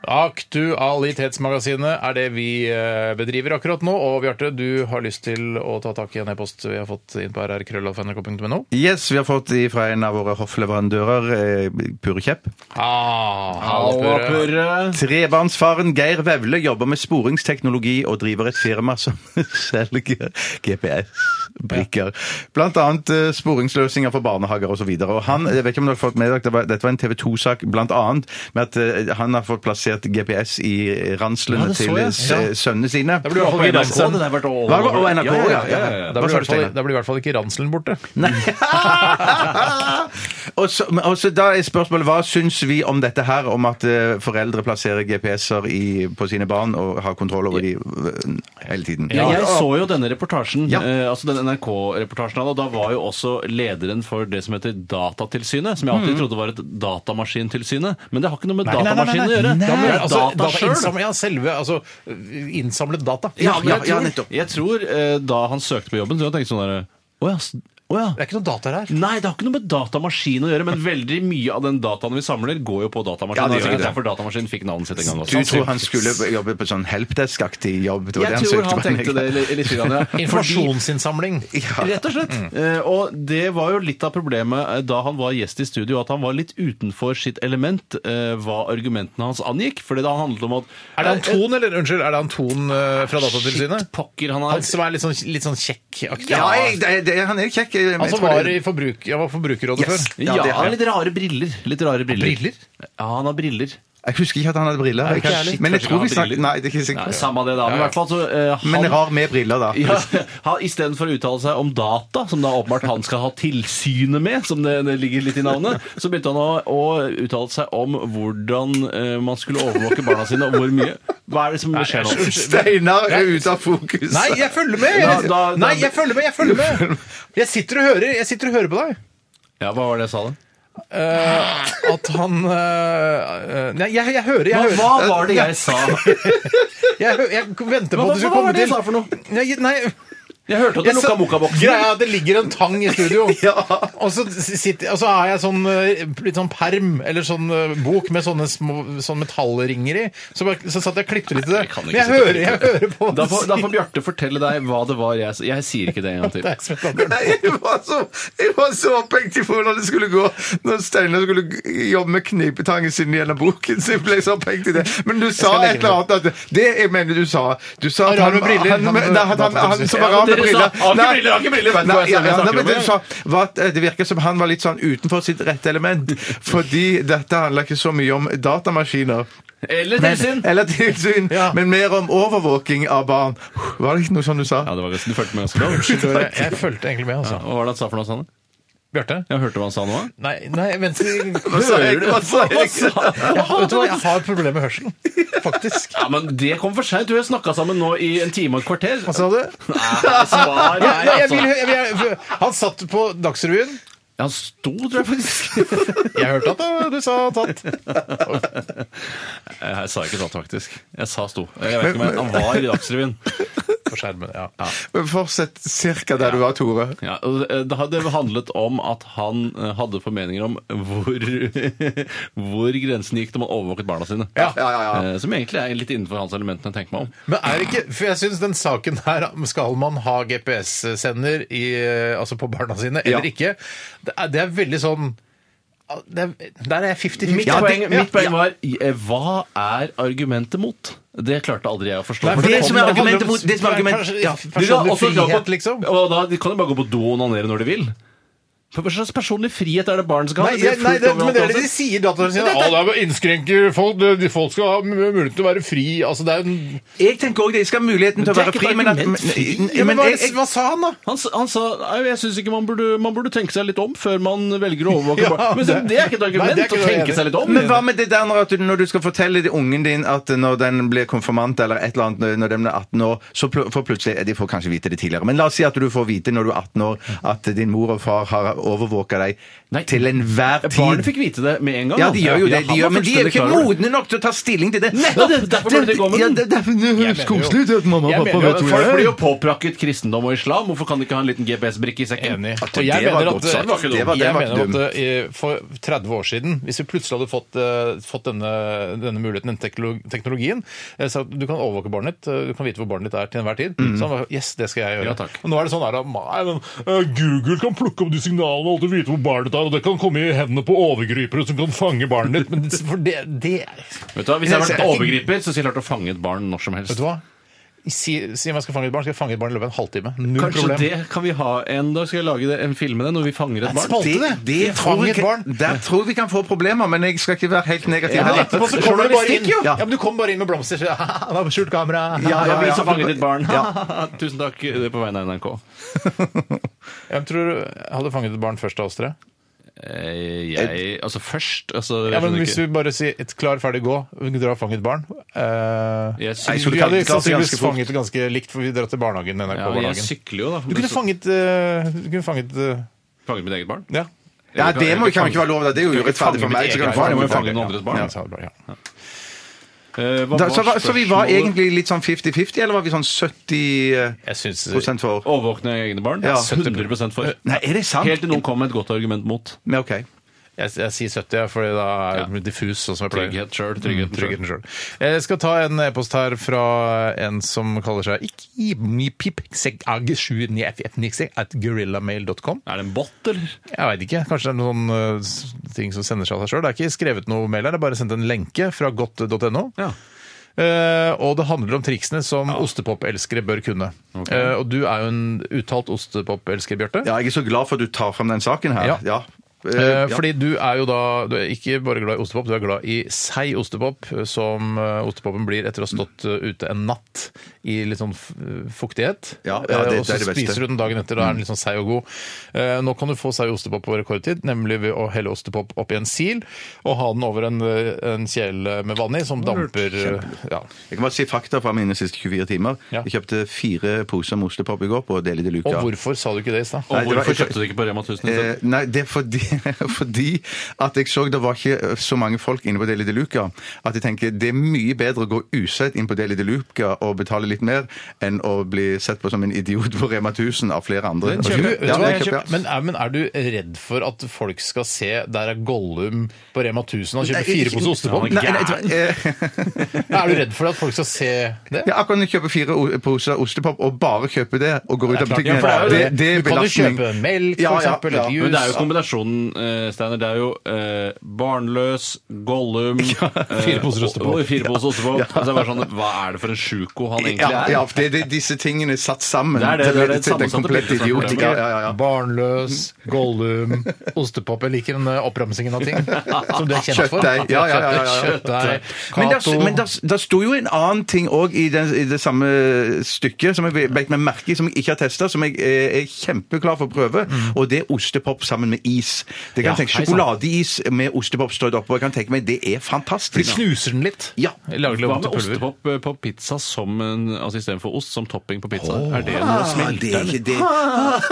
[SPEAKER 1] Aktualitetsmagasinet er det vi eh, bedriver akkurat nå. Og Bjarte, du har lyst til å ta tak i en e-post vi har fått inn på rrkrøllalfa.nrk.no.
[SPEAKER 2] Yes, vi har fått de fra en av våre hoffleverandører, eh, Purekjepp.
[SPEAKER 1] Ah,
[SPEAKER 3] Halla, Purre.
[SPEAKER 2] Trebarnsfaren Geir Vevle jobber med sporingsteknologi og driver et firma som selger GPS-brikker. Blant annet eh, sporingsløsninger for barnehager osv. Jeg vet ikke om dere har fått med dere, det var- dette var en TV 2-sak blant annet, med at eh, han har fått plassert GPS i ranslene
[SPEAKER 3] Ja, det så
[SPEAKER 2] til
[SPEAKER 3] jeg.
[SPEAKER 2] eh, s- sønnene sine.
[SPEAKER 1] Da blir du i hvert fall i
[SPEAKER 3] NRK,
[SPEAKER 1] Randsand.
[SPEAKER 3] det der vært all
[SPEAKER 2] Hva,
[SPEAKER 3] over.
[SPEAKER 2] og NRK, ja, ja, ja.
[SPEAKER 1] Da
[SPEAKER 2] Hva
[SPEAKER 1] blir, i
[SPEAKER 2] sa du,
[SPEAKER 1] hvert fall,
[SPEAKER 2] Steinar?
[SPEAKER 1] da blir i hvert fall ikke ranselen borte.
[SPEAKER 2] og, så, men- og så da er spørsmålet hva syns vi om dette her, om at eh, foreldre plasserer GPS-er i, på sine barn og har kontroll over de øh, hele tiden?
[SPEAKER 3] Ja, jeg så jo denne reportasjen,
[SPEAKER 2] Ja.
[SPEAKER 3] eh, altså den NRK-reportasjen, og da var jo også lederen for det som heter Datatilsynet, som jeg alltid trodde var et datamaskintilsynet, men det har ikke noe med
[SPEAKER 2] Mm. nei, nei,
[SPEAKER 3] datamaskinen å
[SPEAKER 2] nei,
[SPEAKER 3] gjøre.
[SPEAKER 2] nei.
[SPEAKER 3] Det er
[SPEAKER 1] Altså,
[SPEAKER 3] data sjøl.
[SPEAKER 1] innsamlet- ja, selve altså, innsamlet data.
[SPEAKER 2] Ja,
[SPEAKER 3] men jeg
[SPEAKER 2] ja,
[SPEAKER 3] tror-
[SPEAKER 2] nettopp.
[SPEAKER 3] Jeg tror eh, da han søkte på jobben, så tenkte jeg sånn derre Å ja. s- å ja.
[SPEAKER 1] Det er ikke noe data her.
[SPEAKER 3] Nei, det har ikke noe med datamaskin å gjøre, men veldig mye av den dataen vi samler, går jo på
[SPEAKER 2] Ja,
[SPEAKER 3] datamaskinen. det
[SPEAKER 2] det
[SPEAKER 3] er
[SPEAKER 2] gjør
[SPEAKER 3] sikkert
[SPEAKER 2] det.
[SPEAKER 3] derfor datamaskinen fikk navnet sitt en gang.
[SPEAKER 2] Du
[SPEAKER 3] også.
[SPEAKER 2] tror han skulle jobbe på sånn helpdesk-aktig jobb? det var det
[SPEAKER 3] Sånn Jeg tror han
[SPEAKER 2] søkte på,
[SPEAKER 3] tenkte det
[SPEAKER 2] ikke?
[SPEAKER 3] litt. litt grann, ja. Fordi-
[SPEAKER 1] Informasjonsinnsamling.
[SPEAKER 3] Rett og slett. Eh, og det var jo litt av problemet eh, da han var gjest i studio, at han var litt utenfor sitt element eh, hva argumentene hans angikk. Fordi det handlet om at
[SPEAKER 1] Er det Anton, eller unnskyld, er det Anton eh, fra
[SPEAKER 3] Shit,
[SPEAKER 1] Datatilsynet?
[SPEAKER 3] pokker, han
[SPEAKER 1] Han
[SPEAKER 3] er
[SPEAKER 1] som er litt sånn, litt sånn kjekk-aktig?
[SPEAKER 2] Ja, jeg, det, det, han er kjekk. jeg- jeg
[SPEAKER 3] Altså,
[SPEAKER 1] Han som
[SPEAKER 2] tror
[SPEAKER 1] var,
[SPEAKER 2] det-
[SPEAKER 1] i forbruk, ja, var Forbrukerrådet
[SPEAKER 2] Yes.
[SPEAKER 1] før?
[SPEAKER 3] ja,
[SPEAKER 2] Ja, det er
[SPEAKER 3] han har
[SPEAKER 2] det.
[SPEAKER 3] litt rare briller. Litt rare briller.
[SPEAKER 1] Briller?
[SPEAKER 3] Ja, han har briller.
[SPEAKER 2] Jeg husker ikke at han hadde briller.
[SPEAKER 3] ikke
[SPEAKER 2] jeg-
[SPEAKER 3] jeg heller.
[SPEAKER 2] men jeg
[SPEAKER 3] Kanskje
[SPEAKER 2] tror
[SPEAKER 3] han
[SPEAKER 2] vi
[SPEAKER 3] hadde
[SPEAKER 2] snakket
[SPEAKER 3] briller.
[SPEAKER 2] Nei, det er ikke
[SPEAKER 3] Nei,
[SPEAKER 2] sikkert.
[SPEAKER 3] samme det, da. Men i hvert fall så eh, han
[SPEAKER 2] Men rar med briller, da.
[SPEAKER 3] ja, han- Istedenfor å uttale seg om data, som da åpenbart han skal ha tilsynet med, som det, det ligger litt i navnet, så begynte han å, å uttale seg om hvordan eh, man skulle overvåke barna sine, og hvor mye. Hva er det som skjer nå?
[SPEAKER 2] Steinar er ute av fokus.
[SPEAKER 1] Nei, jeg følger med!
[SPEAKER 3] Da- da-
[SPEAKER 1] Nei,
[SPEAKER 3] da-
[SPEAKER 1] jeg følger med! Jeg følger med! Jeg sitter og hører, jeg sitter og hører på deg.
[SPEAKER 3] Ja, hva var det jeg sa da?
[SPEAKER 1] Eh, at han eh, eh, Nei, jeg, jeg hører, jeg hører. Eh,
[SPEAKER 3] var det jeg sa?
[SPEAKER 1] Jeg, hø- jeg venter på
[SPEAKER 3] Hva-
[SPEAKER 1] at du skal
[SPEAKER 3] hva var
[SPEAKER 1] komme
[SPEAKER 3] det jeg
[SPEAKER 1] til.
[SPEAKER 3] sa for noe?
[SPEAKER 1] Nei, nei.
[SPEAKER 3] Jeg hørte at
[SPEAKER 1] Jeg
[SPEAKER 3] du
[SPEAKER 1] sa-
[SPEAKER 3] lukka mokaboksen.
[SPEAKER 1] Greia er at det ligger en tang i studio, og, så sitter, og så har jeg sånn eh, litt sånn perm, eller sånn eh, bok med sånne små sånn metallringer i. Så, bare, så satt jeg og klippet litt i det.
[SPEAKER 3] kan ikke
[SPEAKER 1] Men jeg
[SPEAKER 3] sitte og
[SPEAKER 1] hører, jeg hører på
[SPEAKER 3] Da får, da får Bjarte fortelle deg hva det var jeg sa. Jeg sier ikke det en gang til.
[SPEAKER 1] Nei, Sven Dahl.
[SPEAKER 2] Nei, jeg var så, jeg var så opphengt i hvordan det skulle gå når Steinar skulle jobbe med knipetangen sin gjennom boken. så jeg ble så opphengt i det. Men du sa et
[SPEAKER 1] legge
[SPEAKER 2] eller annet at Det jeg mener du sa Du sa at
[SPEAKER 1] Han med briller.
[SPEAKER 2] Han,
[SPEAKER 1] Han
[SPEAKER 2] nei,
[SPEAKER 1] med-
[SPEAKER 2] han, han, han, som var
[SPEAKER 1] Ja,
[SPEAKER 2] rar
[SPEAKER 3] men dere sa,
[SPEAKER 2] med briller.
[SPEAKER 3] har ikke
[SPEAKER 2] Nei,
[SPEAKER 3] briller, har ikke briller. Vet du
[SPEAKER 2] nei,
[SPEAKER 3] hva jeg snakker
[SPEAKER 2] ja, ja,
[SPEAKER 3] om,
[SPEAKER 2] nei, men
[SPEAKER 3] eller?
[SPEAKER 2] det du sa var at eh, det virker som han var litt sånn utenfor sitt rette element, fordi dette handler ikke så mye om datamaskiner.
[SPEAKER 3] Eller
[SPEAKER 2] Men,
[SPEAKER 3] tilsyn!
[SPEAKER 2] eller tilsyn,
[SPEAKER 1] Ja.
[SPEAKER 2] men mer om overvåking av barn. Var det ikke noe sånn du sa?
[SPEAKER 3] Ja, det var ganske, Du fulgte med ganske bra.
[SPEAKER 1] Unnskyld, Tore. Jeg fulgte egentlig med, altså.
[SPEAKER 3] Hva var det han sa for noe, Sanne?
[SPEAKER 1] Bjarte?
[SPEAKER 3] Jeg hørte hva han sa nå.
[SPEAKER 1] Nei, nei vent jeg,
[SPEAKER 2] Hva sa jeg? Hva sa jeg?
[SPEAKER 1] jeg, Vet du hva, jeg har et problem med hørselen. Faktisk.
[SPEAKER 3] Ja, men Det kom for seint. Vi har snakka sammen nå i en time og et kvarter.
[SPEAKER 1] Hva sa du?
[SPEAKER 3] Nei, svar,
[SPEAKER 1] Ja,
[SPEAKER 3] nei,
[SPEAKER 1] nei, jeg
[SPEAKER 3] altså.
[SPEAKER 1] vil, hø- jeg vil, han satt på Dagsrevyen.
[SPEAKER 3] Han sto, tror jeg faktisk.
[SPEAKER 1] Jeg hørte at eh, du sa tatt.
[SPEAKER 3] Jeg sa ikke tatt, faktisk. Jeg sa sto. Jeg vet ikke om jeg, Han var i Dagsrevyen.
[SPEAKER 1] På skjermen, ja.
[SPEAKER 2] Men Fortsett cirka der du var, Tore.
[SPEAKER 3] Ja, og det hadde handlet om at han eh, hadde formeninger om hvor, hvor grensen gikk når man overvåket barna sine.
[SPEAKER 1] Ja,
[SPEAKER 2] ja, ja,
[SPEAKER 3] Eh, Som egentlig er litt innenfor hans element når jeg tenker meg om.
[SPEAKER 1] Men er det ikke For jeg syns den saken her Skal man ha GPS-sender i, eh, altså på barna sine eller
[SPEAKER 2] Ja.
[SPEAKER 1] ikke? Det er, det er veldig sånn det er, Der er jeg 50-50.
[SPEAKER 3] Mitt,
[SPEAKER 1] Ja, det-
[SPEAKER 3] poeng,
[SPEAKER 1] ja.
[SPEAKER 3] mitt poeng var eh, hva er argumentet mot? Det klarte aldri jeg å forstå.
[SPEAKER 1] Nei, for
[SPEAKER 3] For
[SPEAKER 1] det
[SPEAKER 3] kom-
[SPEAKER 1] som er
[SPEAKER 3] handler om-
[SPEAKER 1] argumentet mot- det som er argumentet- ja.
[SPEAKER 3] Du kan også
[SPEAKER 1] Personlig
[SPEAKER 3] dra på-
[SPEAKER 1] frihet, liksom.
[SPEAKER 3] Og da kan du bare gå på do og onanere når du vil. For Hva slags personlig frihet er det barn skal ha?
[SPEAKER 1] Nei,
[SPEAKER 3] blir
[SPEAKER 1] jeg- nei,
[SPEAKER 3] fullt
[SPEAKER 1] det,
[SPEAKER 3] overalt
[SPEAKER 1] men det er det de
[SPEAKER 3] uansett.
[SPEAKER 1] sier, dataene sine. Ja, det er innskrenker folk. de- Folk skal ha m- mulighet til å være fri. Altså, det er en
[SPEAKER 2] Jeg tenker òg de skal ha muligheten
[SPEAKER 3] Men
[SPEAKER 2] til å
[SPEAKER 3] det er
[SPEAKER 2] være
[SPEAKER 3] ikke
[SPEAKER 2] fri,
[SPEAKER 3] et
[SPEAKER 2] men at
[SPEAKER 3] argument. Fri?
[SPEAKER 2] men-
[SPEAKER 1] ja, men,
[SPEAKER 2] men
[SPEAKER 1] hva,
[SPEAKER 2] jeg- jeg-
[SPEAKER 1] hva sa han, da?
[SPEAKER 3] Han, s- han sa nei, jeg synes ikke man burde, man burde tenke seg litt om før man velger å overvåke
[SPEAKER 1] Ja,
[SPEAKER 3] barn. Men
[SPEAKER 1] det-
[SPEAKER 3] det er ikke et
[SPEAKER 1] Nei,
[SPEAKER 3] argument
[SPEAKER 1] det er ikke
[SPEAKER 3] å
[SPEAKER 1] noe
[SPEAKER 3] tenke
[SPEAKER 1] enig.
[SPEAKER 3] seg litt om.
[SPEAKER 2] Men hva med det der når at du, når du skal fortelle til ungen din at når den blir konfirmant eller et eller annet når den er 18 år, så pl får plutselig De får kanskje vite det tidligere, men la oss si at du får vite når du er 18 år at din mor og far har overvåke deg
[SPEAKER 3] Nei.
[SPEAKER 2] til enhver tid.
[SPEAKER 3] Barnet fikk vite det med en gang.
[SPEAKER 2] Ja,
[SPEAKER 3] da.
[SPEAKER 2] de gjør jo det,
[SPEAKER 3] han
[SPEAKER 2] de
[SPEAKER 3] var
[SPEAKER 2] gjør, men de er jo
[SPEAKER 3] fullstendig
[SPEAKER 2] ikke
[SPEAKER 3] klar over det.
[SPEAKER 2] modne nok til å ta stilling til det.
[SPEAKER 3] Nettopp! Derfor burde de gå med den.
[SPEAKER 2] Ja, det, det, det høres koselig ut at mamma
[SPEAKER 1] Jeg
[SPEAKER 2] og pappa
[SPEAKER 1] mener jo
[SPEAKER 2] vet
[SPEAKER 1] at
[SPEAKER 2] hvor
[SPEAKER 3] Folk blir
[SPEAKER 2] jeg
[SPEAKER 3] jo
[SPEAKER 2] er.
[SPEAKER 3] påprakket kristendom og islam. Hvorfor kan de ikke ha en liten GPS-brikke i sekken?
[SPEAKER 1] Enig.
[SPEAKER 2] At
[SPEAKER 1] Og jeg
[SPEAKER 2] det var
[SPEAKER 1] mener
[SPEAKER 2] godt
[SPEAKER 1] at, eh,
[SPEAKER 2] sagt. Det var- det
[SPEAKER 1] jeg
[SPEAKER 2] var
[SPEAKER 1] mener
[SPEAKER 2] dumt.
[SPEAKER 1] at eh, for 30 år siden, hvis vi plutselig hadde fått, eh, fått denne, denne muligheten, denne teknolo- teknologien eh, så at Du kan overvåke barnet ditt, eh, du kan vite hvor barnet ditt er til enhver tid.
[SPEAKER 2] Mm.
[SPEAKER 1] Så han var yes, det skal jeg gjøre.
[SPEAKER 3] Ja, takk.
[SPEAKER 1] og nå er det sånn her at nei, men, eh, Google kan plukke opp de signalene og alltid vite hvor barnet ditt er, og det kan komme i hendene på overgripere som kan fange barnet ditt. Men det- for det, det
[SPEAKER 3] Vet du hva, Hvis jeg hadde vært
[SPEAKER 1] Jeg ser-
[SPEAKER 3] overgriper, så skulle jeg klart å fange et barn når som helst.
[SPEAKER 1] Vet du hva? Si, si om jeg skal fange et barn, skal jeg fange et barn i løpet av en halvtime. Null
[SPEAKER 3] Kanskje
[SPEAKER 1] problem.
[SPEAKER 3] det kan vi ha en dag? Skal jeg lage det, en film med det når vi fanger et barn?
[SPEAKER 1] spalte, det.
[SPEAKER 2] det
[SPEAKER 1] Fang
[SPEAKER 2] tror
[SPEAKER 1] et
[SPEAKER 2] jeg,
[SPEAKER 1] barn.
[SPEAKER 2] der tror vi kan få problemer, men jeg skal ikke være helt negativ.
[SPEAKER 1] Ja, men
[SPEAKER 2] heller.
[SPEAKER 1] etterpå så kommer du bare inn.
[SPEAKER 2] Journalistikk,
[SPEAKER 1] Ja.
[SPEAKER 2] jo.
[SPEAKER 1] men Du kom bare inn med blomster. Så, det var skjult kamera.
[SPEAKER 2] Ja,
[SPEAKER 3] Ja,
[SPEAKER 2] ja,
[SPEAKER 3] vi
[SPEAKER 2] ja.
[SPEAKER 1] liksom"
[SPEAKER 3] som fanget ditt barn.
[SPEAKER 2] Ja.
[SPEAKER 3] Tusen takk. Det er på vegne av NRK.
[SPEAKER 1] Jeg tror du hadde fanget et barn først av oss tre.
[SPEAKER 3] Eh, Jeg Altså først altså, jeg
[SPEAKER 1] Ja, men
[SPEAKER 3] skjønner
[SPEAKER 1] Hvis vi
[SPEAKER 3] ikke.
[SPEAKER 1] bare sier et 'klar, ferdig, gå', dra og fang et barn eh,
[SPEAKER 3] Jeg
[SPEAKER 1] Vi
[SPEAKER 3] sykler,
[SPEAKER 2] du
[SPEAKER 1] hadde
[SPEAKER 2] kan- kan ganske
[SPEAKER 1] sannsynligvis
[SPEAKER 2] fort.
[SPEAKER 1] fanget det ganske likt, for vi drar til barnehagen.
[SPEAKER 3] ja, jeg
[SPEAKER 1] NRK-barnehagen.
[SPEAKER 3] sykler jo, da.
[SPEAKER 1] du kunne
[SPEAKER 3] Men så-
[SPEAKER 1] fanget eh, Du kunne fanget eh,
[SPEAKER 3] fanget mitt eget barn.
[SPEAKER 1] Ja.
[SPEAKER 2] Ja, det må kan jo ikke være lov. da. Det er jo urettferdig for meg. så kan jeg
[SPEAKER 3] barn, jeg må
[SPEAKER 2] fange
[SPEAKER 3] jo fange
[SPEAKER 2] mitt
[SPEAKER 3] noen
[SPEAKER 2] eget
[SPEAKER 3] andres barn.
[SPEAKER 2] barn. Ja.
[SPEAKER 1] Ja, så var det bra, ja.
[SPEAKER 3] Eh, hva
[SPEAKER 2] Da, så,
[SPEAKER 3] var
[SPEAKER 2] var- så vi var
[SPEAKER 3] spørsmålet?
[SPEAKER 2] egentlig litt sånn 50-50, eller var vi sånn 70
[SPEAKER 1] Jeg syns
[SPEAKER 2] prosent for?
[SPEAKER 3] Overvåkning av egne barn?
[SPEAKER 2] Ja.
[SPEAKER 3] 100 for.
[SPEAKER 2] Nei, er det sant?
[SPEAKER 3] Helt til noen kom med et godt argument mot.
[SPEAKER 2] Men ok.
[SPEAKER 1] Jeg, jeg sier 70, ja, fordi da er det diffus. Sånn som jeg pleier.
[SPEAKER 3] Trygghet selv, tryggheten
[SPEAKER 1] mm, tryggheten sjøl. Jeg skal ta en e-post her fra en som kaller seg E gorillamail.com.
[SPEAKER 3] Er det en bot, eller?
[SPEAKER 1] Jeg veit ikke. Kanskje det er noen eh, s- ting som sender seg av seg sjøl. Det er ikke skrevet noe mail her, det er bare sendt en lenke fra godt.no.
[SPEAKER 3] Ja.
[SPEAKER 1] Eh, og det handler om triksene som ostepopelskere bør kunne. Eh, og du er jo en uttalt ostepopelsker, Bjarte.
[SPEAKER 2] Ja, jeg er så glad for at du tar frem den saken her.
[SPEAKER 1] Ja.
[SPEAKER 2] Eh,
[SPEAKER 1] Eh,
[SPEAKER 2] ja.
[SPEAKER 1] Fordi du er jo da du er ikke bare glad i ostepop, du er glad i seig ostepop, som eh, ostepopen blir etter å ha stått eh, ute en natt i litt sånn f- fuktighet.
[SPEAKER 2] Ja, ja, det- det er
[SPEAKER 1] Eh, og så
[SPEAKER 2] det beste. Mm.
[SPEAKER 1] spiser du den dagen etter, da er den litt sånn seig og god. Eh, Nå kan du få seig ostepop på rekordtid, nemlig ved å helle ostepop oppi en sil og ha den over en, eh, en kjele med vann i, som damper eh, ja.
[SPEAKER 2] Jeg kan bare si fakta fra mine siste 24 timer.
[SPEAKER 1] Ja.
[SPEAKER 2] Jeg kjøpte fire poser med ostepop i går på Deli de
[SPEAKER 1] Og
[SPEAKER 2] Luca.
[SPEAKER 1] hvorfor sa du ikke det i stad?
[SPEAKER 3] Og
[SPEAKER 2] Nei, det var-
[SPEAKER 3] hvorfor kjøpte du ikke på Rema 1000? i stedet?
[SPEAKER 2] Eh,
[SPEAKER 1] Altså-
[SPEAKER 2] nei, det er fordi, fordi at jeg så det var ikke eh, så mange folk inne på Deli de Luca. At jeg tenker det er mye bedre å gå usett inn på Deli de Luca og betale litt mer enn å bli sett på som en idiot på Rema 1000 av flere andre.
[SPEAKER 1] Den kjøper,
[SPEAKER 2] Ja,
[SPEAKER 1] vet du hva,
[SPEAKER 2] den
[SPEAKER 1] jeg
[SPEAKER 2] kjøper,
[SPEAKER 1] kjøper. Men, er, men er du redd for at folk skal se der er Gollum på Rema 1000 og kjøper
[SPEAKER 2] Nei,
[SPEAKER 1] fire
[SPEAKER 2] ikke-
[SPEAKER 1] poser ostepop?
[SPEAKER 2] Nei, nei, jeg tror- eh,
[SPEAKER 1] Er du redd for at folk skal se det?
[SPEAKER 2] Ja, akkurat når du kjøper fire o- poser ostepop og bare kjøper det og går ut av
[SPEAKER 1] klart,
[SPEAKER 2] butikken
[SPEAKER 1] ja, for det er jo det. Du kan jo
[SPEAKER 2] belastning.
[SPEAKER 1] kjøpe melk, for eksempel, litt juice.
[SPEAKER 3] Men det er jo kombinasjonen, eh, Steiner. Det er jo eh, barnløs, Gollum eh,
[SPEAKER 1] fire poser ostepop.
[SPEAKER 3] og- og Fire poser ostepop. Og så er det bare sånn, hva er det for en sjuko han egentlig
[SPEAKER 2] Ja,
[SPEAKER 3] er?
[SPEAKER 2] ja, for det, det, disse tingene satt sammen
[SPEAKER 3] Det er det, det er
[SPEAKER 2] til-
[SPEAKER 3] det
[SPEAKER 2] til den
[SPEAKER 3] sammensatte
[SPEAKER 2] komplette
[SPEAKER 3] bildet som er
[SPEAKER 2] idiot.
[SPEAKER 3] problemet.
[SPEAKER 2] Ja, ja, ja.
[SPEAKER 1] Barnløs, Gollum, ostepop. Jeg liker den eh, oppramsingen av ting som du er kjent for.
[SPEAKER 2] Kjøttdeig. Ja, ja, ja, ja, ja.
[SPEAKER 1] Kjøttdeig,
[SPEAKER 2] Men der,
[SPEAKER 1] Cato.
[SPEAKER 2] men der, der sto jo en annen ting òg i, den- i det samme stykket som jeg beit meg merke i, som jeg ikke har testa, som jeg eh, er kjempeklar for å prøve, og det er ostepop sammen med is. Det kan
[SPEAKER 1] Mhm. Ja,
[SPEAKER 2] jeg tenke
[SPEAKER 1] hei sann.
[SPEAKER 2] Sjokoladeis med ostepop strødd oppå. Jeg kan tenke meg det er
[SPEAKER 1] For de
[SPEAKER 2] fantastisk.
[SPEAKER 1] knuser den litt.
[SPEAKER 2] Ja.
[SPEAKER 1] Lager litt
[SPEAKER 3] Hva
[SPEAKER 1] om
[SPEAKER 3] med
[SPEAKER 1] til pulver.
[SPEAKER 3] ostepop eh, på pizza som en, altså istedenfor ost som topping på pizza? er det noe
[SPEAKER 2] Ah,
[SPEAKER 3] smelter?
[SPEAKER 2] det er ikke det.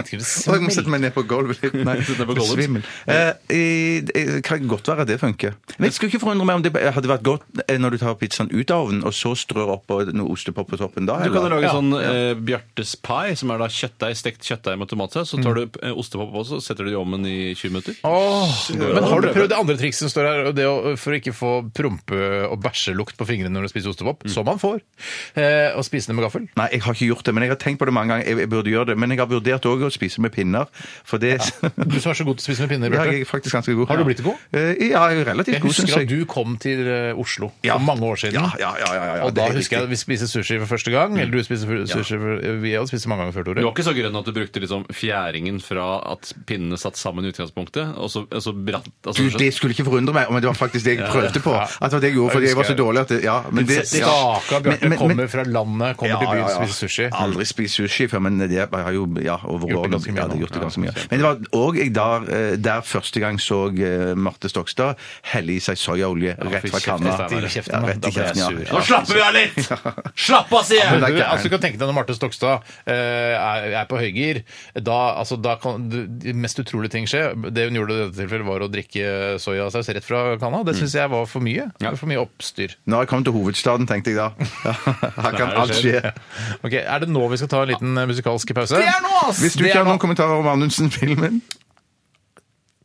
[SPEAKER 1] Skal det
[SPEAKER 2] Å, jeg må
[SPEAKER 1] smelte?
[SPEAKER 2] sette meg ned på gulvet litt. Nei,
[SPEAKER 3] Sett deg på gulvet.
[SPEAKER 2] svimmel. Eh, i- det eh, kan godt være at det funker. Men jeg skulle ikke forundre meg om det hadde vært godt eh, når du tar pizzaen ut av ovnen, og så strør oppå noe ostepop på toppen da.
[SPEAKER 3] Du kan jo
[SPEAKER 2] eller?
[SPEAKER 3] lage sånn eh, Bjartes pai, som er da kjøttdeig, stekt kjøttdeig med tomatsaus. Så tar du eh, ostepop på, så setter du det i ovnen i 20 minutter.
[SPEAKER 1] Mm. Åh, men har du prøvd det andre trikset som står her, og det å, for å ikke få prompe- og bæsjelukt på fingrene når du spiser ostepop? Som man får. Eh, og spise det med gaffel.
[SPEAKER 2] Nei, jeg har ikke gjort det, men jeg har tenkt på det mange ganger. Jeg, jeg burde gjøre det, Men jeg har vurdert òg å spise med pinner, for det
[SPEAKER 1] Du som er så god til å spise med pinner,
[SPEAKER 2] Ja, jeg er
[SPEAKER 1] Bjarte.
[SPEAKER 2] faktisk ganske god.
[SPEAKER 1] Har du blitt god?
[SPEAKER 2] Eh, Ja, jeg er relativt
[SPEAKER 1] Jeg
[SPEAKER 2] god, syns
[SPEAKER 1] husker
[SPEAKER 2] jeg.
[SPEAKER 1] at du kom til eh, Oslo
[SPEAKER 2] Ja.
[SPEAKER 1] for mange år siden.
[SPEAKER 2] Ja, ja, ja, ja, ja,
[SPEAKER 1] og
[SPEAKER 2] det er
[SPEAKER 1] da husker jeg
[SPEAKER 2] riktig. Mm.
[SPEAKER 1] at vi spiste sushi for første gang. Eller du spiste fu- sushi for, eh, Vi hadde spist det mange ganger før,
[SPEAKER 3] Du
[SPEAKER 1] Tore.
[SPEAKER 3] var ikke så grønn at du brukte liksom fjæringen fra at pinnene satt sammen i utgangspunktet, og så, og så bratt altså,
[SPEAKER 2] Du, det skulle ikke forundre meg, men det var faktisk det jeg prøvde på. At det var det jeg gjorde, fordi jeg var så dårlig at det, ja, men det, ja.
[SPEAKER 1] Staka
[SPEAKER 2] Men- men-
[SPEAKER 1] Bjarte
[SPEAKER 2] men-
[SPEAKER 1] kommer fra landet, kommer til byen
[SPEAKER 2] ja,
[SPEAKER 1] og
[SPEAKER 2] ja.
[SPEAKER 1] spiser sushi. Mm.
[SPEAKER 2] Aldri spist sushi før, men det jeg har jo ja, over
[SPEAKER 1] Gjort gjort det ganske mye
[SPEAKER 2] Ja, de har
[SPEAKER 1] nå.
[SPEAKER 2] gjort det
[SPEAKER 1] Ja,
[SPEAKER 2] ganske mye. Men det var òg jeg der, eh, der første gang så eh, Marte Stokstad helle i seg soyaolje rett
[SPEAKER 3] fy
[SPEAKER 2] fra
[SPEAKER 3] kjeft,
[SPEAKER 2] kanna.
[SPEAKER 3] rett i kjeften,
[SPEAKER 2] Ja,
[SPEAKER 1] da.
[SPEAKER 2] rett
[SPEAKER 1] Da
[SPEAKER 2] i
[SPEAKER 1] ble jeg
[SPEAKER 2] kjeften, ja.
[SPEAKER 1] sur.
[SPEAKER 3] Nå slapper vi av litt! Slapp av, sier jeg!
[SPEAKER 2] Men det er
[SPEAKER 1] Du,
[SPEAKER 2] ikke-
[SPEAKER 1] altså, du kan tenke deg når Marte Stokstad eh, er, er på høygir, da, altså, da kan du- de mest utrolige ting skje. Det hun gjorde i dette tilfellet, var å drikke eh, soyasaus rett fra kanna.
[SPEAKER 2] Mm.
[SPEAKER 1] Det syns jeg var for mye. Det var For mye oppstyr.
[SPEAKER 2] Når jeg kom til hovedstaden, tenkte jeg da. Ja, her kan
[SPEAKER 3] det
[SPEAKER 2] alt skje.
[SPEAKER 1] Ok, Er det nå vi skal ta en liten eh, musikalsk pause?
[SPEAKER 2] Hvis du
[SPEAKER 1] Det
[SPEAKER 2] ikke har
[SPEAKER 1] er nå.
[SPEAKER 2] noen kommentarer om Anundsen-filmen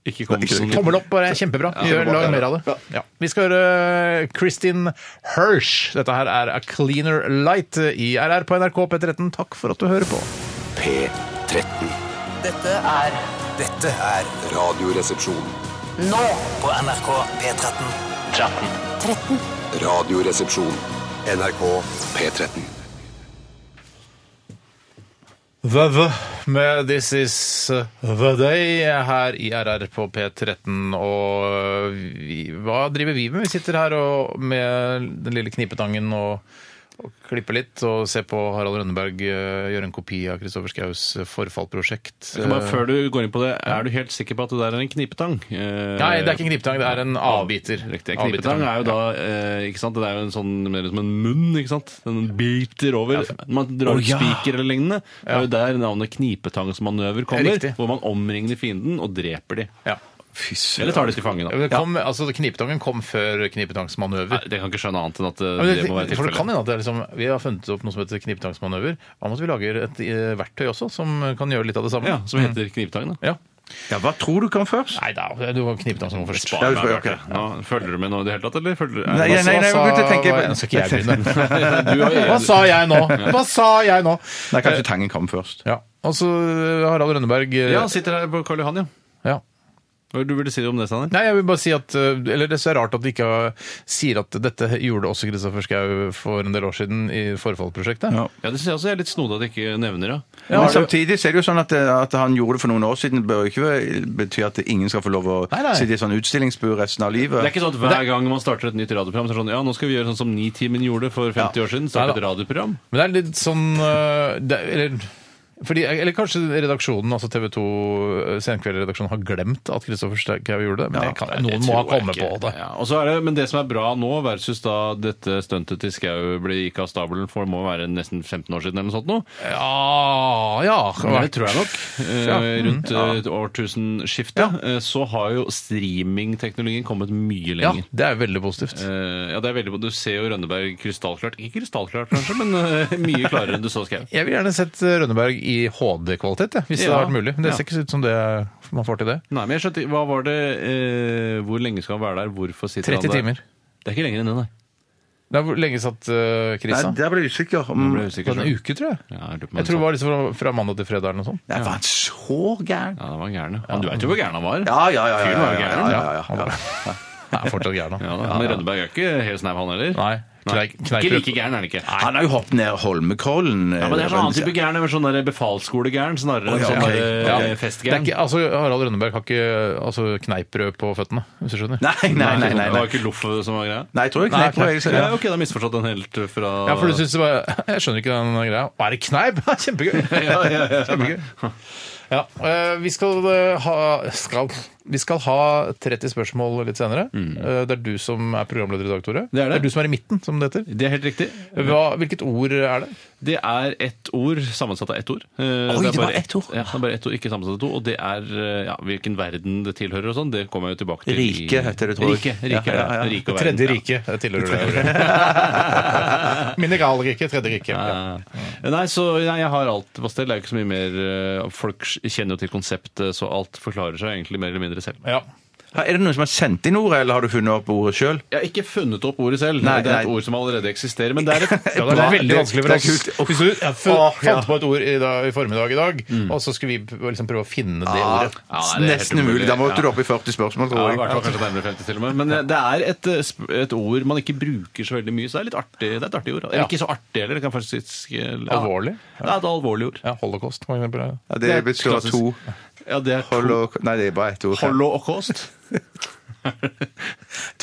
[SPEAKER 3] Ikke kom sånn
[SPEAKER 1] Tommel opp, bare kjempebra. Gjør, lag mer av det. Ja. Vi skal høre Kristin Hirsch. Dette her er A Cleaner Light i RR på NRK P13. Takk for at du hører på.
[SPEAKER 6] P13.
[SPEAKER 9] Dette er
[SPEAKER 6] Dette er Radioresepsjon.
[SPEAKER 9] nå på NRK P13.
[SPEAKER 6] Radioresepsjon. NRK P13.
[SPEAKER 1] The The med This Is The Day her i RR på P13. Og vi, hva driver vi med? Vi sitter her og, med den lille knipetangen og, og klipper litt og ser på Harald Rønneberg eh, gjøre en kopi av Kristoffer Skaus forfallprosjekt.
[SPEAKER 3] Kan bare, før du går inn på det, er du helt sikker på at det der er en knipetang? Eh,
[SPEAKER 1] Nei, det er ikke en knipetang, det er en avbiter.
[SPEAKER 3] Riktig. Knipetang er jo da eh, ikke sant? Det er jo en sånn, mer som en munn, ikke sant? Den biter over. Man drar
[SPEAKER 1] Å,
[SPEAKER 3] ut
[SPEAKER 1] ja.
[SPEAKER 3] spiker eller lignende. Det er jo der navnet knipetangsmanøver kommer,
[SPEAKER 1] Riktig.
[SPEAKER 3] hvor man omringer fienden og dreper de.
[SPEAKER 1] Ja.
[SPEAKER 2] Fy søren.
[SPEAKER 3] Eller tar de til fange,
[SPEAKER 1] Ja,
[SPEAKER 3] da.
[SPEAKER 1] men det Kom, altså, knipetangen kom før knipetangsmanøver.
[SPEAKER 3] Nei, det kan ikke skjønne annet enn at eh,
[SPEAKER 1] Ja, men
[SPEAKER 3] det må være
[SPEAKER 1] det, for det kan
[SPEAKER 3] tilfellet.
[SPEAKER 1] hende at det er liksom, vi har funnet opp noe som heter knipetangsmanøver. Hva om at vi lager et eh, verktøy også, som kan gjøre litt av det samme?
[SPEAKER 3] Ja, som heter knipetang, da.
[SPEAKER 1] Ja.
[SPEAKER 2] Ja, hva tror du kom først?
[SPEAKER 1] Nei da, du var knipetang som kom først.
[SPEAKER 3] Spar
[SPEAKER 2] Ja,
[SPEAKER 3] meg,
[SPEAKER 2] vi får-
[SPEAKER 3] Bjarte.
[SPEAKER 2] ok.
[SPEAKER 3] Nå, Følger du med nå i det hele tatt, eller? Følger, er,
[SPEAKER 2] Nei,
[SPEAKER 1] Hva
[SPEAKER 2] nei,
[SPEAKER 1] sa-
[SPEAKER 2] nei, jeg
[SPEAKER 1] sa-
[SPEAKER 2] begynte å tenke på-
[SPEAKER 1] hva- Nå skal ikke jeg begynne.
[SPEAKER 3] du og jeg-
[SPEAKER 1] Hva sa jeg nå? Hva sa jeg nå?
[SPEAKER 2] Nei, kanskje Tangen kom først.
[SPEAKER 1] Ja. Altså, Harald Rønneberg eh,
[SPEAKER 3] Ja, han sitter her på Karl Johan, ja.
[SPEAKER 1] ja.
[SPEAKER 3] Hva er det du ville si om det, Steinar?
[SPEAKER 1] Nei, jeg vil bare si at eh, Eller det er så rart at de ikke har- sier at dette gjorde også Kristoffer Schou for en del år siden i Forfallprosjektet.
[SPEAKER 2] Ja.
[SPEAKER 3] Ja, det synes jeg også er litt snodig at de ikke nevner det.
[SPEAKER 1] Ja,
[SPEAKER 2] Men
[SPEAKER 1] har du-
[SPEAKER 2] samtidig så er det jo sånn at, at han gjorde det for noen år siden, bør jo ikke bety at ingen skal få lov å
[SPEAKER 1] Nei, nei.
[SPEAKER 2] sitte i sånn utstillingsbur resten av livet.
[SPEAKER 3] Det er ikke sånn at hver gang man starter et nytt radioprogram, så er det sånn Ja, nå skal vi gjøre sånn som Nitimen gjorde for 50 år siden. Starte
[SPEAKER 1] Nei
[SPEAKER 3] et radioprogram.
[SPEAKER 1] Men det er litt sånn øh, det, er- eller, fordi, eller kanskje redaksjonen, altså TV 2 Senkveldredaksjonen, har glemt at Kristoffer Schou gjorde det. Men jeg kan, noen må ha
[SPEAKER 3] tror jeg
[SPEAKER 1] kommet på
[SPEAKER 3] ikke.
[SPEAKER 1] det.
[SPEAKER 3] Ja, og så er det, men det som er bra nå, versus da dette stuntet til Skau ble gikk av stabelen for det må være nesten 15 år siden eller noe sånt nå.
[SPEAKER 1] Ja, ja. Mm.
[SPEAKER 3] Men det tror jeg nok. Eh, Rundt eh, årtusenskiftet eh, så har jo streamingteknologien kommet mye
[SPEAKER 1] ja,
[SPEAKER 3] lenger.
[SPEAKER 1] det er veldig positivt.
[SPEAKER 3] Eh, ja, det er veldig Du ser jo Rønneberg krystallklart. Ikke krystallklart, kanskje, men eh, mye klarere enn du så Skau.
[SPEAKER 1] Jeg ville gjerne sett eh, Rønneberg i HD-kvalitet, jeg, hvis det
[SPEAKER 3] Ja.
[SPEAKER 1] hadde vært mulig. Men det
[SPEAKER 3] Ja.
[SPEAKER 1] ser ikke ut som det man får til det.
[SPEAKER 3] Nei, men jeg skjønte Hva var det eh, Hvor lenge skal han være der? Hvorfor sitter
[SPEAKER 1] 30
[SPEAKER 3] han der?
[SPEAKER 1] timer.
[SPEAKER 3] Det er ikke lenger enn det, nei.
[SPEAKER 1] Det er hvor lenge satt uh, Chris,
[SPEAKER 2] Nei,
[SPEAKER 1] da?
[SPEAKER 2] der ble jeg usikker.
[SPEAKER 3] Nå
[SPEAKER 2] Om...
[SPEAKER 3] ble jeg
[SPEAKER 1] Det
[SPEAKER 3] usikker
[SPEAKER 1] var en
[SPEAKER 3] selv.
[SPEAKER 1] uke, tror jeg.
[SPEAKER 3] Ja, jeg lurer på om
[SPEAKER 1] Jeg
[SPEAKER 3] han
[SPEAKER 1] tror det
[SPEAKER 3] sa-
[SPEAKER 1] var liksom fra, fra mandag til fredag eller noe sånt.
[SPEAKER 2] Nei, var han så gæren?
[SPEAKER 3] Ja, han var gæren, ja. Han- Du vet jo hvor gæren han var?
[SPEAKER 2] Ja, ja, ja. ja,
[SPEAKER 3] Fyren
[SPEAKER 2] ja,
[SPEAKER 3] var jo
[SPEAKER 2] ja,
[SPEAKER 3] gæren.
[SPEAKER 2] ja, ja,
[SPEAKER 1] Han
[SPEAKER 2] ja,
[SPEAKER 1] er, han er fortsatt gæren,
[SPEAKER 3] Ja,
[SPEAKER 1] da.
[SPEAKER 3] da. Men Rønneberg er ikke helt snau, han heller.
[SPEAKER 1] Nei. Kneik, kneik,
[SPEAKER 3] Ikke like gæren er han ikke.
[SPEAKER 2] Han har jo hoppet ned Holmenkollen. eh,
[SPEAKER 3] Ja, men det er sånn annen type gæren, men sånn der befalsskolegæren snarere enn
[SPEAKER 2] ja,
[SPEAKER 3] sånn
[SPEAKER 2] ok.
[SPEAKER 3] der
[SPEAKER 1] Ja.
[SPEAKER 3] eh,
[SPEAKER 1] Det er
[SPEAKER 3] festgæren.
[SPEAKER 1] ikke, altså, Harald Rønneberg har ikke altså, kneippbrød på føttene, hvis du skjønner.
[SPEAKER 2] Nei, nei, nei. nei,
[SPEAKER 3] Det
[SPEAKER 2] nei.
[SPEAKER 3] var ikke loff som var greia?
[SPEAKER 2] Nei, jeg tror jeg knep
[SPEAKER 3] Ja,
[SPEAKER 2] på det.
[SPEAKER 3] ok, da har jeg misforstått den helt fra
[SPEAKER 1] Ja, for du synes det var, Jeg skjønner ikke den greia. Er det kneip? Kjempegøy! Kjempegøy. Ja, eh, vi, skal eh, ha, skal, vi skal ha 30 spørsmål litt senere. Eh, Det er du som er programleder i dag, Tore.
[SPEAKER 3] Mm. Det er det.
[SPEAKER 1] du som er i midten, som det heter.
[SPEAKER 3] Det er helt riktig.
[SPEAKER 1] Hva, hvilket ord er det?
[SPEAKER 3] Det er ett ord sammensatt av ett ord. Eh,
[SPEAKER 2] Oi, det var
[SPEAKER 3] bare-
[SPEAKER 2] ett ord.
[SPEAKER 3] Ja, det er bare ett ord, ikke sammensatt av to. Og det er eh, ja, hvilken verden det tilhører og sånn. Det kommer jeg jo tilbake til. i-
[SPEAKER 2] Rike heter det, tror jeg.
[SPEAKER 3] Rike, rike,
[SPEAKER 2] Ja, ja, ja.
[SPEAKER 3] rike og
[SPEAKER 1] Det
[SPEAKER 3] verden,
[SPEAKER 1] tredje
[SPEAKER 3] ja.
[SPEAKER 1] riket det tilhører det ordet. Mineralriket, tredje riket.
[SPEAKER 3] Ja,
[SPEAKER 1] Ja.
[SPEAKER 3] ja, ja. Nei, så nei, jeg har alt på stell. Det er jo ikke så mye mer eh, Folk kjenner jo til konseptet, så alt forklarer seg egentlig mer eller mindre selv.
[SPEAKER 1] Ja.
[SPEAKER 2] Er det noen som har sendt inn ordet, eller har du funnet opp ordet sjøl?
[SPEAKER 3] Jeg har ikke funnet opp ordet selv.
[SPEAKER 2] Nei,
[SPEAKER 3] det er et
[SPEAKER 2] nei.
[SPEAKER 3] ord som allerede eksisterer. Men det er et
[SPEAKER 1] Ja, det er veldig vanskelig for
[SPEAKER 2] det
[SPEAKER 1] oss.
[SPEAKER 2] er kult.
[SPEAKER 1] Hvis du ja, fu-
[SPEAKER 2] Åh, ja.
[SPEAKER 1] fant på et ord i, dag, i formiddag i dag,
[SPEAKER 3] Mm.
[SPEAKER 1] og så skulle vi p- liksom prøve å finne det ordet
[SPEAKER 3] Ja, nei, det er helt
[SPEAKER 2] Nesten umulig. Da måtte du opp i 40 spørsmål,
[SPEAKER 3] Ja,
[SPEAKER 2] tror
[SPEAKER 3] i hvert fall
[SPEAKER 2] jeg.
[SPEAKER 3] kanskje nærmere 50 til og med. Men eh, det er et, eh, sp- et ord man ikke bruker så veldig mye, så det er litt artig. Det er et artig ord. Eller
[SPEAKER 1] Ja.
[SPEAKER 3] ikke så artig heller, det kan faktisk eh, ja.
[SPEAKER 1] Alvorlig?
[SPEAKER 3] Ja, det er et alvorlig ord.
[SPEAKER 1] Ja, holocaust, for eksempel.
[SPEAKER 2] Ja, det består av to.
[SPEAKER 3] Ja, det er
[SPEAKER 2] Holo... Nei, det er bare ett ord.
[SPEAKER 3] holocaust.
[SPEAKER 1] Det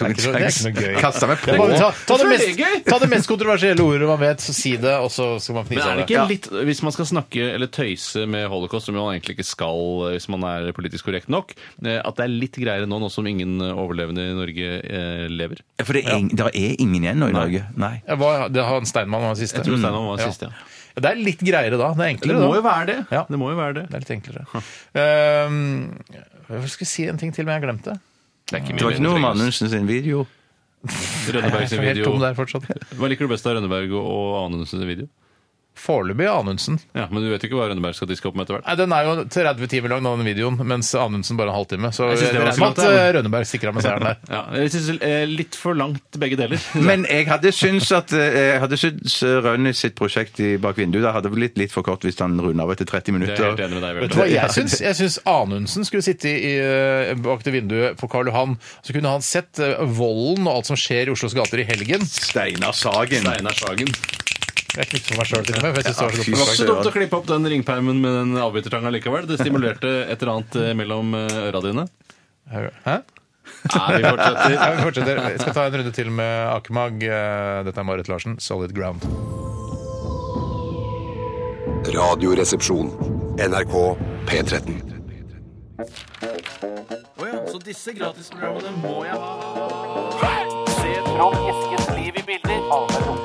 [SPEAKER 1] er ikke, så, det er ikke noe gøy.
[SPEAKER 2] Kastet meg på.
[SPEAKER 1] Det er bare, ta, ta, det
[SPEAKER 3] Hvorfor er det
[SPEAKER 1] mest,
[SPEAKER 3] gøy?
[SPEAKER 1] ta det mest kontroversielle ordet man vet, så si det, og så skal man
[SPEAKER 3] Men
[SPEAKER 1] fnise
[SPEAKER 3] er
[SPEAKER 1] av
[SPEAKER 3] det
[SPEAKER 1] det.
[SPEAKER 3] ikke litt, Hvis man skal snakke eller tøyse med holocaust, som man egentlig ikke skal eh, hvis man er politisk korrekt nok, eh, at det er litt greiere nå, nå som ingen eh, overlevende i Norge eh, lever?
[SPEAKER 2] For det er, ing- der er ingen igjen nå i Norge. Nei.
[SPEAKER 1] Ja, hva- det har Steinmann var den siste.
[SPEAKER 3] Jeg tror Steinmann var den siste, ja.
[SPEAKER 1] Det er litt greiere da. Det er
[SPEAKER 3] Det
[SPEAKER 1] enklere
[SPEAKER 3] må jo
[SPEAKER 1] Mm. da.
[SPEAKER 3] være det.
[SPEAKER 1] Ja.
[SPEAKER 3] Det må jo være
[SPEAKER 1] Det
[SPEAKER 3] det.
[SPEAKER 1] er litt enklere. Ehm, jeg skulle si en ting til, men jeg glemte det.
[SPEAKER 3] Det er ikke
[SPEAKER 2] Det var ikke noe om Anundsen sin video.
[SPEAKER 3] Rønneberg
[SPEAKER 1] Jeg
[SPEAKER 3] sin
[SPEAKER 1] er helt
[SPEAKER 3] video.
[SPEAKER 1] tom der fortsatt.
[SPEAKER 3] Hva liker du best av Rønneberg og- og Anundsen sin video?
[SPEAKER 1] Foreløpig Anundsen.
[SPEAKER 3] Ja, Men du vet jo ikke hva Rønneberg skal diske opp med etter hvert.
[SPEAKER 1] Nei, Den er jo 30 timer lang, den videoen, mens Anundsen bare en halvtime. Så
[SPEAKER 3] Jeg synes
[SPEAKER 1] jeg
[SPEAKER 3] det var
[SPEAKER 1] regner
[SPEAKER 3] så
[SPEAKER 1] med
[SPEAKER 3] godt,
[SPEAKER 1] at eh,
[SPEAKER 3] ja.
[SPEAKER 1] Rønneberg stikker av med seieren der.
[SPEAKER 3] Ja, jeg synes eh, Litt for langt, begge deler.
[SPEAKER 2] Men jeg hadde syntes at eh, jeg hadde syntes Rønne sitt prosjekt i bak vinduet da hadde blitt litt for kort hvis han runda av etter 30
[SPEAKER 3] Det er jeg helt
[SPEAKER 2] minutter.
[SPEAKER 3] enig med deg
[SPEAKER 1] Vet du hva
[SPEAKER 3] Bjørn.
[SPEAKER 1] jeg syns? Jeg syns Anundsen skulle sitte i, eh, bak det vinduet på Karl Johan. Så kunne han sett eh, volden og alt som skjer i Oslos gater i helgen.
[SPEAKER 2] Steinar Sagen.
[SPEAKER 3] Steinar Sagen.
[SPEAKER 1] Jeg knipser meg sjøl til og med. for jeg synes det var
[SPEAKER 2] Ja,
[SPEAKER 1] så godt
[SPEAKER 2] fy
[SPEAKER 3] Det var
[SPEAKER 1] forslag.
[SPEAKER 3] ikke så dumt å klippe opp den ringpermen med den avbitertanga likevel. Det stimulerte et eller annet eh, mellom eh, øra dine.
[SPEAKER 1] Hæ?
[SPEAKER 3] Nei, vi fortsetter.
[SPEAKER 1] Ja, vi fortsetter. Jeg skal ta en runde til med Akemag. Eh, Dette er Marit Larsen, 'Solid Ground'.
[SPEAKER 6] Radioresepsjon. NRK P13.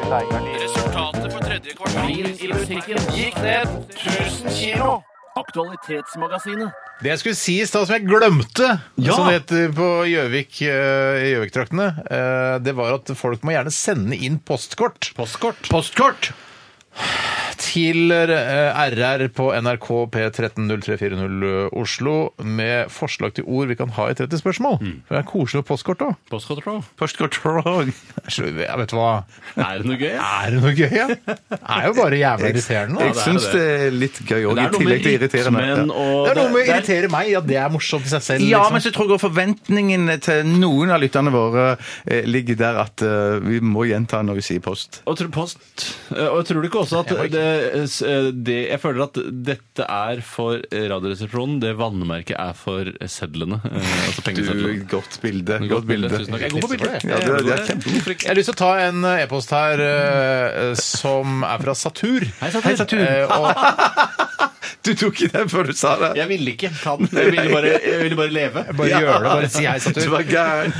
[SPEAKER 8] Resultatet for tredje kvartal i musikken gikk ned 1000 kilo. Aktualitetsmagasinet.
[SPEAKER 1] Det jeg skulle si i stad som jeg glemte, som det heter på Gjøvik, eh, i Gjøvik-traktene, eh, det var at folk må gjerne sende inn postkort. Postkort? Postkort! Til eh, RR på NRK P130340 Oslo med forslag til ord vi kan ha i 30 spørsmål. For Det er koselig med postkort òg.
[SPEAKER 3] Postkontroll.
[SPEAKER 2] Postkontroll.
[SPEAKER 1] Vet du hva?
[SPEAKER 3] Er det noe gøy?
[SPEAKER 1] Er det noe gøy? Ja? Det er jo bare jævla irriterende. da.
[SPEAKER 2] Jeg syns det er litt gøy òg, i tillegg til irriterende.
[SPEAKER 3] rytmen
[SPEAKER 2] Ja.
[SPEAKER 3] og
[SPEAKER 1] Det er noe med å
[SPEAKER 3] det er-
[SPEAKER 1] irritere meg at det er morsomt i seg selv.
[SPEAKER 2] Ja,
[SPEAKER 1] liksom.
[SPEAKER 2] men så tror jeg forventningen til noen av lytterne våre eh, ligger der at eh, vi må gjenta når vi sier post.
[SPEAKER 3] og tro- post. Eh, Og tror du ikke også at
[SPEAKER 1] Jeg var ikke-
[SPEAKER 3] det, s- eh, det Jeg føler at dette er for eh, Radioresepsjonen. Det vannmerket er for sedlene. eh, Altså
[SPEAKER 2] Du,
[SPEAKER 3] pengesedlene.
[SPEAKER 2] godt bilde.
[SPEAKER 3] Godt
[SPEAKER 2] Godt
[SPEAKER 3] bilde,
[SPEAKER 2] bilde.
[SPEAKER 3] tusen takk. Jeg er god på bilder.
[SPEAKER 2] Ja, det er, det er kjempegod.
[SPEAKER 1] Jeg har lyst til å ta en eh, e-post her eh, som er fra Satur. Hei,
[SPEAKER 3] Satur.
[SPEAKER 1] Eh, og
[SPEAKER 2] Du tok ikke den før du sa det.
[SPEAKER 3] Jeg ville ikke ta den. Jeg ville bare, jeg ville bare leve.
[SPEAKER 1] bare gjør det, bare si hei,
[SPEAKER 2] Du
[SPEAKER 1] Satur.
[SPEAKER 2] var gæren.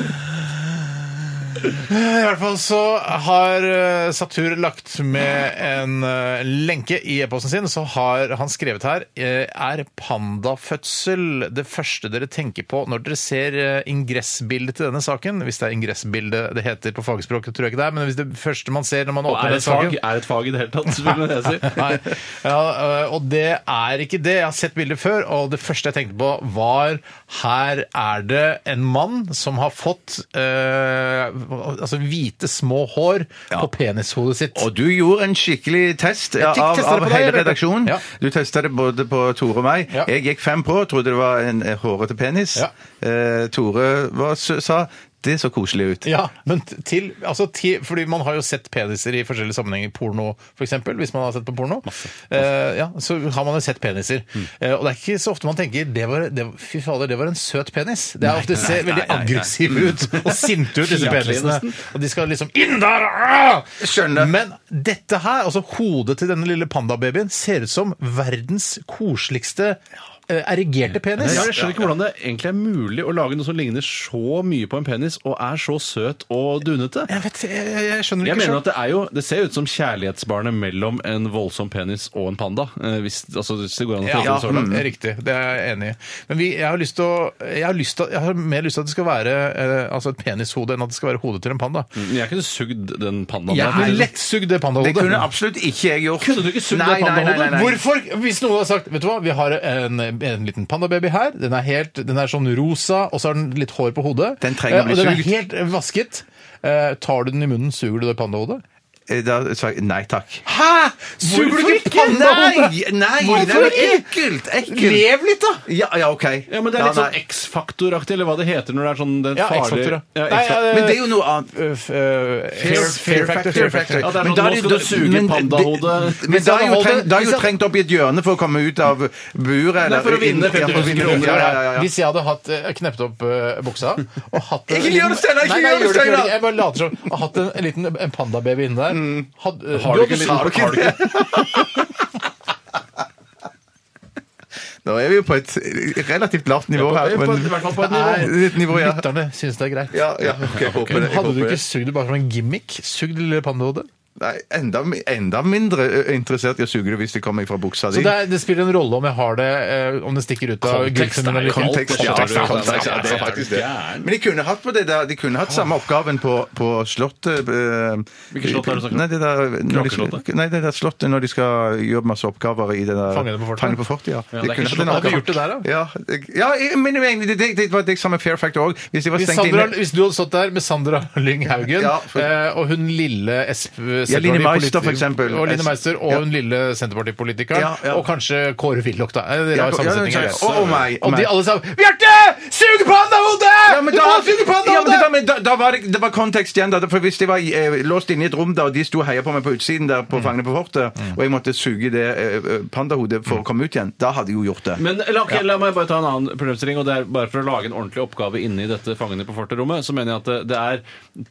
[SPEAKER 1] I hvert fall så har eh, Satur lagt med en eh, lenke i e-posten sin, så har han skrevet her eh, Er pandafødsel det første dere tenker på når dere ser eh, ingressbildet til denne saken? Hvis det er ingressbildet det heter på fagspråket, tror jeg ikke det er, men hvis det første man ser når
[SPEAKER 3] Er
[SPEAKER 1] man
[SPEAKER 3] det,
[SPEAKER 1] åpner
[SPEAKER 3] et
[SPEAKER 1] den saken
[SPEAKER 3] fag, er det et fag i det hele tatt? vil jeg si.
[SPEAKER 1] Nei. Ja, øh, og det er ikke det. Jeg har sett bilder før, og det første jeg tenkte på var her er det en mann som har fått øh, altså hvite små hår på penishodet sitt.
[SPEAKER 2] Og du gjorde en skikkelig test ja,
[SPEAKER 1] tok-
[SPEAKER 2] av,
[SPEAKER 1] testet det
[SPEAKER 2] av
[SPEAKER 1] på deg,
[SPEAKER 2] hele
[SPEAKER 1] Bjarte.
[SPEAKER 2] redaksjonen.
[SPEAKER 1] Ja.
[SPEAKER 2] Du testa det både på Tore og meg.
[SPEAKER 1] Ja.
[SPEAKER 2] Jeg gikk fem på, trodde det var en eh, hårete penis.
[SPEAKER 1] Ja.
[SPEAKER 2] Eh, Tore var, s- sa det så koselig ut.
[SPEAKER 1] Ja, men t- til, altså til Fordi man har jo sett peniser i forskjellige sammenhenger. Porno, f.eks. Hvis man har sett på porno. Eh, ja, så har man jo sett peniser.
[SPEAKER 3] Mm.
[SPEAKER 1] Eh, og det er ikke så ofte man tenker det var, det, Fy fader, det var en søt penis. Det er ofte ser veldig aggressive ut og sinte ut, disse
[SPEAKER 3] Fiatlig
[SPEAKER 1] penisene.
[SPEAKER 3] nesten.
[SPEAKER 1] Og de skal liksom inn der! ah!
[SPEAKER 2] Skjønner.
[SPEAKER 1] Men dette her, altså hodet til denne lille pandababyen, ser ut som verdens koseligste eh, erigerte penis.
[SPEAKER 3] Ja, jeg skjønner ikke hvordan det egentlig er mulig å lage noe som ligner så mye på en penis, og er så søt og dunete.
[SPEAKER 1] Jeg vet, jeg, jeg- jeg skjønner
[SPEAKER 3] Jeg
[SPEAKER 1] ikke
[SPEAKER 3] mener
[SPEAKER 1] selv.
[SPEAKER 3] at Det er jo, det ser ut som kjærlighetsbarnet mellom en voldsom penis og en panda. eh, Hvis, altså, hvis det går an å
[SPEAKER 1] Ja,
[SPEAKER 3] tolke det så langt.
[SPEAKER 2] Mm.
[SPEAKER 1] det er riktig. Det er jeg enig i. Men vi, jeg, har lyst til å, jeg, har lyst til, jeg har mer lyst til at det skal være eh, altså et penishode enn at det skal være hodet til en panda.
[SPEAKER 3] Men Jeg kunne sugd den pandaen.
[SPEAKER 1] Jeg
[SPEAKER 3] der.
[SPEAKER 1] har lettsugd det
[SPEAKER 2] Det
[SPEAKER 1] pandahodet.
[SPEAKER 2] kunne absolutt ikke jeg gjort.
[SPEAKER 3] Kunne du ikke sugd
[SPEAKER 2] Nei,
[SPEAKER 3] det
[SPEAKER 2] nei, nei,
[SPEAKER 3] pandahodet?
[SPEAKER 2] nei, nei.
[SPEAKER 1] Hvorfor? Hvis noen har sagt Vet du hva, vi har en, en liten pandababy her. Den er, helt, den er sånn rosa, og så har den litt hår på hodet.
[SPEAKER 2] Den trenger å
[SPEAKER 1] Eh,
[SPEAKER 2] bli
[SPEAKER 1] og den er
[SPEAKER 2] sugd.
[SPEAKER 1] helt eh, vasket. Eh, tar du den i munnen, suger du det pandahodet?
[SPEAKER 2] eh, Da sa jeg nei takk.
[SPEAKER 1] Hæ?! Suger du ikke panna?
[SPEAKER 2] Nei! nei
[SPEAKER 1] Hvorfor
[SPEAKER 2] det er
[SPEAKER 1] ikke?
[SPEAKER 2] Ekkelt! ekkelt.
[SPEAKER 1] Lev litt, da!
[SPEAKER 2] Ja, ja, OK.
[SPEAKER 3] Ja, men Det er litt
[SPEAKER 2] Ja,
[SPEAKER 3] sånn
[SPEAKER 2] nei.
[SPEAKER 3] X-faktor-aktig, eller hva det heter når det er sånn den
[SPEAKER 1] Ja,
[SPEAKER 3] farlige
[SPEAKER 1] X-faktor, ja.
[SPEAKER 3] ja.
[SPEAKER 1] Nei,
[SPEAKER 3] X-faktor.
[SPEAKER 1] ja,
[SPEAKER 2] Men det er jo noe annet.
[SPEAKER 1] Uh, f- uh, Fear fear factor. fear factor.
[SPEAKER 3] Ja, det er
[SPEAKER 2] Men
[SPEAKER 3] sånn,
[SPEAKER 2] da
[SPEAKER 3] nå
[SPEAKER 2] er
[SPEAKER 3] skal
[SPEAKER 2] jo-
[SPEAKER 3] du suge
[SPEAKER 2] men-
[SPEAKER 3] pandahodet.
[SPEAKER 2] det- Men
[SPEAKER 3] Hvis
[SPEAKER 2] da
[SPEAKER 3] jeg
[SPEAKER 2] er jo
[SPEAKER 3] holder-
[SPEAKER 2] trengt, da er
[SPEAKER 3] hvis
[SPEAKER 2] jo
[SPEAKER 3] jeg-
[SPEAKER 2] trengt opp i et hjørne for å komme ut av buret. eller-
[SPEAKER 3] for å vinne
[SPEAKER 2] Ja, for
[SPEAKER 3] 50 000
[SPEAKER 2] å vinne-
[SPEAKER 3] kroner.
[SPEAKER 2] Ja, ja, ja, ja.
[SPEAKER 1] Hvis jeg hadde hatt, eh, knept opp eh, buksa og hatt
[SPEAKER 2] Ikke gjør det, Steinar, ikke
[SPEAKER 1] Nei, nei,
[SPEAKER 2] gjør det,
[SPEAKER 1] ikke,
[SPEAKER 2] Steinar.
[SPEAKER 1] ikke. Jeg bare later som. Og Hatt en, en liten en pandababy inni der.
[SPEAKER 2] Mm.
[SPEAKER 1] Had, eh,
[SPEAKER 3] Har du ikke
[SPEAKER 1] hadde-
[SPEAKER 3] liten-
[SPEAKER 1] Har du ikke-
[SPEAKER 2] Nå er vi jo på et relativt lavt nivå her.
[SPEAKER 1] på-
[SPEAKER 2] men-
[SPEAKER 1] i hvert fall på et
[SPEAKER 2] Nei, et nivå, ja.
[SPEAKER 1] Lytterne syns det er greit.
[SPEAKER 2] Ja, ja, ok, jeg håper det.
[SPEAKER 1] Men
[SPEAKER 2] jeg
[SPEAKER 1] hadde du
[SPEAKER 2] håper
[SPEAKER 1] ikke
[SPEAKER 2] det.
[SPEAKER 1] sugd det bare som en gimmick? Sugd lille pandahodet?
[SPEAKER 2] Nei, enda, mi- enda mindre ø, interessert i å suge det hvis det kommer fra buksa di.
[SPEAKER 1] Så det, er, det spiller en rolle om jeg har det, eh, om det stikker ut av
[SPEAKER 3] Kontekst er
[SPEAKER 1] gulfen min eller
[SPEAKER 3] jo
[SPEAKER 1] ikke.
[SPEAKER 2] Kontekst, ja,
[SPEAKER 3] Kontekst,
[SPEAKER 2] ja,
[SPEAKER 3] ja,
[SPEAKER 2] kontekst, ja, det er faktisk det. Men de kunne hatt på det der, de kunne hatt samme oppgaven på, på slottet. Hvilket
[SPEAKER 3] Hvilket slott er det du snakker om?
[SPEAKER 2] Nei, det der, når de,
[SPEAKER 3] Krakeslottet?
[SPEAKER 2] skal- nei, det der slottet når de skal gjøre masse oppgaver i det der
[SPEAKER 1] Fangene på fortet?
[SPEAKER 2] Fangene på fortet, ja.
[SPEAKER 3] Ja, det
[SPEAKER 2] De
[SPEAKER 3] er
[SPEAKER 2] kunne
[SPEAKER 3] ikke
[SPEAKER 2] hatt en
[SPEAKER 3] slottet.
[SPEAKER 1] Hadde
[SPEAKER 2] oppgave.
[SPEAKER 1] du gjort det der, da?
[SPEAKER 2] Ja, jeg- ja jeg- men jeg mener, det, det, det var det samme Fair Factor òg. Hvis de var
[SPEAKER 1] Hvis,
[SPEAKER 2] stengt
[SPEAKER 1] Sandra,
[SPEAKER 2] inne
[SPEAKER 1] hvis du hadde stått der med Sandra Lyng Haugen
[SPEAKER 2] Ja, for-
[SPEAKER 1] eh, og hun lille Esp... Senterparti-
[SPEAKER 2] Line Meister, for
[SPEAKER 1] politi-
[SPEAKER 2] eksempel.
[SPEAKER 1] Og Line Meister og
[SPEAKER 2] Ja.
[SPEAKER 1] hun lille Senterpartipolitikeren.
[SPEAKER 2] Ja, ja.
[SPEAKER 1] Og kanskje Kåre Willoch, da. Eh, Det
[SPEAKER 2] Ja,
[SPEAKER 1] er
[SPEAKER 2] ja,
[SPEAKER 1] sammensetning
[SPEAKER 2] ja, og- og meg, og
[SPEAKER 1] Og de
[SPEAKER 2] meg.
[SPEAKER 1] alle sa Bjarte! Sug pandahodet!
[SPEAKER 2] Ja, men
[SPEAKER 1] Du
[SPEAKER 2] da,
[SPEAKER 1] må suge
[SPEAKER 2] ja, men det,
[SPEAKER 1] pandahodet!
[SPEAKER 2] da, men da, da var det, det var kontekst igjen, da. For hvis de var eh, låst inne i et rom da, og de sto og heia på meg på utsiden der
[SPEAKER 1] Mm.
[SPEAKER 2] på Fangene på fortet, og jeg måtte suge det eh, pandahodet
[SPEAKER 1] Mm.
[SPEAKER 2] for å komme ut igjen, da hadde jeg jo gjort det.
[SPEAKER 3] Men la, ok, la meg bare ta en annen problemstilling, og det er bare for å lage en ordentlig oppgave inni dette Fangene på fortet-rommet, så mener jeg at det, det er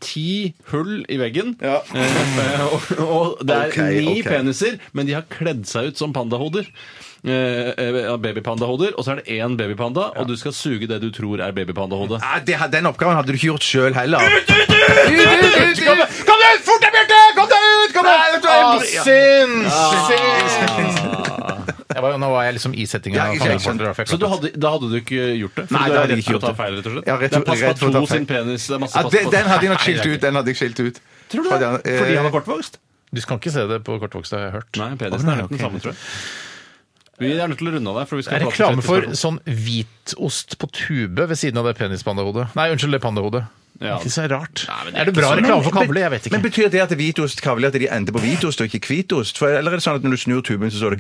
[SPEAKER 3] ti hull i veggen,
[SPEAKER 2] Ja.
[SPEAKER 3] eh, og, og det er
[SPEAKER 2] Ok,
[SPEAKER 3] ni
[SPEAKER 2] ok.
[SPEAKER 3] peniser, men de har kledd seg ut som pandahoder. Eh, eh, babypandahoder, og så er det én babypanda, og du skal suge det du tror er babypandahode.
[SPEAKER 2] Nei, det, had- den oppgaven hadde du ikke gjort sjøl heller.
[SPEAKER 1] Kom deg- Kom deg ut! Fort deg, Bjarte! Kom deg ut! Kom
[SPEAKER 2] Nei, vet du
[SPEAKER 1] deg ut!
[SPEAKER 2] hva,
[SPEAKER 1] Ah,
[SPEAKER 2] jeg-
[SPEAKER 1] Sinns! Sinns! Jeg var, nå var jeg liksom i settinga.
[SPEAKER 2] Ja,
[SPEAKER 1] av
[SPEAKER 2] ikke
[SPEAKER 1] Fangene
[SPEAKER 2] sant.
[SPEAKER 1] på fortet, da, for jeg
[SPEAKER 3] Så du
[SPEAKER 1] klarte-
[SPEAKER 3] hadde, da hadde du ikke gjort det? For
[SPEAKER 2] Nei,
[SPEAKER 3] du er
[SPEAKER 2] da hadde jeg
[SPEAKER 3] redd
[SPEAKER 2] ikke
[SPEAKER 3] for å
[SPEAKER 2] gjort
[SPEAKER 3] ta
[SPEAKER 2] det.
[SPEAKER 3] feil, rett og slett?
[SPEAKER 2] Ja, rett-
[SPEAKER 3] det er pass
[SPEAKER 2] rett for å
[SPEAKER 3] på
[SPEAKER 2] ta
[SPEAKER 3] to
[SPEAKER 2] feil.
[SPEAKER 3] sin penis. Det er masse
[SPEAKER 2] Ja,
[SPEAKER 3] pass
[SPEAKER 2] den,
[SPEAKER 3] på
[SPEAKER 2] den hadde jeg nok skilt ut. Den hadde jeg skilt ut. eh,
[SPEAKER 3] Tror du det? Fordi han er kortvokst?
[SPEAKER 1] Du skal ikke se det på kortvokst, har jeg hørt.
[SPEAKER 3] Nei, penisen er nok den samme, tror jeg. Vi er nødt til å runde av der. For vi
[SPEAKER 1] Det
[SPEAKER 3] skal
[SPEAKER 1] er
[SPEAKER 3] prate om
[SPEAKER 1] reklame for
[SPEAKER 3] fettisspørsmål.
[SPEAKER 1] sånn hvitost på tube ved siden av det penispandahodet. Nei, unnskyld, det pandahodet.
[SPEAKER 3] Ja.
[SPEAKER 1] Ikke så rart.
[SPEAKER 3] Nei, men det er
[SPEAKER 1] er det
[SPEAKER 3] ikke
[SPEAKER 1] bra
[SPEAKER 3] så-
[SPEAKER 1] reklame for kavle? Jeg vet
[SPEAKER 2] Men
[SPEAKER 1] ikke.
[SPEAKER 2] Betyr det at det er hvitost kavler at de ender på hvitost og ikke hvitost? For, eller er det sånn at når du snur tuben, så står det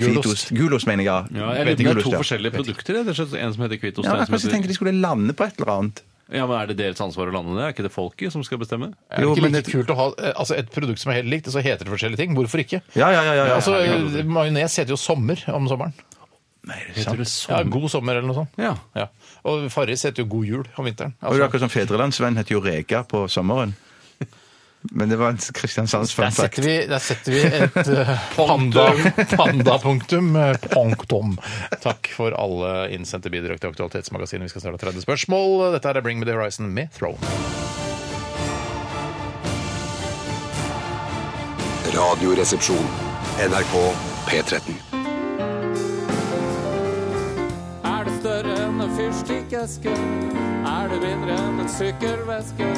[SPEAKER 2] hvitost?
[SPEAKER 1] Gulost.
[SPEAKER 2] Gulost, mener jeg.
[SPEAKER 3] Ja, jeg
[SPEAKER 2] Vet
[SPEAKER 3] vet
[SPEAKER 2] ikke,
[SPEAKER 3] ikke, Det er to
[SPEAKER 2] gulost, ja.
[SPEAKER 3] forskjellige produkter. Det er slett en som heter Kvittos.
[SPEAKER 2] Ja,
[SPEAKER 3] og en
[SPEAKER 2] men
[SPEAKER 3] som
[SPEAKER 2] Kanskje
[SPEAKER 3] heter...
[SPEAKER 2] tenkte de skulle lande på et eller annet.
[SPEAKER 3] ja, men Er det deres ansvar å lande det? Er ikke det folket som skal bestemme?
[SPEAKER 1] Er det
[SPEAKER 2] Jo,
[SPEAKER 1] ikke
[SPEAKER 2] men
[SPEAKER 1] like kult å ha eh, altså, et produkt som er helt likt, og så heter det forskjellige ting? Hvorfor ikke?
[SPEAKER 2] Ja, ja, ja, ja, ja.
[SPEAKER 1] Altså,
[SPEAKER 2] Ja,
[SPEAKER 1] eh, Majones heter jo sommer om sommeren.
[SPEAKER 3] Heter det
[SPEAKER 1] Ja,
[SPEAKER 3] sånn?
[SPEAKER 1] God sommer eller noe sånt.
[SPEAKER 3] Ja.
[SPEAKER 1] Ja. Og Farris heter jo God jul om vinteren.
[SPEAKER 2] Og det er
[SPEAKER 1] Altså,
[SPEAKER 2] akkurat som Fedrelandsvenn heter jo Reka på sommeren. Men det var en Kristiansands
[SPEAKER 1] der
[SPEAKER 2] fun fact.
[SPEAKER 1] setter, vi, der setter vi et eh, panda- panda-punktum. eh, Punktum. Takk for alle innsendte bidrag til Aktualitetsmagasinet. Vi skal snart ha 30 spørsmål. Dette er Bring Me The Horizon med Throne.
[SPEAKER 6] Radioresepsjon. NRK P13.
[SPEAKER 8] Er det større enn en fyrstikkeske? Er det mindre enn en sykkelveske?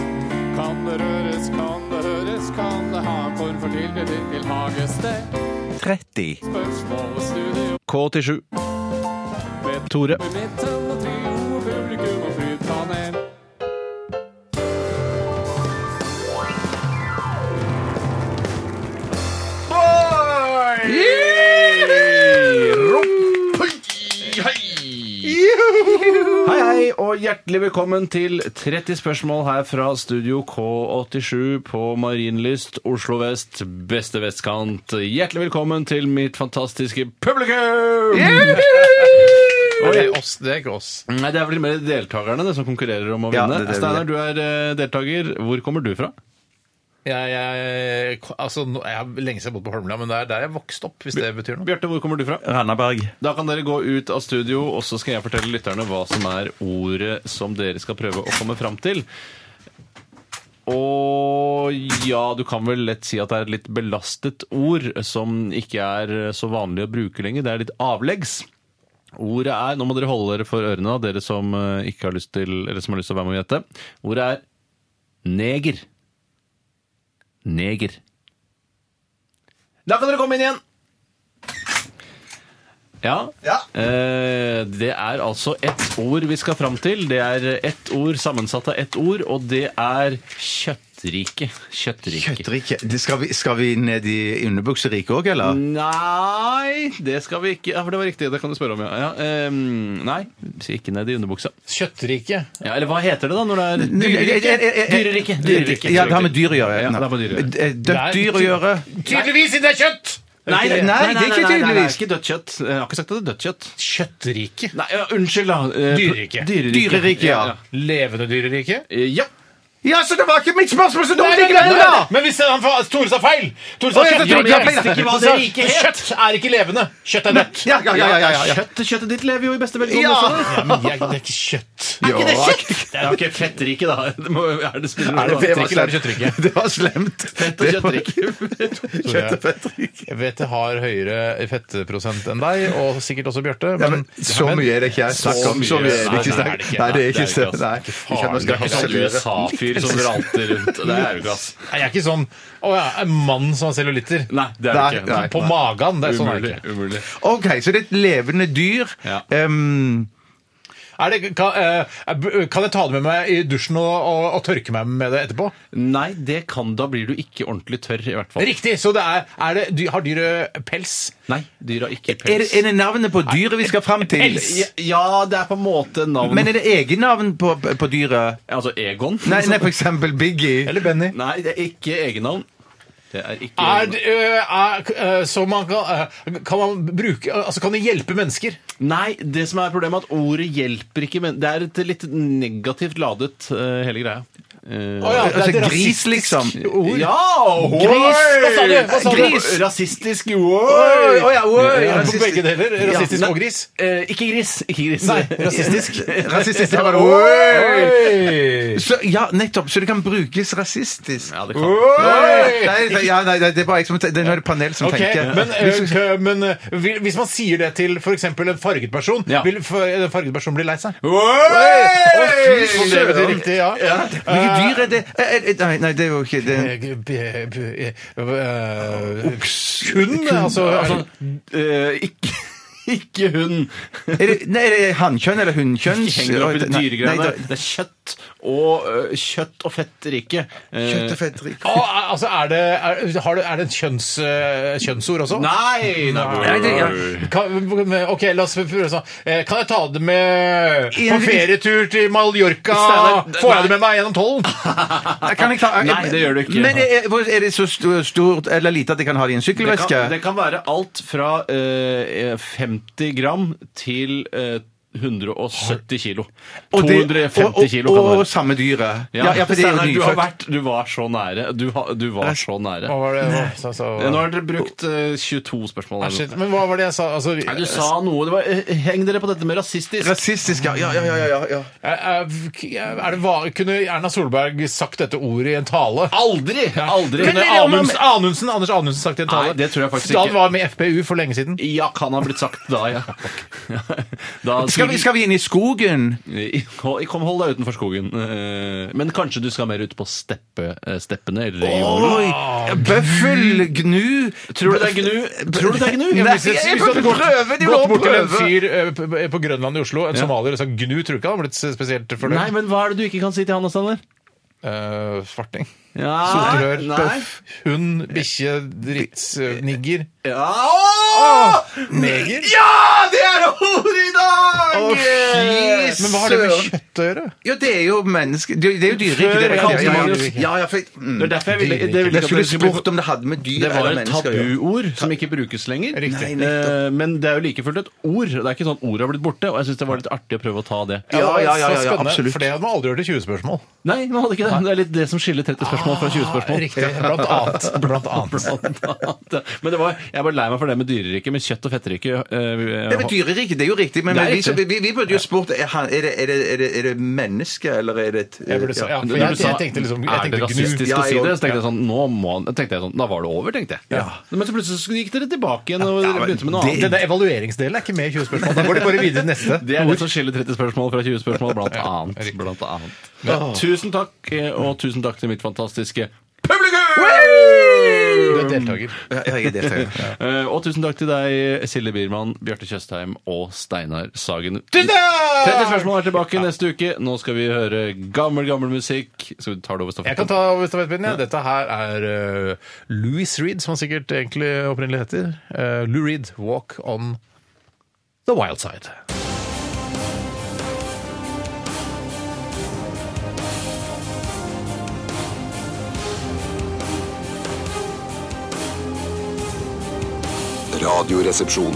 [SPEAKER 8] Kan det røres, kan det høres, kan det ha en form for tilknytning til hagested?
[SPEAKER 2] 30.
[SPEAKER 8] Spørsmål og studio
[SPEAKER 3] K87. Tore.
[SPEAKER 8] i midten og trio og publikum og flypanel.
[SPEAKER 3] Hei, hei, og hjertelig velkommen til 30 spørsmål her fra studio K87 på Marienlyst, Oslo vest, beste vestkant. Hjertelig velkommen til mitt fantastiske publikum!
[SPEAKER 1] Det er oss, det er ikke oss.
[SPEAKER 3] Nei, Det er vel mer deltakerne det som konkurrerer om å
[SPEAKER 2] Ja,
[SPEAKER 3] vinne.
[SPEAKER 2] det er det vi
[SPEAKER 3] Steinar,
[SPEAKER 2] er.
[SPEAKER 3] du er eh, deltaker. Hvor kommer du fra?
[SPEAKER 1] Jeg, jeg, altså, nå- jeg har lenge siden jeg har bodd på Holmlia, men det er der jeg vokste opp, hvis det betyr noe.
[SPEAKER 3] Bjarte, hvor kommer du fra?
[SPEAKER 2] Randaberg.
[SPEAKER 3] Da kan dere gå ut av studio, og så skal jeg fortelle lytterne hva som er ordet som dere skal prøve å komme fram til. Og ja, du kan vel lett si at det er et litt belastet ord som ikke er så vanlig å bruke lenger. Det er litt avleggs. Ordet er Nå må dere holde dere for ørene, da, dere som eh, ikke har lyst til Eller som har lyst til å være med og gjette. Ordet er neger. Neger. Da kan dere komme inn igjen! Ja. Eh, det er altså ett ord vi skal fram til. Det er ett ord sammensatt av ett ord, og det er kjøtt. kjøttrike. Kjøttrike.
[SPEAKER 2] Kjøttrike. Det Skal vi, skal vi ned i underbukseriket òg, eller?
[SPEAKER 3] Nei, det skal vi ikke. Ja, for det var riktig. Det kan du spørre om, ja. ja ehm, nei, så ikke ned i underbuksa.
[SPEAKER 1] Kjøttrike.
[SPEAKER 3] Ja, eller hva heter det da når det er
[SPEAKER 2] Eh,
[SPEAKER 3] Dyrerike. Dyrerike.
[SPEAKER 2] Ja, det har med dyr å gjøre.
[SPEAKER 3] Ja, det har med dyr å gjøre.
[SPEAKER 2] Eh, Dødt dyr å gjøre.
[SPEAKER 1] Tydeligvis siden det er kjøtt!
[SPEAKER 3] Nei,
[SPEAKER 2] Nei, det er ikke
[SPEAKER 3] det
[SPEAKER 2] tydeligvis.
[SPEAKER 3] er ikke dødt kjøtt. Jeg har ikke sagt at det er dødt kjøtt.
[SPEAKER 1] Kjøttrike.
[SPEAKER 3] Nei, ja, unnskyld, da. Eh,
[SPEAKER 1] Dyrerike.
[SPEAKER 3] Dyrerike.
[SPEAKER 2] Dyrerike, ja.
[SPEAKER 1] Levende dyrerike?
[SPEAKER 3] Eh, Ja.
[SPEAKER 2] Ja, så det var ikke mitt spørsmål, så dumt likevel,
[SPEAKER 1] nei, nei.
[SPEAKER 2] da!
[SPEAKER 1] Men hvis han, fa- Tore sa feil! Tore
[SPEAKER 2] Å,
[SPEAKER 1] sa
[SPEAKER 2] jeg
[SPEAKER 1] kjøtt.
[SPEAKER 2] trodde
[SPEAKER 1] Ja,
[SPEAKER 2] jeg
[SPEAKER 1] men jeg
[SPEAKER 2] visste
[SPEAKER 1] visste
[SPEAKER 2] ikke hva det
[SPEAKER 1] ikke hva Kjøtt er ikke levende. Kjøtt er dødt.
[SPEAKER 2] Ja, ja, ja, ja, ja, ja.
[SPEAKER 3] Kjøtt, kjøttet ditt lever jo i beste velgående
[SPEAKER 2] Ja.
[SPEAKER 3] også.
[SPEAKER 1] Ja, men jeg, det er ikke kjøtt.
[SPEAKER 2] Er ikke det kjøtt?
[SPEAKER 3] Det er jo ikke fettrike, da. Det må, er det spiller
[SPEAKER 2] Er
[SPEAKER 3] noe
[SPEAKER 2] det, det, var slemt.
[SPEAKER 1] Kjøttrike eller kjøttrike?
[SPEAKER 2] det var slemt.
[SPEAKER 3] Fett og kjøttrike.
[SPEAKER 2] Kjøtt og fettrike.
[SPEAKER 1] Jeg vet jeg har høyere fettprosent enn deg, og sikkert også Bjarte.
[SPEAKER 2] Ja, men så mye er det ikke jeg snakker om. Så mye er det ikke
[SPEAKER 3] Nei, nei,
[SPEAKER 2] snakk
[SPEAKER 3] det er det ikke.
[SPEAKER 2] Nei, det er ikke
[SPEAKER 3] Det er det ikke,
[SPEAKER 2] så- Nei, vi kan
[SPEAKER 1] Faen,
[SPEAKER 2] skal
[SPEAKER 3] Det er ikke sånn
[SPEAKER 2] harselere.
[SPEAKER 3] USA-fyr som ralter rundt. Det er jo ikke, ass.
[SPEAKER 1] Nei, Jeg er ikke sånn Å ja, en mann som har cellulitter.
[SPEAKER 3] Nei, det er det
[SPEAKER 2] Nei,
[SPEAKER 3] ikke.
[SPEAKER 2] nei.
[SPEAKER 1] På magen. Det er sånn er det
[SPEAKER 3] Umulig.
[SPEAKER 1] ikke.
[SPEAKER 3] umulig.
[SPEAKER 2] OK, så det er et levende dyr.
[SPEAKER 3] Ja.
[SPEAKER 2] Ehm,
[SPEAKER 1] Er det, kan, eh, kan jeg ta det med meg i dusjen og, og, og tørke meg med det etterpå?
[SPEAKER 3] Nei, det kan da blir du ikke ordentlig tørr, i hvert fall.
[SPEAKER 1] Riktig! Så det er, er det, dy- Har dyret pels?
[SPEAKER 3] Nei, dyra ikke
[SPEAKER 2] er,
[SPEAKER 3] pels.
[SPEAKER 2] er det navnet på dyret vi skal fram til?
[SPEAKER 1] Pels.
[SPEAKER 3] Ja, Ja, det er på en måte navn
[SPEAKER 2] Men er det egennavn på, på dyret?
[SPEAKER 3] Altså Egon?
[SPEAKER 2] Nei, nei, for eksempel Biggie.
[SPEAKER 1] Eller Benny?
[SPEAKER 3] Nei, det er ikke egennavn. Det er ikke
[SPEAKER 1] Er,
[SPEAKER 3] egennavn.
[SPEAKER 1] det, eh, er, eh, så man kan, eh, kan man bruke Altså, kan det hjelpe mennesker?
[SPEAKER 3] Nei, det som er problemet, er at ordet hjelper ikke men Det er et litt negativt ladet, eh, hele greia. Eh,
[SPEAKER 1] Å ja, det er
[SPEAKER 2] Altså,
[SPEAKER 1] et
[SPEAKER 2] gris,
[SPEAKER 1] rasistisk
[SPEAKER 2] liksom.
[SPEAKER 1] ord.
[SPEAKER 3] Ja!
[SPEAKER 1] Gris! Hva sa du? Hva sa du?
[SPEAKER 3] Gris! Rasistisk
[SPEAKER 2] Oi, oi, ja, oi,
[SPEAKER 1] Ja, på
[SPEAKER 2] rasistisk.
[SPEAKER 1] begge deler. Rasistisk
[SPEAKER 3] Ja, nei,
[SPEAKER 1] og gris.
[SPEAKER 3] eh, ikke gris. Ikke gris.
[SPEAKER 1] Nei, rasistisk.
[SPEAKER 2] Rasistisk. det var det. Oi!
[SPEAKER 1] Oi!
[SPEAKER 2] Så, ja, nettopp. Så det kan brukes rasistisk.
[SPEAKER 3] Ja, det kan.
[SPEAKER 2] Nei, nei, ja, nei, nei, det er bare jeg som tenker, det er noe panel som
[SPEAKER 1] Ok,
[SPEAKER 2] tenker.
[SPEAKER 1] men, eh, kø- men eh, vil- hvis man sier det til f.eks. en farget person,
[SPEAKER 3] Ja.
[SPEAKER 1] vil f- en farget person bli lei seg?
[SPEAKER 2] Oi!
[SPEAKER 1] Å, fy søren! Det betyr riktig, ja.
[SPEAKER 2] Hvilke dyr er det? Eh, eh, Nei, nei, det er jo ikke det.
[SPEAKER 1] Eh, b- b- eh, Kun, altså.
[SPEAKER 3] Altså, eh, ikke, ikke hund.
[SPEAKER 2] Er det, nei, er det hannkjønn eller hunnkjønn?
[SPEAKER 3] Ikke henger opp i det
[SPEAKER 2] Nei, nei,
[SPEAKER 3] dyregreiene.
[SPEAKER 2] da-
[SPEAKER 3] Det er kjøtt og eh, kjøtt og fettrike. Eh,
[SPEAKER 2] Kjøtt og fett rik.
[SPEAKER 1] Å, altså, er det, er, har det, er det et kjønns, eh, kjønnsord også?
[SPEAKER 3] Nei! nei,
[SPEAKER 2] Nei, det- ja.
[SPEAKER 1] Kan, ok, la oss prøve sånn. Eh, Kan jeg ta det med
[SPEAKER 2] Ja,
[SPEAKER 1] på
[SPEAKER 2] vi-
[SPEAKER 1] ferietur til Mallorca?
[SPEAKER 3] Steinar, d-
[SPEAKER 1] Får jeg det
[SPEAKER 3] nei.
[SPEAKER 1] med meg gjennom tollen?
[SPEAKER 2] Nei, Kan jeg klare
[SPEAKER 3] Nei, det gjør du ikke.
[SPEAKER 2] Men er, er- er det så sto- stort eller lite at jeg kan ha det i en
[SPEAKER 3] Det
[SPEAKER 2] sykkelveske?
[SPEAKER 3] kan, det kan være alt fra eh, 50 gram til eh, 170 kilo.
[SPEAKER 2] Og det-
[SPEAKER 3] 250 kilo
[SPEAKER 2] og,
[SPEAKER 3] kan det
[SPEAKER 2] og, og
[SPEAKER 3] være.
[SPEAKER 2] samme dyret. Ja, ja, for det er
[SPEAKER 3] Steinar,
[SPEAKER 2] jo
[SPEAKER 3] du, har
[SPEAKER 2] nyfødt.
[SPEAKER 3] vært, du var så nære. Du, ha, du var så nære.
[SPEAKER 1] Hva var det? Hva, så, så,
[SPEAKER 3] Nå har dere brukt eh, 22 spørsmål.
[SPEAKER 1] Ah, shit, men hva var det jeg sa? Altså,
[SPEAKER 3] Nei, du sa noe det var, eh, Heng dere på dette med rasistisk.
[SPEAKER 2] Rasistisk, ja. Ja, ja, ja, ja, ja.
[SPEAKER 1] er, er det, va- kunne Erna Solberg sagt dette ordet i en tale?
[SPEAKER 3] Aldri! Aldri!
[SPEAKER 1] Kunne Anunds, Anundsen, Anders Anundsen sagt det i en tale?
[SPEAKER 3] Nei, det tror jeg faktisk
[SPEAKER 1] Da han
[SPEAKER 3] ikke.
[SPEAKER 1] var med i FPU for lenge siden.
[SPEAKER 3] Ja, kan ha blitt sagt da, ja. da
[SPEAKER 2] Skal, vi, skal vi inn i skogen?
[SPEAKER 3] Hold- Kom, hold deg utenfor skogen. Eh, Men kanskje du skal mer ut på steppe, eh, steppene? Eller i jorden?
[SPEAKER 2] Oi! Bøffel, gnu
[SPEAKER 3] Tror du det er gnu? Tror du det er gnu?
[SPEAKER 2] Nei,
[SPEAKER 1] Hvis-
[SPEAKER 2] jeg
[SPEAKER 1] hvis du hadde
[SPEAKER 2] prøver,
[SPEAKER 1] gått-
[SPEAKER 2] det er jo
[SPEAKER 1] gått
[SPEAKER 2] lov å
[SPEAKER 1] bort til en
[SPEAKER 2] prøve.
[SPEAKER 1] fyr eh, på- på Grønland i Oslo, en somalier, og sa gnu, tror du ikke han hadde blitt spesielt fornøyd?
[SPEAKER 3] Nei, men hva er det du ikke kan si til han, Steinar?
[SPEAKER 1] Eh, svarting.
[SPEAKER 3] Ja,
[SPEAKER 2] Ah,
[SPEAKER 1] Soterør,
[SPEAKER 3] nei.
[SPEAKER 1] bøff, hund, bikkje,
[SPEAKER 2] Eh,
[SPEAKER 1] drittsnigger.
[SPEAKER 3] Ja, åh!
[SPEAKER 1] Neger?
[SPEAKER 3] ja, det er ordet i dag!
[SPEAKER 2] Å, fy
[SPEAKER 1] Men hva har det med
[SPEAKER 2] søren.
[SPEAKER 1] kjøtt å gjøre?
[SPEAKER 2] Ja, det er jo menneske... Det det er jo dyreriket.
[SPEAKER 3] Før
[SPEAKER 2] det er
[SPEAKER 3] jeg
[SPEAKER 2] riktig.
[SPEAKER 3] kalte
[SPEAKER 1] det dyreriket.
[SPEAKER 2] Ja, ja, for... mm.
[SPEAKER 3] Det er derfor jeg ville, det ville
[SPEAKER 2] Jeg
[SPEAKER 3] ikke at
[SPEAKER 2] skulle
[SPEAKER 3] dere skulle bli
[SPEAKER 2] spurt om det hadde med dyr
[SPEAKER 3] Det var
[SPEAKER 2] eller
[SPEAKER 3] et
[SPEAKER 2] mennesker å gjøre.
[SPEAKER 3] tabuord som ikke brukes lenger.
[SPEAKER 1] Riktig.
[SPEAKER 2] Nei, nettopp.
[SPEAKER 3] Eh, Men det er jo like fullt et ord. Det er ikke sånn at ordet har blitt borte. Og jeg syns det var litt artig å prøve å ta det.
[SPEAKER 2] Ja, ja, ja,
[SPEAKER 1] Så
[SPEAKER 2] ja, ja,
[SPEAKER 1] spennende,
[SPEAKER 2] absolutt.
[SPEAKER 1] For det hadde man aldri gjort i 20 spørsmål.
[SPEAKER 3] Nei, man hadde ikke det. Det er litt det som skiller 30 spørsmål fra 20 spørsmål.
[SPEAKER 1] Ah, Riktig. Blant annet. Blant annet.
[SPEAKER 3] Men det var, jeg var lei meg for det med dyreriket, men kjøtt og fetteriket øh,
[SPEAKER 2] Det er med dyreriket, det er jo riktig, men,
[SPEAKER 3] Det er
[SPEAKER 2] men vi,
[SPEAKER 3] riktig.
[SPEAKER 2] så- vi, vi burde jo spurt er, han- er, det, er, det, er, det, er det menneske, eller er det et
[SPEAKER 1] Jeg burde sa- ja, for jeg, jeg tenkte liksom jeg
[SPEAKER 3] er det
[SPEAKER 1] tenkte
[SPEAKER 3] rasistisk
[SPEAKER 1] gnu.
[SPEAKER 2] Ja,
[SPEAKER 3] å si
[SPEAKER 2] jeg
[SPEAKER 3] det?
[SPEAKER 2] også.
[SPEAKER 3] Så tenkte jeg sånn, nå må han, tenkte jeg sånn, Da var det over, tenkte jeg. Men så plutselig så gikk dere tilbake igjen og
[SPEAKER 2] men
[SPEAKER 3] begynte med noe annet.
[SPEAKER 1] Denne evalueringsdelen er ikke med i 20 spørsmål. Da går de bare videre til neste.
[SPEAKER 3] Det er det som skiller 30 spørsmål fra 20 spørsmål, blant annet. Blant annet. Men, tusen takk, eh, og tusen takk til mitt fantastiske
[SPEAKER 2] Publikum!
[SPEAKER 1] Du er deltaker.
[SPEAKER 2] Ja, jeg er deltaker.
[SPEAKER 3] Eh, Og tusen takk til deg, Silje Biermann, Bjarte Tjøstheim og Steinar Sagen.
[SPEAKER 2] Tusen takk!
[SPEAKER 3] Tredje spørsmål er tilbake neste uke. Nå skal vi høre gammel, gammel musikk. Skal vi ta det over
[SPEAKER 1] Jeg kan
[SPEAKER 3] stafetten?
[SPEAKER 1] ta over stafettpinnen. Ja. Dette her er eh, Louis Reed, som han sikkert egentlig opprinnelig heter. Eh, Lou Reed, 'Walk on the Wild Side'.
[SPEAKER 6] Radioresepsjon.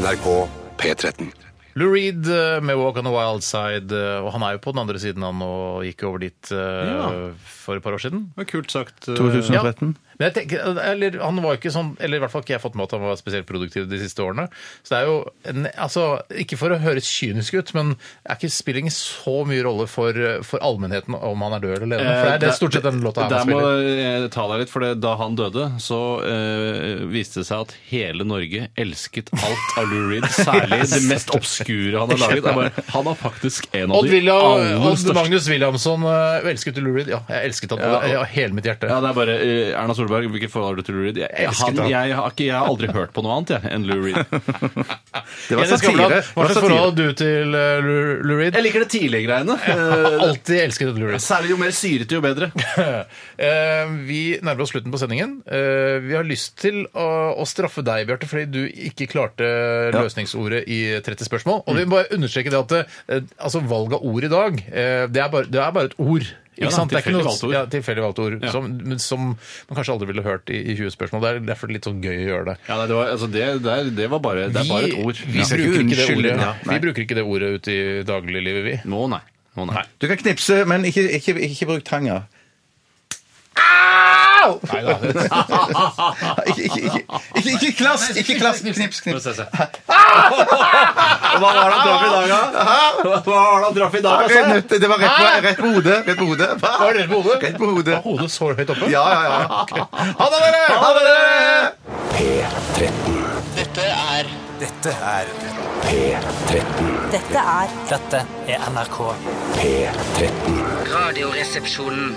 [SPEAKER 6] NRK P13.
[SPEAKER 1] Lou Reed eh, med 'Walk on the Wild Side'. eh, Og han er jo på den andre siden, han, og gikk over dit eh, for et par år siden.
[SPEAKER 3] Det var Kult sagt. eh,
[SPEAKER 2] 2013.
[SPEAKER 1] Men jeg tenker, eller han var ikke sånn, eller i hvert fall ikke jeg har fått med at han var spesielt produktiv de siste årene. Så det er jo, en, altså, ikke for å høres kynisk ut, men er ikke spilling så mye rolle for, for allmennheten om han er død eller levende? For det er, det er stort sett den låta
[SPEAKER 3] Eh,
[SPEAKER 1] her
[SPEAKER 3] Der
[SPEAKER 1] man
[SPEAKER 3] må
[SPEAKER 1] spiller.
[SPEAKER 3] jeg ta deg litt, for det- da han døde, så eh, viste det seg at hele Norge elsket alt av Lou Reed, særlig det mest obskure han har laget. Det er Bare, han er faktisk en av
[SPEAKER 1] Odd,
[SPEAKER 3] de
[SPEAKER 1] William,
[SPEAKER 3] aller
[SPEAKER 1] Odd
[SPEAKER 3] største.
[SPEAKER 1] Magnus Williamson, eh, elsket du Lou Reed? Ja, jeg elsket han
[SPEAKER 3] Ja.
[SPEAKER 1] ja. hele mitt hjerte.
[SPEAKER 3] Ja, det er bare eh, Erna Solberg, hvilket forhold har du til Lou Reed? Jeg, jeg, han,
[SPEAKER 1] Elsket han.
[SPEAKER 3] jeg, har ikke, jeg har aldri hørt på noe annet jeg, enn Lou Reed.
[SPEAKER 2] Det var satire.
[SPEAKER 1] Jens Skavlan,
[SPEAKER 2] Det
[SPEAKER 1] Hva
[SPEAKER 2] var
[SPEAKER 1] slags
[SPEAKER 2] satire.
[SPEAKER 1] forhold hadde du til eh, Lou Lou Reed?
[SPEAKER 3] Jeg liker det tidlige greiene.
[SPEAKER 1] Jeg har
[SPEAKER 3] Eh,
[SPEAKER 1] alltid elsket Lou Reed.
[SPEAKER 3] Særlig jo mer syrete, jo bedre.
[SPEAKER 1] Eh, Vi nærmer oss slutten på sendingen. Eh, Vi har lyst til å, å straffe deg, Bjarte, fordi du ikke klarte løsningsordet i 30 spørsmål. Og vi må bare understreke det at eh, altså, valg av ord i dag, eh, det er bare, det er bare et ord. Ikke
[SPEAKER 3] Ja,
[SPEAKER 1] sant? Det er ikke
[SPEAKER 3] tilfeldig
[SPEAKER 1] noe-
[SPEAKER 3] valgt ord.
[SPEAKER 1] Ja, tilfeldig valgt ord.
[SPEAKER 3] Ja.
[SPEAKER 1] Som, men som man kanskje aldri ville hørt i, i 20 spørsmål. Det er derfor litt sånn gøy å gjøre det.
[SPEAKER 3] Ja, nei, det, var, altså, det, det, er, det var bare Det er bare et ord.
[SPEAKER 1] Vi,
[SPEAKER 3] Ja.
[SPEAKER 2] det er ikke
[SPEAKER 1] bruker, ikke det ordet,
[SPEAKER 2] unnskyldning, ja.
[SPEAKER 1] vi bruker ikke det ordet ute i dagliglivet, vi.
[SPEAKER 3] Nå, nei. Nå, nei.
[SPEAKER 2] Du kan knipse, men ikke, ikke, ikke bruk tanga.
[SPEAKER 1] Neida, det-
[SPEAKER 2] Ikke, ikke, ikke, ikke, ikke klask! Ikke klask! Knips, knips. Ah!
[SPEAKER 3] Hva var det han traff i dag, da? Hva var det han traff i dag, altså?
[SPEAKER 2] Rett- Det var rett på, rett på hodet. Rett på hodet.
[SPEAKER 1] Var det rett på hodet?
[SPEAKER 2] Rett på hodet.
[SPEAKER 1] Var hodet så høyt oppe?
[SPEAKER 2] Ja, ja, ja.
[SPEAKER 1] Ha det, dere!
[SPEAKER 2] Ha det!
[SPEAKER 9] Dette er
[SPEAKER 4] Dette er
[SPEAKER 10] Dette er
[SPEAKER 9] Dette er NRK.
[SPEAKER 10] Radioresepsjonen.